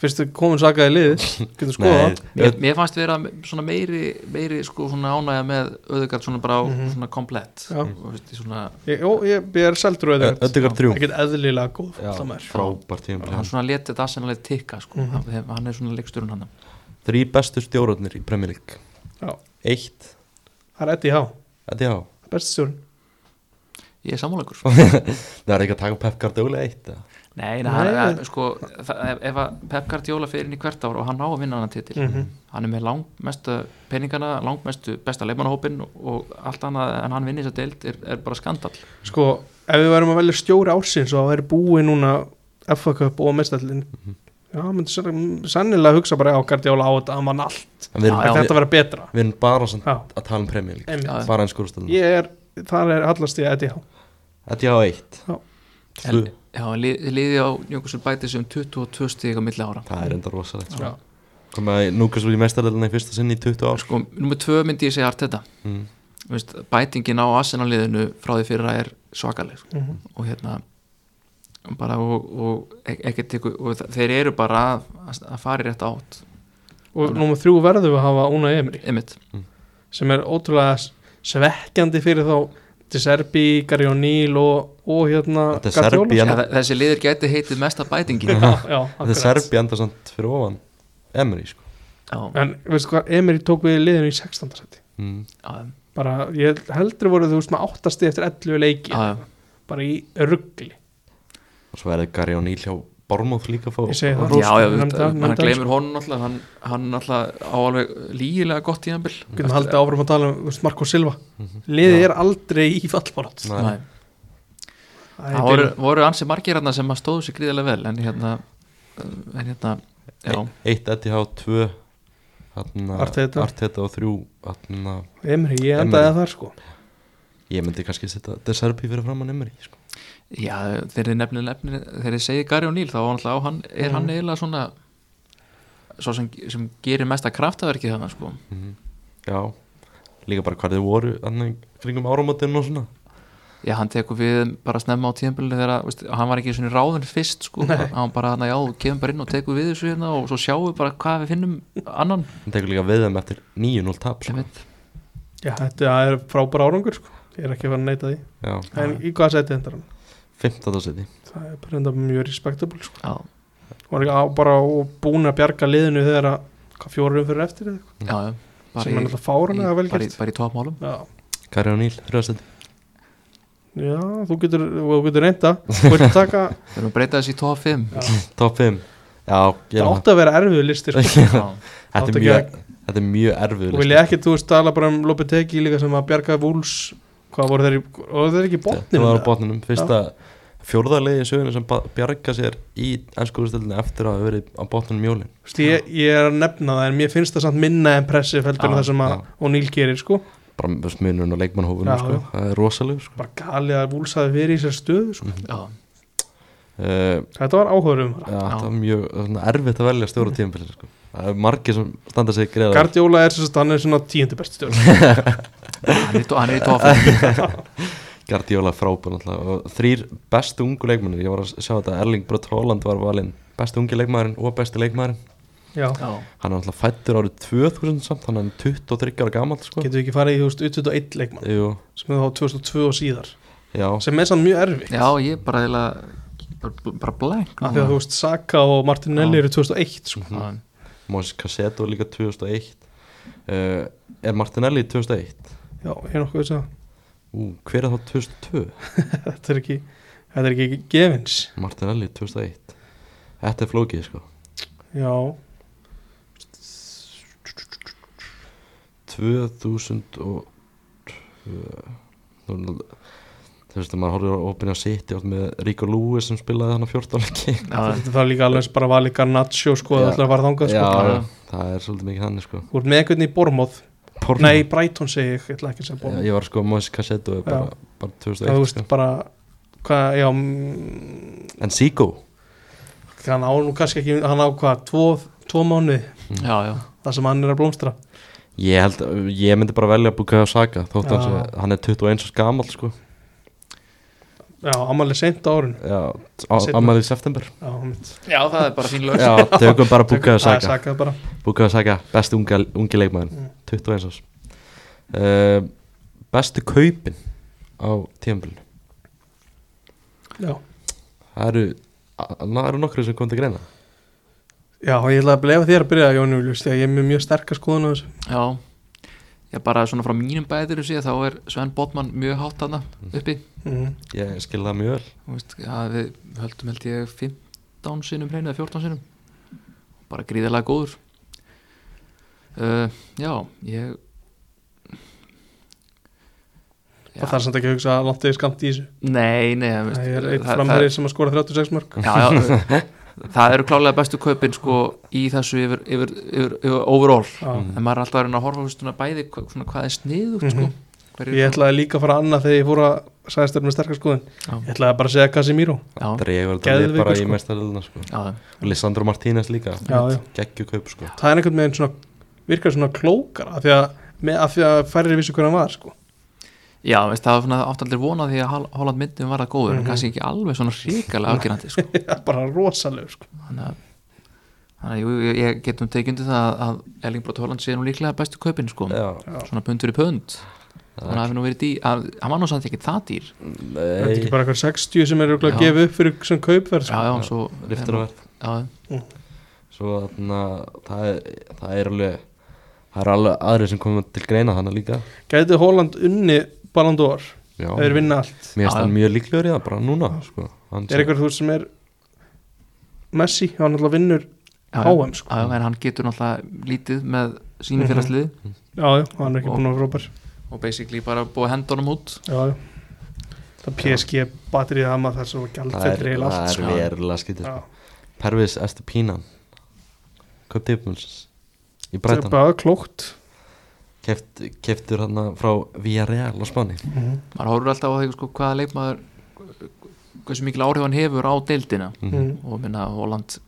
B: fyrstu komin sakaði liðið getur skoða
A: Nei,
B: það
C: Mér, mér fannst vera svona meiri, meiri sko svona ánægja með auðvitað svona bara á
B: Mhm.
C: svona komplett
B: Já.
C: og veist, í svona,
B: ég, jó, ég, ég er seldur
A: Ö-
B: auðvitað
A: Öddegar 3
B: ekkert eðlilega góð
A: Já,
B: fótboltamaður.
A: frábært
C: hann
A: tíma
C: svona leti þetta aðsennilega tikka sko,
B: Mhm.
C: hann, hann er svona leiksturinn hann
A: þrý bestu stjórnarnir í Premier League
B: Já.
A: eitt,
B: það er Eddie Há,
A: þetta já
B: beststjórn
C: ég er sko. sammáleikur
A: það er ekki að taka Pep Guardiola eitt eða?
C: nei, nei, hann,
B: Nei.
C: hann, sko, það- ef- ef að Pep Guardiola fer inn í hvert ár og hann á að vinna hann titil
B: mm -hmm.
C: hann er með langmestu peningana langmestu besta leifmannahópin og allt annað en hann vinni þess að deild er, er bara skandal
B: sko, ef við værum að velja stjóri ársins og það væri búið núna FA Cup og mestallin já, myndi sann- sannilega hugsa bara á Gardiola á þetta, hann vann allt
A: En við erum-
C: Já, já.
B: þetta
A: við-
B: verið betra
A: við erum bara samt
B: já,
A: að tala um Premier League
B: einmitt.
C: Já.
A: bara eins skúrstöðum
B: ég er, þar er allast ég Eddie Há
A: þetta já eitt
B: Já.
A: Tvö.
C: já, hann lið- liði á Njókusul bæti sem 22 stík á milli ára
A: það er enda rosalegt sko.
B: Já.
A: komaði Núkasvöld í mestarleilina í fyrsta sinni í 20 ár
C: sko, nummer tvö myndi ég segja Arteta
A: mm.
C: Þú veist, bætingin á Arsenal-liðinu frá því fyrra er svakaleg sko.
B: Mhm.
C: og hérna bara og, og, ek- ekkert ykkur, og þa- þeir eru bara að, að fara í rétt átt
B: og númer þrjú verðum við að hafa Una Emri
C: einmitt,
B: sem er ótrúlega s- svekkjandi fyrir þá De Serbi, Gary O'Neill og, og hérna
A: De Serbi,
B: já,
A: hann-
C: ja, þa- þessi liðir gæti heitið mesta bætingin
B: já,
A: þetta
B: akkurat.
A: er Serbi enda samt fyrir ofan Emery sko
C: já,
B: en veistu hvað, Emri tók við liðinu í 16. seti
A: mm.
C: já,
B: bara, ég held- heldur voru þú veist með 8 stið eftir 11 leiki
C: já,
B: bara í ruggli
A: og svo verður Gary O'Neill hjá Bormóð líka að fá
B: Ég segi það.
A: hrós.
C: já, já,
B: Nefnda-
C: við- hann
B: nefnda-
C: gleymir honum alltaf hann, hann alltaf á alveg lígilega gott tíðanbill
B: getum haldið áfram að tala um þú veist, Marko Silva liðið er aldrei í fallbárat
A: Mhm. Nei.
C: Nei,
B: það
C: það
B: er
C: voru,
B: bilað.
C: voru ansi margir hérna sem að stóðu sér gríðilega vel en hérna, en hérna já,
A: eitt Eddie Howe, tvö þarna,
B: Arteta.
A: Arteta og þrjú þarna,
B: Emri, ég endaði
A: Emery.
B: að það sko
A: ég myndi kannski setja De Serbi fyrir framann Emery sko.
C: já þegar þið nefnir nefnir, þegar þið segir Gary O'Neill þá er náttúrulega á hann, er
B: Mhm.
C: hann eiginlega svona svo sem, sem gerir mesta kraftaverki þannig sko
A: já, líka bara hvað þið voru þarna, í kringum áramótinu og svona
C: já, hann tekur við bara snemma á tíðanbili þegar, veist, hann var ekki svona ráðin fyrst sko, hann bara, hérna, já, kemur bara inn og tekur við þessu hérna og svo sjáum við bara hvað við finnum annan,
A: hann tekur líka við þeim eftir 9-0 tap sko.
C: einmitt
B: Já, þetta er frábæra árangur sko. Ég er ekki að fara að neita því
A: já,
B: En í hvað seti endar hann?
A: 15. seti
B: Það er bara enda mjög respectable sko.
C: já,
B: Var ekki á, bara og búin að bjarga liðinu þegar að hvað fjórum fyrir eftir eða eitthvað
C: já, já bara
B: sem er
C: í-
B: náttúrulega fáranlega vel
C: í- bara í,
B: gert
C: bara í topmálum
B: Já,
A: Gary O'Neill, þrjóða seti
B: já þú getur, þú getur reynda Þú ert að taka
C: við erum að breyta þessi í top 5
B: já,
A: top 5 já,
B: Það
A: gerum
B: átti að vera erfiðu listir sko.
A: það þetta
B: átti
A: er
B: að
A: mjög þetta er mjög erfið
B: og vil ég ekki, þú veist, tala bara um Lopetegi líka sem að bjarga Vúls hvað voru þeir, í- voru þeir ekki í
A: það
B: botninu
A: var á botninum, fyrsta fjórðarlegi í söguna sem ba- bjarga sér í ennskóðustöldinni eftir að hafa verið á botninum mjólin
B: Vist, ég, ég er að nefna það en mér finnst það samt minna impressif heldur en
C: Já,
B: það sem að
A: já.
B: O'Neill gerir sko
A: bara smunun og leikmannhófunum
B: Já,
A: sko.
B: já.
A: það er rosalegur sko.
B: bara galið að Vúls hafi verið í sér stöðu sko.
C: já,
A: uh,
B: þetta var áhugarum
A: já, það er mjög það er svona erfitt að velja
B: Mm.
A: stjóra tíðanbyrðin sko. það er margir sem standa sig greiða
B: Gardiola er sem sagt, hann er svona tíundu bestu stjórn
C: hann er í to- hann er í tófum
A: Gardiola frábæð náttúrulega og þrýr bestu ungu leikmannir ég var að sjá þetta Erling Brött Holland var valinn bestu ungi leikmæðurinn og bestu leikmæðurinn
B: já,
C: já,
A: hann er náttúrulega fættur árið 2000 samt hann er 23 ára gamall sko.
B: getum við ekki farið í þú veist, 21 leikmann
A: Jú,
B: sem er þá 2002 og síðar
A: já,
B: sem er samt mjög erfitt
C: já, ég bara eiginlega bara- bara blank
B: af því að þú veist Saka og Martinelli
C: Já.
B: eru 2001 sko.
C: Já,
A: Moses Cassetto líka 2001 uh, er Martinelli 2001
B: já, ég er nokkuð þess að
A: Ú, hver er þá 2002
B: þetta er ekki þetta er ekki gefins
A: Martinelli 2001 Þetta er flókið sko
B: já,
A: 2000 og þú þú veist að maður horfður á opinja City átt með Rico Lewis sem spilaði hann á 14 leiki
C: já,
B: þetta þarf líka alveg eins bara að valið Garnaccio sko,
A: Já.
B: það ætlar að fara þangað sko.
A: Já,
C: já.
A: það er svolítið mikið þannig sko
B: Þú ert með einhvern í Bormóð
A: Porno.
B: Nei, Brighton segi ég, ég ætla ekki að segja
A: Já,
B: Bormóð
A: Ég var sko Moses Cassetto er bara, bara
B: Það
A: 2001
B: þú veist
A: sko.
B: bara hvað, já mm,
A: En Sigo
B: hann á nú kannski ekki, hann á hvað tvo, tvo mánuði,
C: já, já.
B: það sem hann er að blómstra
A: Ég held að ég myndi bara velja að búka á Saga þótt
B: Já.
A: hann sé, hann er 21 og gamall sko
B: Já, amalið seint á árun
A: Já,
B: Seinna.
A: ammæli í september
B: Já, mitt
C: já, það er bara fín lög
A: Já, tökum bara búkaðu
B: Tökum- það er
A: Saga
B: Saka bara
A: Búkaðu Saga, besti unga, ungi leikmaðurinn
B: Mm.
A: 21 ás uh, Bestu kaupin á tímabilinu
B: Já,
A: Það eru, a- það eru nokkru sem kom til greina
B: já og ég ætla að blefa þér að byrja Jón Július, því að ég er með mjög sterka skoðun á þessu
C: já, ég bara svona frá mínum bæðir þá er Sven Botman mjög hátt hana uppi
B: mm.
A: Ég skil það mjög vel
C: Þú veist, ja, við höldum held ég 15 sinum hreinu eða 14 sinum bara gríðarlega góður uh, já ég Já.
B: Það þarf samt ekki að hugsa langt yfir skamt í þessu
C: nei, nei þú veist,
B: Það er eitt
C: það-
B: framherri sem að skora 36 mörg
C: það- já, já, það eru klálega bestu kaupin sko í þessu yfir, yfir, yfir, yfir overall
B: Já
C: en maður er alltaf að reyna að horfa þú veist, svona bæði hva- svona, hvað er sniðugt
B: Mhm.
C: sko Hverju,
B: Ég ætlaði líka að fara annað þegar ég fór að sagðist þér með sterkar skoðun
C: Já.
B: Ég ætlaði bara að segja Casimiro
C: Já.
A: Dregur þetta lið
B: Geðveikur,
A: bara
B: sko.
A: í mestaröldina sko
C: já, já,
A: Og Lissandro Martínez líka
B: Já, já.
A: Geggju kaup sko
B: Það er einhvern veginn svona virkar svona klókar af því að, með, af því að færri vissu hvernig hann var sko.
C: já veist, það var svona áttaldir vonað því að Hol- Holland myndum var það góður
B: Mhm.
C: en kannski ekki alveg svona ríkalega afgjörandi sko.
B: bara rosaleg sko.
C: þannig að, þannig að jú, ég- ég getum tekjandi það að- að Erling Brot Holland sé nú líklega bestu kaupin sko,
A: Já,
C: svona pundur í pund þannig að hafi nú verið dý að, hann var nú samt ekki það dýr
B: þetta er
A: nei,
B: ekki bara eitthvað 60 sem er örugglega að
C: Já.
B: gefa upp fyrir sem kaupverð
C: já,
B: sko.
C: já, svo
A: riftur á verð
C: já,
A: Svo þarna, það er, það er alveg Það eru alveg aðrið sem komum til greina þannig líka
B: Gæti Holland unni Ballon d'Or
A: Já,
B: það er vinna allt
A: Mér finnst
C: Já,
A: hann
C: já.
A: mjög líklegur í það bara núna sko. Hann
B: er einhver þú veist sem er Messi, hann alltaf vinnur
C: já,
B: HM sko.
C: já, já, en hann getur náttúrulega lítið með
B: Mhm.
C: sínum félagsliði
B: já, já, hann er ekki
C: Og-
B: búin að vera frábær
C: og basically bara búið að henda honum út
B: já, já það PSG batterið það maður þar sem var gælt
A: það er,
B: þetta reyla
A: það
B: allt
A: er
B: sko.
C: sko.
A: verulega skítið
B: Já.
A: sko. Pervis Estepínan Kaup tífumulsins Í
B: það er
A: Brætan
B: bara klókt
A: Keft, Keftur hann frá Villarreal á Spáni
C: maður horfur alltaf á því sko, hvaða leikmaður hversu mikil áhrif hann hefur á deildina
A: Mhm.
C: og minna að Holland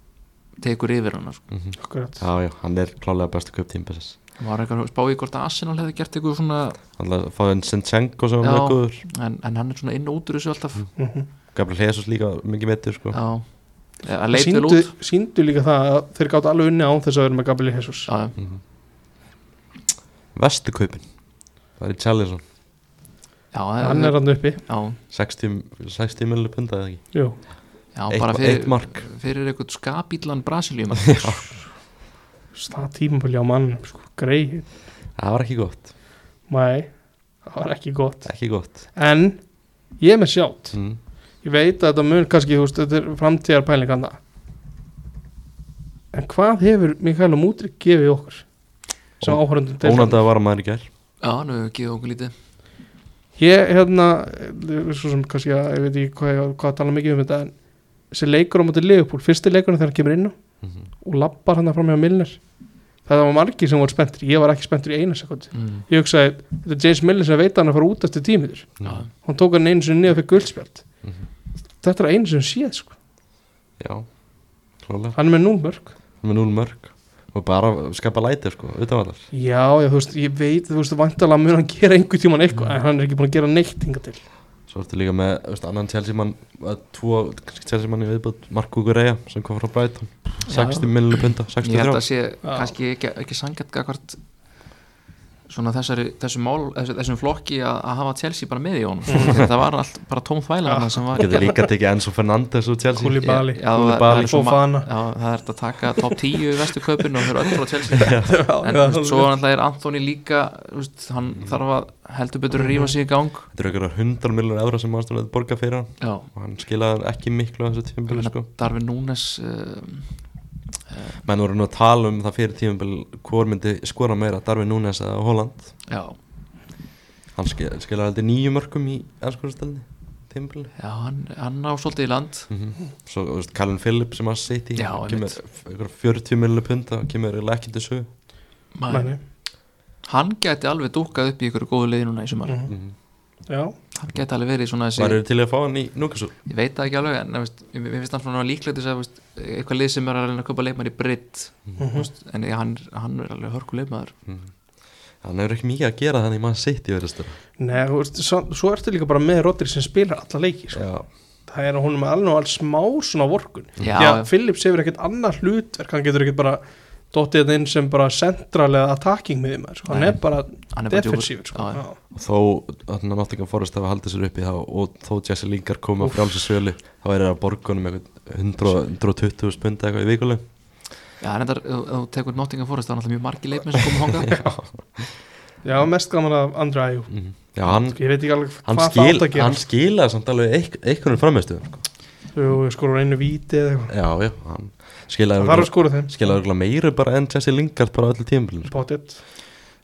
C: tekur yfir hann sko.
A: Mhm.
B: akkurat
A: Já, já, hann er klálega bestu kaup tífumulsins
C: maður er eitthvað að spá í hvort að Arsenal hefði gert eitthvað svona
A: Hann er að fá enn Sinchenko sem var
C: Já.
A: mjög góður
C: en, en hann er svona inn og út úr þessu alltaf
B: Mhm.
A: Gabriel Jesus líka mikið meittur sko.
C: Já, að leit vel
B: síndu,
C: út
B: síndu líka það að þeir gátt alveg unni án þess að vera með Gabriel Jesus
C: Já, já.
A: Mhm. Vestu kaupin Það er í Charlison
C: já,
B: hann er hann uppi
A: 60, 60 miljonir punda eða ekki
B: Jú.
C: já
A: Eitt-
C: bara
A: eitt
C: fyrir,
A: mark.
C: fyrir eitthvað skapílan Brasiljum
B: það tímabili á mann sko, greið,
A: Það var ekki gott,
B: mæ það var ekki gott,
A: ekki gott
B: en ég er með sjátt,
A: mm.
B: ég veit að þetta mun kannski, þú veist, þetta er framtíðar pælinganda en hvað hefur Mikael Mútrik gefið okkur Sá áhörundum
A: Ónandaði var maður í gær
C: Já, nú hefur við gefið okkur lítið
B: Ég, hérna, eh, svo sem kannski að, ég veit ekki hvað, ég- hvað að tala mikið um þetta en þessi leikur á móti Leopold, fyrsti leikurinn þegar hann kemur inn á og lappar hann fram hjá Milner það var margir sem voru spenntir, ég var ekki spenntur í eina sekundi
C: mm.
B: ég hugsaði, þetta er James Milner sem veit að hann að fara út eftir tímiður
C: Já,
A: Mm.
B: hann tók hann einu sinni niður fyrir guldspjald
A: Mhm.
B: þetta er einu sinni séð sko.
A: Já, klálega
B: hann er með númörk
A: Með núl mörg Og bara skapa læti sko, utan allar
B: já, já, þú veist, ég veit, þú veist, vantalega mun hann gera einhver tíman eitthvað, en hann er ekki búin að gera neitt hinga til
A: Svo ertu líka með þú veist, annan Chelsea mann Tvo kannski Chelsea mann í viðbútt Marko Gureya sem kom frá Brighton 60 millinu punta,
C: ég
A: 63
C: held að sé kannski ekki, ekki sangjart gagvart svona þessari, þessum, mál, þessu, þessum flokki að, að hafa Chelsea bara með í honum þetta var allt bara tóm þvæla þarna sem var
A: Getur líka tekið Enzo Fernandes úr Chelsea
B: Kúli- Bali.
C: Já, það-
A: Kúli
C: það
A: Bali.
C: er svo ma-
B: Fofana.
C: já, það er hægt að taka top 10 í vestu kaupinu og þau eru öll frá Chelsea en
B: já,
C: þú veist,
B: alveg.
C: svo náttúrulega er Anthony líka þú veist, hann þarf að heldur betur að rífa sig í gang
A: Þetta eru einhverjar 100 milljónir evra sem aðstæðan borga fyrir hann
C: já,
A: og hann skilaði ekki miklu á þessu tímabili sko.
C: Darvin Núnes uh,
A: menn voru nú að tala um það fyrir tímabili hvor myndi skora meira Darvin Núnes eða Holland
C: já,
A: hann skil, skilaði aldrei nýju mörgum í ennskóðastelni tímabili
C: já, hann, hann á svolítið í land
A: mm -hmm. svo þú veist, Callum Phillips sem að sitt í
C: Já,
A: kemur
C: einmitt.
A: einhverjar 40 milljónir punta og kemur eiginlega ekki til sög
B: Mæni.
C: hann gæti alveg dúkkað upp í ykkur góðu leiði núna í sumar
B: Mhm. já,
C: hann gæti alveg verið svona
A: hvað
C: þessi
A: eru til í að fá hann í Núkasú
C: ég veit það ekki alveg en þú veist, mér mér finnst hann svona líklegt þess að þú veist, eitthvað lið sem er að reyna að köpa leikmann í britt
B: Mm. mhm.
C: en ég- hann, hann er alveg hörku leikmaður
A: Mhm. hann hefur ekki mikið að gera þannig mann sitt í verðastur
B: Nei, þú veist, svo, svo ertu líka bara með Rodri sem spilar alla leiki sko.
A: já,
B: það er að hún er með alveg og alls smá svona vorkun
C: Já,
B: Já,
C: já.
B: Phillips hefur ekkert annað hlutverk hann getur ekkert bara dottið þetta inn sem bara central eða attacking miðjum sko. hann
C: Nei.
B: er bara
C: Hann er bara
B: defensífur
C: djúpur.
B: sko.
C: Já, já.
B: Já.
A: og þó þannig að Nottingham Forest hafa haldið sér upp í þá og þó Jesse Lingard koma frá alls í sölu þá er það borgunum 120 spundi eitthvað í vikuleg
C: Já, en þetta, ef þú tekur Nottingham Forest það er náttúrulega mjög margi leikmenn sem koma honga
B: Já, mest gaman af Andri Æjú
A: já hann,
B: ég veit ekki alveg
A: hann,
B: hvað það
A: skil,
B: átt að gera
A: hann skilaði samt alveg eik- einhvern frammestu sko.
B: þú skorur einu víti eða eitthvað
A: já já hann
B: það þarf að
A: skilaði
B: skora þeim
A: skilaði örugglega meiru bara en Jesse Lingard bara öllu tímbilin sko.
B: Pottet.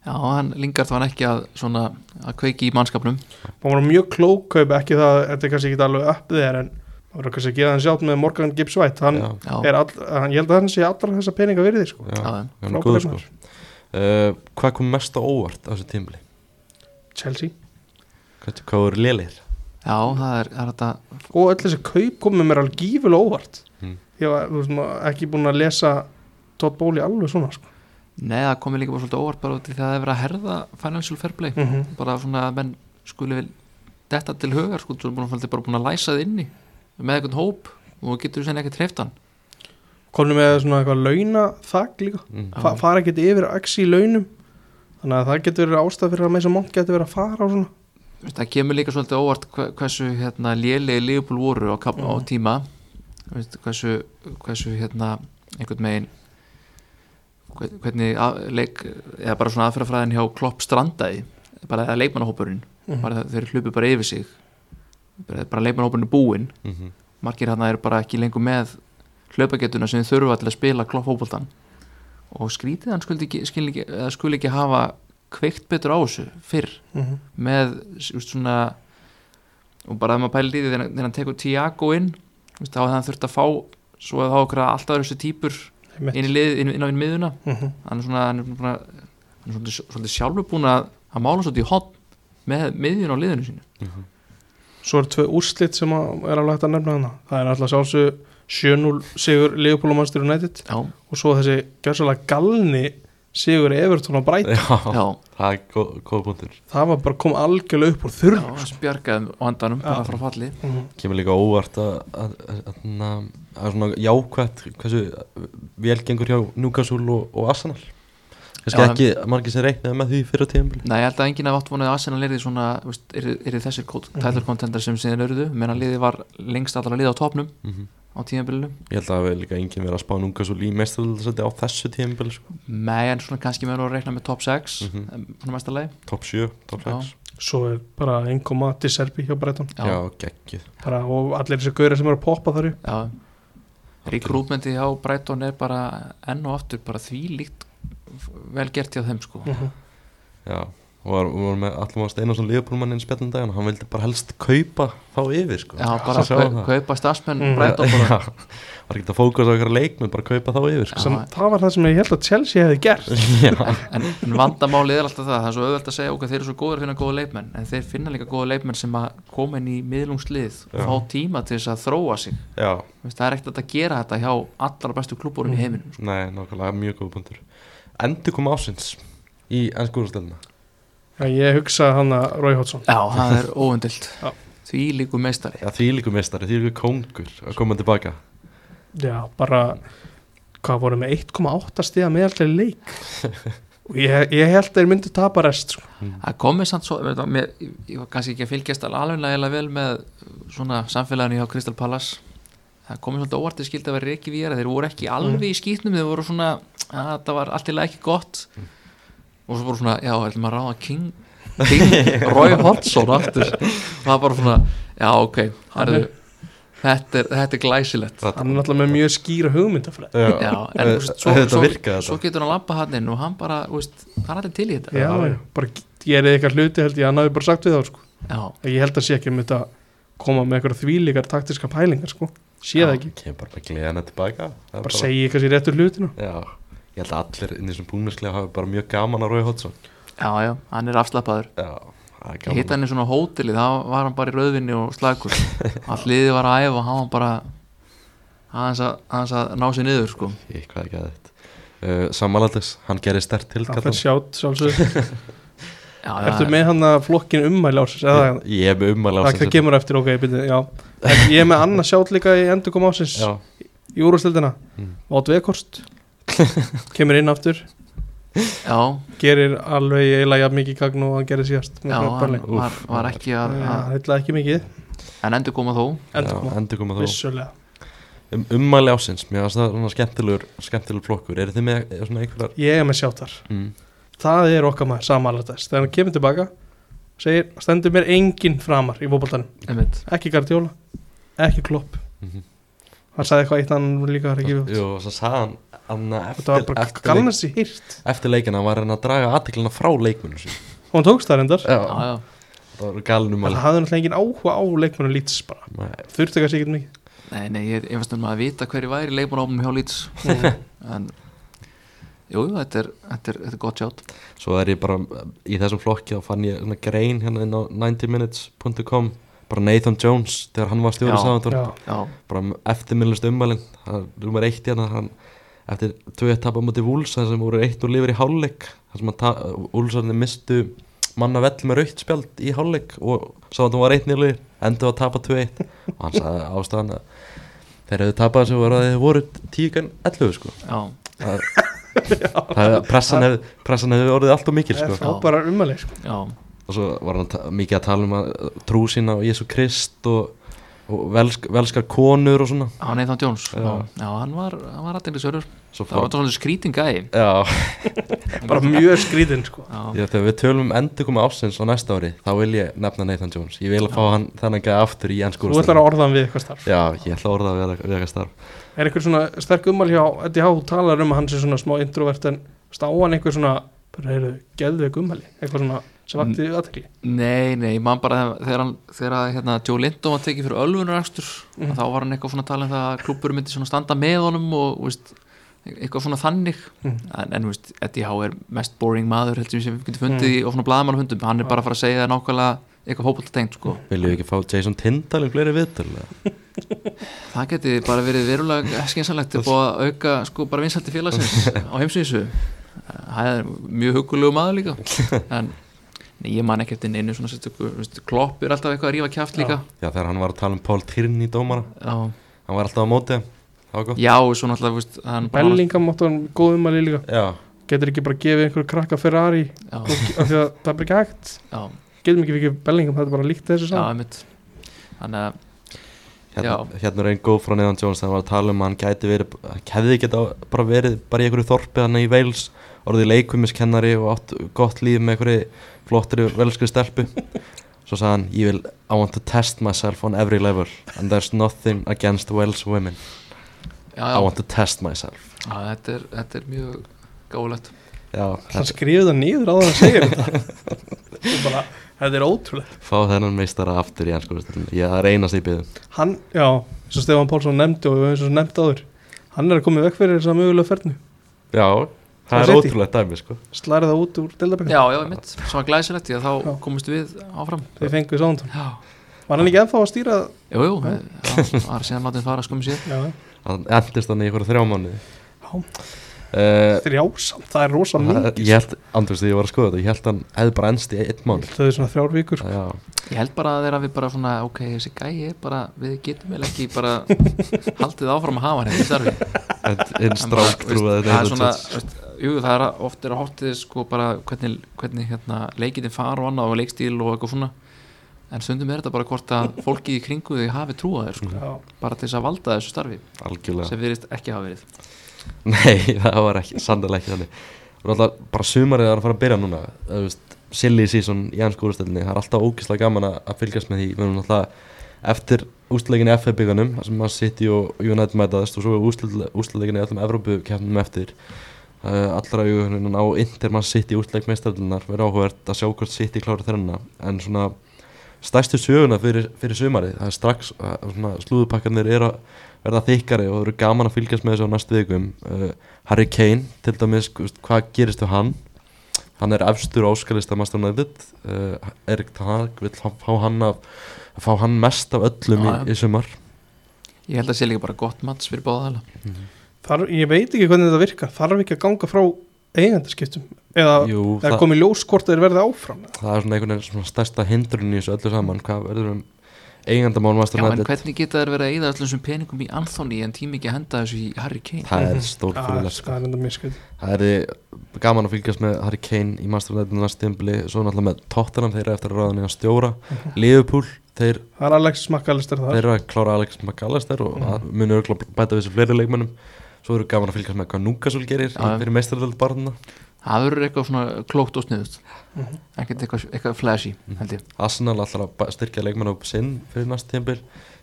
C: Já, hann Lingard var ekki að, svona, að kveiki í mannskapnum
B: það var mjög klók kaup ekki það, þetta er kannski ekki alveg upp þér en það voru kannski að gera hann sjálf með Morgan Gibbs White hann
A: já,
C: Já,
B: er all, hann, ég held að hann sé allra þessa peninga virði sko.
A: já,
C: já,
A: hann er
B: Frábær
A: góður sko
B: leikmaður.
A: uh, hvað kom mest á óvart á þessu tímbili
B: Chelsea
A: hvað, hvað voru lélir
C: já það er, er þetta
B: og öll þessi kaup komið mér alveg gífulega óvart
A: Mm.
B: ég var þú veist, maður ekki búin að lesa Todd Bóli alveg svona sko.
C: Nei, það komið líka bara svolítið óvart bara út í því að það er verið að herða financial fair play
B: mm
A: Mhm.
C: bara svona að menn skuli vel detta til hugar, sko, þú er bara búin að læsa þið inni með einhvern hóp og þú getur þú senni ekki treyft hann
B: konum með svona eitthvað launaþak líka
A: mm.
B: Fa fara ekkert yfir axi í launum þannig að það getur verið ástæð fyrir að með þess að mont getur verið að fara og svona
C: Þú veist, það kemur líka svolítið óvart hve- hversu hérna, lélegi Liverpool voru á, kap, á
B: Mhm.
C: tíma Þú veist, hversu, hversu hérna, einhvern megin hve- hvernig að, leik, eða bara svona aðferðafræðin hjá Klopp strandaði bara eða leikmannahópurinn
B: Mhm.
C: bara þeir hlupu bara yfir sig bara, bara leikmannahópurinn er búinn
A: Mm -hmm.
C: margir hann eru bara ekki lengur með hlaupagetuna sem þau þurfa til að spila kloppfóboltan og skrítið hann skuli ekki, skuli ekki, eða skuli ekki hafa kveikt betur á þessu fyrr
B: mm -hmm.
C: með s- úst, svona, og bara ef maður pælir í því þegar þegar hann tekur Tiago inn úst, þá hefði hann þurft að fá svo að þá okkur alltaf þessu típur inn, í lið, inn, inn á inn miðuna
B: Mhm.
C: hann er svona, hann er svona, hann er svona svolítið sjálfur búin að hann mála svolítið í hotn með miðjun á liðinu sínu
B: svo eru tvö úrslit sem að er alveg hægt að nefna hana það er alltaf sjálfsög 7-0 sigur Leopold og Manchester United
C: já,
B: og svo þessi gjörsalega galni sigur Everton og Brighton
A: já,
C: já,
A: það er góð, góð punktur
B: það var bara kom algjörlega upp úr Mhm.
C: já
B: þurr
C: hann spjargaði á andanum bara frá falli
A: kemur líka óvart að, að, að, að, að svona jákvætt hversu vel gengur hjá Newcastle og, og Arsenal kannski
C: Já,
A: ekki margir sem reiknaði með því fyrir tíðanbili
C: Nei, ég held að enginn af átt vonaði að Arsenal er svona, veist, er, er þessir tælarkontendar sem síðan eruðu, menn að liði var lengst allra liði á topnum á tímabilinu
A: ég held að það hefur líka enginn verið að spá Newcastle í meistaröldsæti á þessu tíðanbili sko.
C: Nei, en svona kannski meðan að reikna með top 6
A: Mhm.
C: mm -hmm. mesta leið
A: top 7, top 6
B: svo er bara 1,1 serbi hjá Brighton
A: já, já geggjuð
B: bara, og allir þessi gauðir sem eru að poppa þar upp
C: já. Rík hjá Brighton er bara enn og aftur bara þvílíkt vel gert hjá þeim
A: Mm.
C: sko
B: Mhm.
A: Já, og var- og vorum með allir maður Steinarsson Leopoldmannin spjallin um daginn og hann vildi bara helst kaupa þá yfir sko.
C: Já, bara
A: Sjá
C: kau,
A: það.
C: kaupa starfsmenn
B: Mm.
C: mm. breyta bara
A: Já, var ekki að fókusa á einhverja leikmenn, bara kaupa þá yfir sko.
B: sem,
C: Já.
B: það var það sem ég held að Chelsea hefði gert
A: Já,
C: en, en vandamálið er alltaf það, það er svo auðvelt að segja ok, þeir eru svo góður að finna góða leikmenn en þeir finna líka góða leikmenn sem að koma inn í miðlungslið og
A: Já.
C: fá tíma til þess að þróa sig
A: já,
C: Þú veist, það er ekkert hægt að gera þetta hjá allra bestu
A: Mm.
C: klúbborum í heiminum sko.
A: nei, nákvæmlega mjög góð punktur Endur kom ásins í ennskúrastelina
B: Já, ég hugsa hann að Rói Hótsson
C: Já, það er óundilt
B: Já.
C: Því líku meistari
A: Já, því líku mestari, því líku kóngur að koma tilbaka
B: Já, bara hvað voru með 1,8 stiga meðallega leik og ég, ég held að þeir myndu tapa rest sko.
C: Það komið samt svo, veit, það, mér, ég- ég var kannski ekki að fylgjast alveg nægilega vel með uh, svona samfélaginu hjá Crystal Palace Það komið svolítið óvart, ég skildi að vera ekki við þeir voru ekki alveg
A: Mm.
C: í skýtnum, þeir voru svona að það var allt í lagi ekki gott og svo voru svona, já, ætlum að ráða King, King Roy Hodgson aftur, það var bara svona já, ok, herðu, þetta er, þetta er glæsilegt
A: Þetta-
B: hann er náttúrulega með mjög skýra hugmyndafræð
A: Já,
C: Já, en
A: eh,
C: þú veist, svo-
A: þetta
C: svo-
A: virkaði
C: svo
A: þetta
C: getur hann að lampa hann inn og hann bara, þú veist, það er allir til í þetta
B: Já, já, bara gerði eitthvað hluti held ég að hann hafi bara sagt við þá sko.
C: já,
B: ég held að sé ekki um þetta að koma með eitthvað þvílíkar taktiska pælingar sko. sé það
C: Já.
B: ekki,
A: Kemur bara með gleðina tilbaka Það er
B: bara segi eitthvað sér réttur hlutina
A: Já, ég held að allir inn í þessum búinarsklega hafi bara mjög gaman að Rói Hotsson
C: já, já, hann er afslappaður
A: Já, það er
C: Ég hitt
A: gaman
C: hann í svona hóteli, þá var hann bara í rauðvinni og slagur Allt liðið var að æfa og hann var bara aðeins að, aðeins að ná sér niður sko.
A: Ég hvað ekki að þetta uh, Samalandis, hann gerir stert til
B: það fær sjátt sjálfsög
C: já,
B: Ertu með hann að flokkin ummæli ásins eða
A: Ah, Ég, ég er með ummæli
B: það, það kemur eftir, ok, byrju, já en ég er með annað sjátt líka í endur koma ásins
A: hérna. Já,
B: í úrvastildina,
A: Mm.
B: Vátt Vekhorst kemur inn aftur
C: Já,
B: gerir alveg eiginlega jafn mikið gagn og hann gerir síðast
C: já hann
B: hann,
C: var, var ekki að, að
B: heitla ekki mikið
C: En endur koma þó
A: já,
B: endur koma,
A: endur koma þó
B: vissulega
A: um, Ummæli ásins, mér finnst það svona skemmtilegur skemmtilegur flokkur, eru þið með eh, svona einhverjar
B: ég er með sjáttar,
A: mm.
B: það er okkar maður samanlætast, þegar hann kemur tilbaka segir, stendur mér enginn framar í fótboltanum,
C: einmitt.
B: ekki Gardiola ekki Klopp
A: Mhm.
B: hann sagði eitthvað eitt annan líka það er ekki við
A: Jú, og svo sagði hann, hann að
B: þetta var
A: eftir,
B: bara
A: eftir, leik,
B: galnast í hýrt
A: eftir leikina var hann að draga aðteklina frá leikmunum sín
B: og hann tókst það reyndar,
C: Já,
A: Já,
C: já,
A: það var galnum
B: en það hafði náttúrulega engin áhuga á leikmennu lýts bara, þurfti kannski ekkert mikið
C: nei, nei, ég ég varst um að vita hverju væri leikmanófnum hjá Líts En, jú, jú, þetta er, þetta er, þetta er gott sjátt
A: Svo er ég bara um, í þessum flokki þá fann ég svona grein hérna inn á 90minutes.com bara Nathan Jones þegar hann var
C: Já.
A: stjóri sáðan
B: Já.
C: Já,
A: bara eftirminnlist ummælin það er nummer eitt hérna hann, eftir tvö tapa á móti Wools þar sem voru eitt og lifur í hálfleik þar sem að Woolsarni mistu manna vell með rautt spjald í hálfleik og sá að það var eitt nýlu endur að tapa 2-1 og hann sagði ástæðan að þeir hefðu tapað þessu voru að þeir voru 10 grann 11 sko
C: já,
A: það, það, pressan, hef, pressan hefði orðið allt og mikil
B: það
A: sko
B: er frábærar ummæli sko.
C: já
A: og svo var hann ta- mikið að tala um að uh, trú sína og Jésu Krist og, og velsk, velskar konur og svona
C: Hann Nathan Jones, já,
A: Já.
C: já hann var, hann var aðteglisverður
A: svo
C: Það var þetta svona skrýtingæði
A: Já,
B: bara mjög skrýtin sko.
C: Já,
A: ég, þegar við tölum um endurkomu ásins á næsta ári þá vil ég nefna Nathan Jones ég vil að fá hann þennan gæði aftur í ennsku
B: þú ætlar að orða hann við eitthvað starf
A: Já, ég ætla að orða að vera, vera starf
B: er einhver svona sterk ummæli hjá Eddie Howe talar um að hann sé svona smá introvert en stá hann einhver svona bara heyrðu, geðveik ummæli eitthvað svona sem vakti mm. aðtekli
C: Nei, nei, mann bara þegar- þegar, hann, þegar að, hérna, Joe Lindon var tekið fyrir ölfunarakstur mm. þá var hann eitthvað svona að tala um það að klúppur myndi svona standa með honum og veist, eitthvað svona þannig
B: Mhm.
C: en, en veist, Eddie Howe er mest boring maður heldur sem við getum fundið í ofna blaðamannfundum hann er bara að fara að segja það nákvæmlega eitthvað hópult tengt sko.
A: Viljum við ekki fá Jason Tindal um fleiri viðtöl eða?
C: það geti bara verið verulega skynsalegt að búa að auka sko, bara vinsaldi félagsins á heimsvísu það er mjög hugulegu maður líka en nei, ég man ekki eftir neinu svona sérstöku veist, klopp er alltaf eitthvað að rífa kjáft líka
A: Já, þegar hann var að tala um Paul Tierney dómara
C: já,
A: hann var alltaf á móti þeim. það var gott
C: já og svo náttúrulega veist, hann bara-
B: Bellingham átti hann góð ummæli líka
A: Já,
B: getur ekki bara gefið einhver krakka Ferrari
C: já,
B: af því að það er bara ekki hægt
C: já,
B: getum ekki fyrir Bellingham þetta er bara líkt þessu
C: já,
B: saman
C: einmitt þannig að
A: hérna, hérna er einn góð frá Nathan Jones þegar hann var að tala um að hann gæti verið hann hefði geta bara verið bara í einhverju þorpi hann í Wales orðið leikumiskennari og átt gott líf með einhverju flottri velskri stelpu svo sagði hann ég vil I want to test myself on every level and there's nothing against Welsh women
C: já,
A: I
C: já,
A: want to test myself
C: já, þetta, er, þetta er mjög gálegt
A: já,
B: hann skrifið það nýður á það að segja þetta Ég bara, þetta er ótrúlega
A: fá þennan meistara aftur í anskoðustöldinu ég það er einast í byggðum
B: hann, já, eins og Stefán Pálsson nefndi og eins og nefndi áður hann er að koma í vekk fyrir þess að mögulega fernu
A: já, það
B: Það
A: er
B: er City.
A: ótrúlegt dæmi sko.
B: slærið það út úr deildabæk
C: Já, já, mitt, svo glæsilegt því að þá
B: Já.
C: komumst við áfram
B: þeir fenguð sánd
C: Já,
B: var hann ekki ennþá að stýra
C: jú, jú, við- já, það er síðan látið fara skummi sér
B: já,
A: hann endist hann í ykkur þrjá mánuði
B: Já.
A: uh,
B: þrjásamt, það er rosa
A: það-
B: mikið
A: ég
C: sko.
A: held, andrúst því ég var að skoða þetta ég held hann hefði bara endst í einn mánuð
B: það er svona þrjár
C: Sko.
B: vikur sko.
A: já,
C: Ég held bara að þeirra við bara svona, ok, þessi gæi er bara, við getum vel ekki bara haldið áfram að hafa hann hérna í starfi
A: en- en
C: En bara,
A: strák trúið
C: veist, það er svona, veist, jú, það er að- oft er að hortið sko bara hvernig, hvernig hérna, leikitin fara og annað og leikstíl og eitthvað svona en stundum er þetta bara hvort að fólkið í kringu þau hafi trúa þér
A: Mhm.
C: sko,
B: já,
C: bara til þess að valda þessu starfi
A: algjörlega
C: sem verðist ekki hafa verið
A: Nei, það var ekki, sannlega ekki þannig og alltaf bara sumarið er að fara að byrja núna það veist, silly season í hans úrstöldinni það er alltaf ógislega gaman að- að fylgjast með því við erum alltaf eftir úrstöldleikinni FF byggunum, þar sem maður City og United mætaðist og svo er úrstöldleikinni öllum Evrópu keppnum eftir uh, allra auðvitað á Inter mann City úrstöldleik meistarlinnar, verður áhugavert að sjá hvort City klára þrenna, en svona stærstu söguna fyrir, fyrir sumarið það er strax, uh, svona slúðupakkanir eru að verða þykkari og það eru gaman að fylgjast með þessu á næstu vikum uh, Harry Kane, til dæmis, þú veist, hvað gerist við hann hann er efstur áskalist að Master United uh, Erik Tag vill hann- fá hann af fá hann mest af öllum
C: Já, já.
A: í, í sumar
C: Ég held að sé líka bara gott mats fyrir báða þaðla
B: þarf, ég veit ekki hvernig þetta virkar þarf ekki að ganga frá eigandarskiptum eða
A: Jú,
B: það
A: Eh, það,
B: komi ljós hvort þeir verði áfram
A: það er svona einhvern veginn svona stærsta hindrun í þessu öllu saman hvað verður um eigandamál Master
C: Já, en
A: United
C: hvernig geta þær verið að eyða öllum þessum peningum í Anthony en tími ekki að henda þessu í Harry Kane
A: það er
B: Já,
A: stórfyrirlega
B: Ah, það er enda mér skrið
A: Það er gaman að fylgjast með Harry Kane í Master United næst tímbli svo náttúrulega með Tottenham þeirra eftir að ráðan í að stjóra Liverpool, þeir,
B: það er Alex Makkalistar
A: þeir
B: það
A: eru að klára Alex McAllister og mm. munu örgulega bæta við þessu fleiri leikmönnum svo eru gaman að fylgjast með hvað Núkasól gerir
C: Já, já.
A: fyrir meistarlega barna
C: Það verður eitthvað svona klókt og sniðut ekkert eitthvað, eitthvað flashy,
A: Mhm.
C: held ég
A: Arsenal alltaf að bæ- styrkja leikmenn á sinn fyrir næst tímbli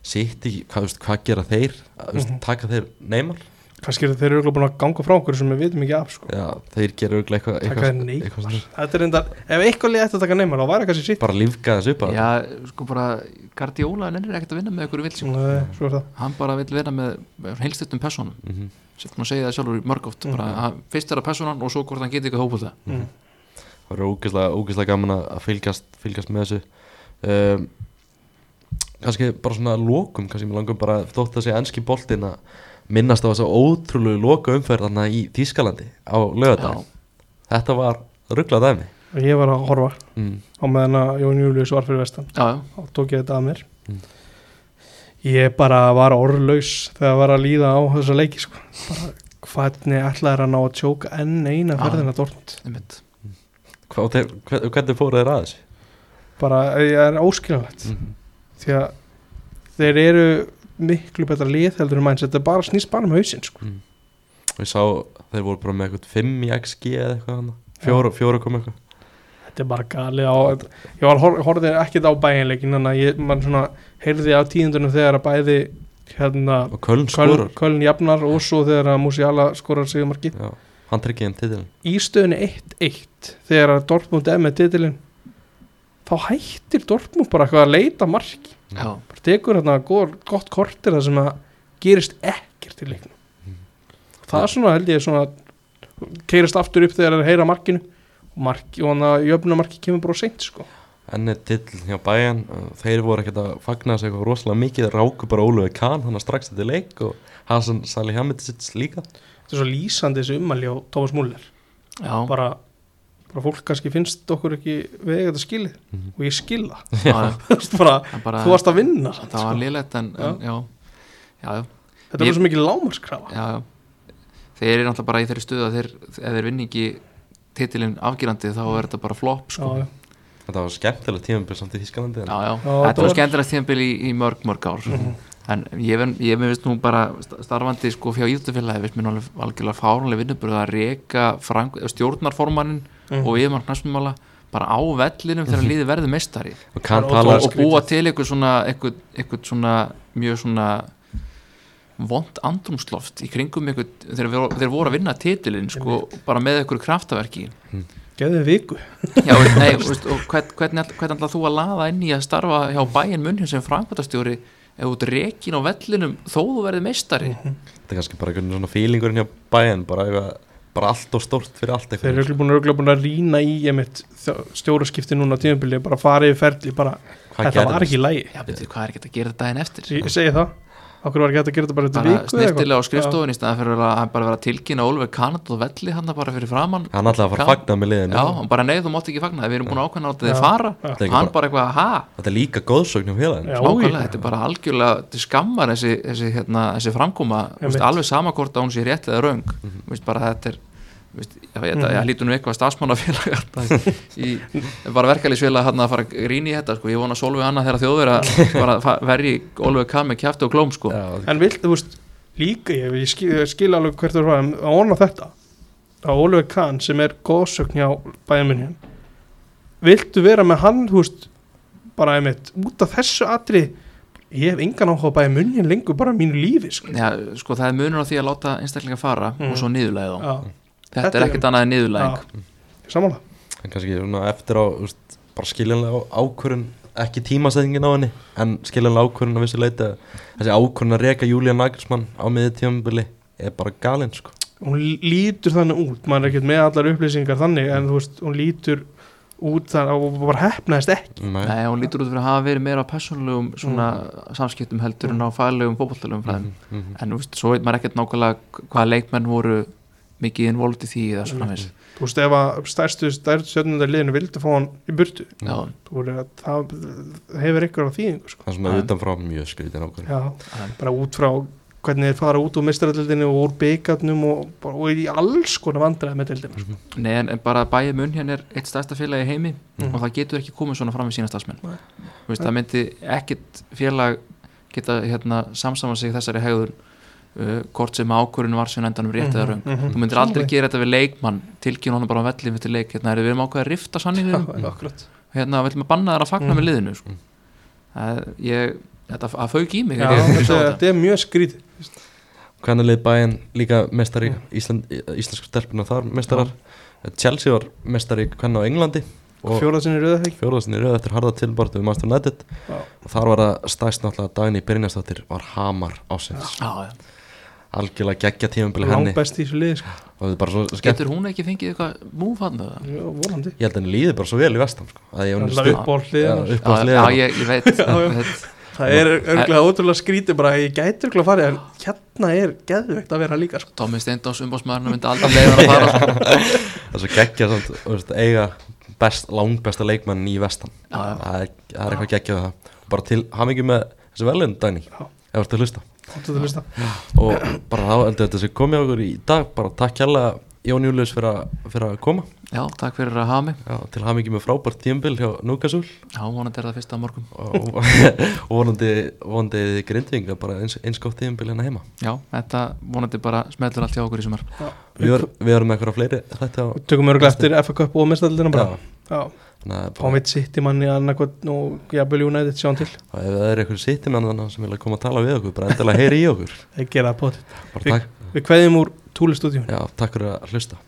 A: City, hvað, þú veist, hvað gera þeir Að, þú veist, taka þeir neymar
B: kannski eru þeir eru örugglega búin að ganga frá okkur sem við vitum ekki af sko.
A: Já, þeir gera örgulega eitthvað,
B: taka þeir
A: eitthvað,
B: neymar
A: svona-
B: þetta er enda, ef eitthvað liði ætti að taka neymar þá væri kannski sitt
A: bara lífga þessu upp að-
C: Já, sko bara, Guardiola nennir ekkert að vinna með ykkur vill sko.
B: Nei, eh, svo er það
C: hann bara vil vera með heilstuttum personum
A: Mhm.
C: sem maður segja það sjálfur mörgótt mm -hmm. bara, fyrst er að personan og svo hvort hann geti eitthvað hópulta
B: mm.
A: það eru ógeðslega, ógeðslega gaman að að fylgjast, fylgjast með þessu um, kannski bara svona lokum, kannski mér langum bara þótt að segja enski boltinn að minnast á þessa ótrúlegu loka umferðana í Þýskalandi á
C: Já.
A: lögadag þetta var ruggla dæmi
B: og ég var að horfa
A: mm.
B: á meðan að Jón Július var fyrir vestan
C: já, já,
B: þá tók ég þetta að mér
A: Mm.
B: ég bara var orðlaus þegar var að líða á þessa leiki sko. bara, hvernig ætlaði hann á að tjóka enn eina
C: Já.
A: Ah.
B: ferðina Dortmund
C: einmitt
A: Hva, og þeir, hver, hvernig fóruð þeir að þessu?
B: bara, eh, ég er óskiljanlegt
C: Mhm.
A: Mm.
B: því að þeir eru miklu betra lið heldur en mæns þetta er bara snýst bara með hausinn sko.
A: og ég sá þeir voru bara með eitthvað 5 í XG eða eitthvað hann fjóra, fjóra kom eitthvað
B: þetta er bara gali á ég var hor horfði ekkert á bæinleikin þannig að ég man svona heyrði á tíðundunum þegar að bæði hérna
A: og Köln
B: Köln,
A: skorar
B: Köln jafnar og svo þegar að Musiala skorar sigumarki
A: Já, hann tryggið þeim titilin
B: í stöðunni 1-1 þegar að Dortmund er með titilin þá hættir Dortmund bara eitthvað að leita marki
C: já.
B: bara tekur hérna góð, gott kortir það sem að gerist ekkert í leiknum
C: Mm.
B: það er svona held ég svona keirist aftur upp þegar þeir heyra markinu og, marki, og hann að jöfnumarki kemur bara seint sko.
A: enni titl hjá bæjan þeir voru ekkert að fagna þessu eitthvað rosalega mikið ráku bara Ólufi Kahn, hann að strax þetta leik og Hasan Salihamidzic líka
B: þetta er svo lýsandi þessi ummæli á Thomas Muller
C: já,
B: bara, bara fólk kannski finnst okkur ekki vega þetta skilið
A: Mhm.
B: og ég skil það.
C: já, já.
B: Þú veist bara,
C: Það bara
B: þú varst að vinna samt,
C: það var
B: sko.
C: liðlegt en, en já. Já, já,
B: þetta
C: Ég-
B: var svo mikið lámarskrafa
C: já, já þeir eru náttúrulega bara í þeirri stuðu að þeir, ef þeir vinni ekki titilin afgjörandi þá er þetta bara flop sko.
B: Já, já.
A: þetta var skemmtilega tímambil samt í Þískalandi en
C: já, já.
B: Já,
C: þetta var Mhm.
B: þetta
C: skemmtilegt tíðanbili í, í mörg, mörg ár en ég, ven- ég mér veist nú bara sta- starfandi sko fjá íþjóttafélagi veist mér nú alveg algjörlega fáránlega vinnubröð að reka frang, stjórnarformannin
B: Mhm.
C: og yfirmann knarsnumála bara á vellinum þegar liði verði mestari
A: og Kahn
B: Það var
C: og,
A: talaði sko,
B: ótrúlega-
C: og búa til eitthvað svona eitthvað, eitthvað svona mjög svona vond andrumsloft í kringum ykkur, þeir, þeir voru að vinna titilinn sko, bara með ykkur kraftaverki
B: Geðu viku
C: Já, veist, nei, veist, og hvern, hvernig, all- hvernig ætlað þú að laða inn í að starfa hjá bæinn munn sem framkvæmtastjóri ef þú ert rekin á vellinum þó þú verði meistari
B: Mhm.
A: þetta er kannski bara einhvern svona feelingurinn hjá bæinn bara, eitthvað- bara allt og stórt fyrir allt
B: Þeir eru
A: eitthvað
B: örugglega búin, örugglega búin að rýna í einmitt þjó- stjóraskipti núna á tímabili bara farið í ferli, bara
A: Hvað
B: þetta var
A: gerðist?
B: ekki í lagi
C: Já, betur, hvað er ekki hægt að gera þetta daginn eftir?
B: Ég ég segi það, okkur var ekki hægt að gera þetta bara eftir
C: Bara
B: viku eða eitthvað?
C: snirtilega á
B: Já.
C: skrifstofun í staðan fyrir að hann bara vera að tilkynna Ólver Kanad og velli hann bara fyrir framann
A: hann ætlaði að fara að
C: Gaman.
A: fagna með liðinu
C: Já, hann bara nei, þú mátt ekki fagna það, við erum búin að ákvæmna að
B: Já.
C: þið fara
A: Þetta er ekki
C: Hann bara eitthvað, ha?
A: þetta er líka góðsögn hjá félaginu
B: Já,
C: Nákvæmlega,
B: já.
C: þetta er bara algjörlega til skammar þessi, þessi, hérna, þessi framkoma
B: Einmitt.
C: veist, alveg samakort að hún sé rétt eða raung mm veist, bara þetta er veist, já, ég, mm -hmm. ég
B: Mhm.
C: lítur nú eitthvað stafsmannafélag í bara verkalýsfélag hérna að fara að grína í þetta sko. ég vona Solveig annað þegar þjóðverða bara fa- verji Olveig Kam með kjæfti og klóm sko.
A: Já,
B: En vilt, þú veist, líka ég, ég skil, ég skil alveg hvert þú er að fara að á þetta, að Oliver Kahn sem er góðsögn hjá bæðminni viltu vera með hann þú veist, bara einmitt út af þessu atri, ég hef engan áhuga bæði munnin lengur bara á mínu lífi sko.
C: Já, sko það er munur á því að láta einstaklinga fara
B: Mhm.
C: og svo niðurlæði þá
B: Já,
C: þetta
B: Þetta
C: er
B: er-
C: ekkert annað en niðurlæðing
B: já, samanlega
A: en kannski svona eftir á úst, bara skiljanlega á- ákvörðun ekki tímasetningin á henni en skiljanlega ákvörðun að vissu leita þessi ákvörðun að reka Julian Nagelsmann á miðið tímabili er bara galinn sko
B: hún lítur þannig út maður er ekkert með allar upplýsingar þannig en þú veist, hún lítur út þannig og bara hefnaðist ekki
A: Nei.
C: Nei, hún lítur út fyrir að hafa verið meira á persónulegum svona
B: Mhm.
C: samskiptum heldur en á fæðlegum fótballtalegum fræðum
A: Mhm.
C: en þú veist, svo veit maður ekkert nákvæmlega hvaða leikmenn voru mikið involvd í því eða svona veist
B: þú veist, ef að stærstu stærstu stjörnundar liðinu vildi fá hann í burtu
C: já,
B: þú veist, að það það hefur ykkur á þýðingu sko.
A: það sem
C: En-
A: er utanfrá mjög skritin ákvörðun
B: já, bara út frá hvernig þeir fara út úr mistræðildinu og úr byggarnum og, bara- og í alls konar vandræði með dildinu sko.
C: Nei, en, en bara bæði munn hérna er eitt stærsta félag í heimi
B: Mhm.
C: og það getur ekki komið svona fram við sína starfsmenn
B: Nei.
C: Þú veist, það myndi ekkert félag geta hérna, samsama sig þessari hegður uh, hvort sem ákvörun var sem endanum rétt eða raung
B: Mhm, mhm.
C: þú myndir aldrei gera þetta við leikmann tilkynna honum bara á vellið mitt í leik hérna, er við erum ákveðið að rifta
B: Já,
C: sanninum
B: akkurat.
C: hérna, við ætlum að banna þær að fagna
B: Mhm.
C: með liðinu sko. það, ég, þetta það fauk í mig
B: Já,
C: þegar ég sá
B: þetta
C: þetta.
B: þetta er mjög skrítið
A: hvernig lið bæinn líka mestari Ísland, íslensku stelpuna þar mestarar Chelsea var mestari hvernig á Englandi og
B: fjóraðsinn í rauðahæk
A: fjóðarsinni rauð eftir harða tilbártu við Master United
B: Já.
A: og þar var það stæst náttúrulega að Dagni Brynjastóttir var hamar ásins
C: Já, já.
A: algjörlega geggja tímabili henni
B: langbest í þessu liði sko.
A: og það er bara svo skemmt
C: Getur hún ekki fengið eitthvað múf hann með það?
B: Já, vonandi
A: ég held að henni líði bara svo vel í vestam sko, að ég hún
B: Alltaf
A: stuð
B: upp á hliðina
A: upp á
C: Já,
A: sleðan
C: ég, ég veit,
B: Já, já.
C: veit
B: Það er örgulega ótrúlega skrítið bara ég gæti örgulega farið en hérna er geðveikt að vera líka sko.
C: Tommy Steindós umbásmaðurinn myndi aldrei leiða hann að fara sko.
A: það er svo geggja samt, þú veist, eiga best, langbesta leikmann í vestam
C: Já, já.
A: það er, það er eitthvað geggjað við það bara til hamingi með þessi velun Dagni
B: Já.
A: ef þú ert að hlusta
B: Áttu þetta lista.
A: og bara þá heldur þetta sem komið okkur í dag bara takk hérlega Jón Július fyrir, að- fyrir að koma
C: Já, takk fyrir að hafa mig
A: Já, til hamingi með frábært tímbil hjá Núkasúl
C: Já, vonandi er það fyrsta á morgun
A: og og vonandi, vonandi grindvinga bara eins, eins gótt tíðanbili hérna heima
C: Já, þetta vonandi bara smellur allt hjá okkur í sumar
A: við, ver, við erum með eitthvað fleiri þetta á
B: Við tökum örgulega eftir FA Cup og mestaldina bara
A: Já.
B: Já.
A: þannig að bara-
B: Pámitt sitt í manni annarkvæmt og jafnvel United sjá hann til
A: og ef það er eitthvað sittimann þarna sem vilja koma að tala við okkur bara endilega heyri í okkur
B: þeir gera það bótt
A: bara takk,
B: Við kveðjum úr Túli stúdíun
A: já, takk fyrir að hlusta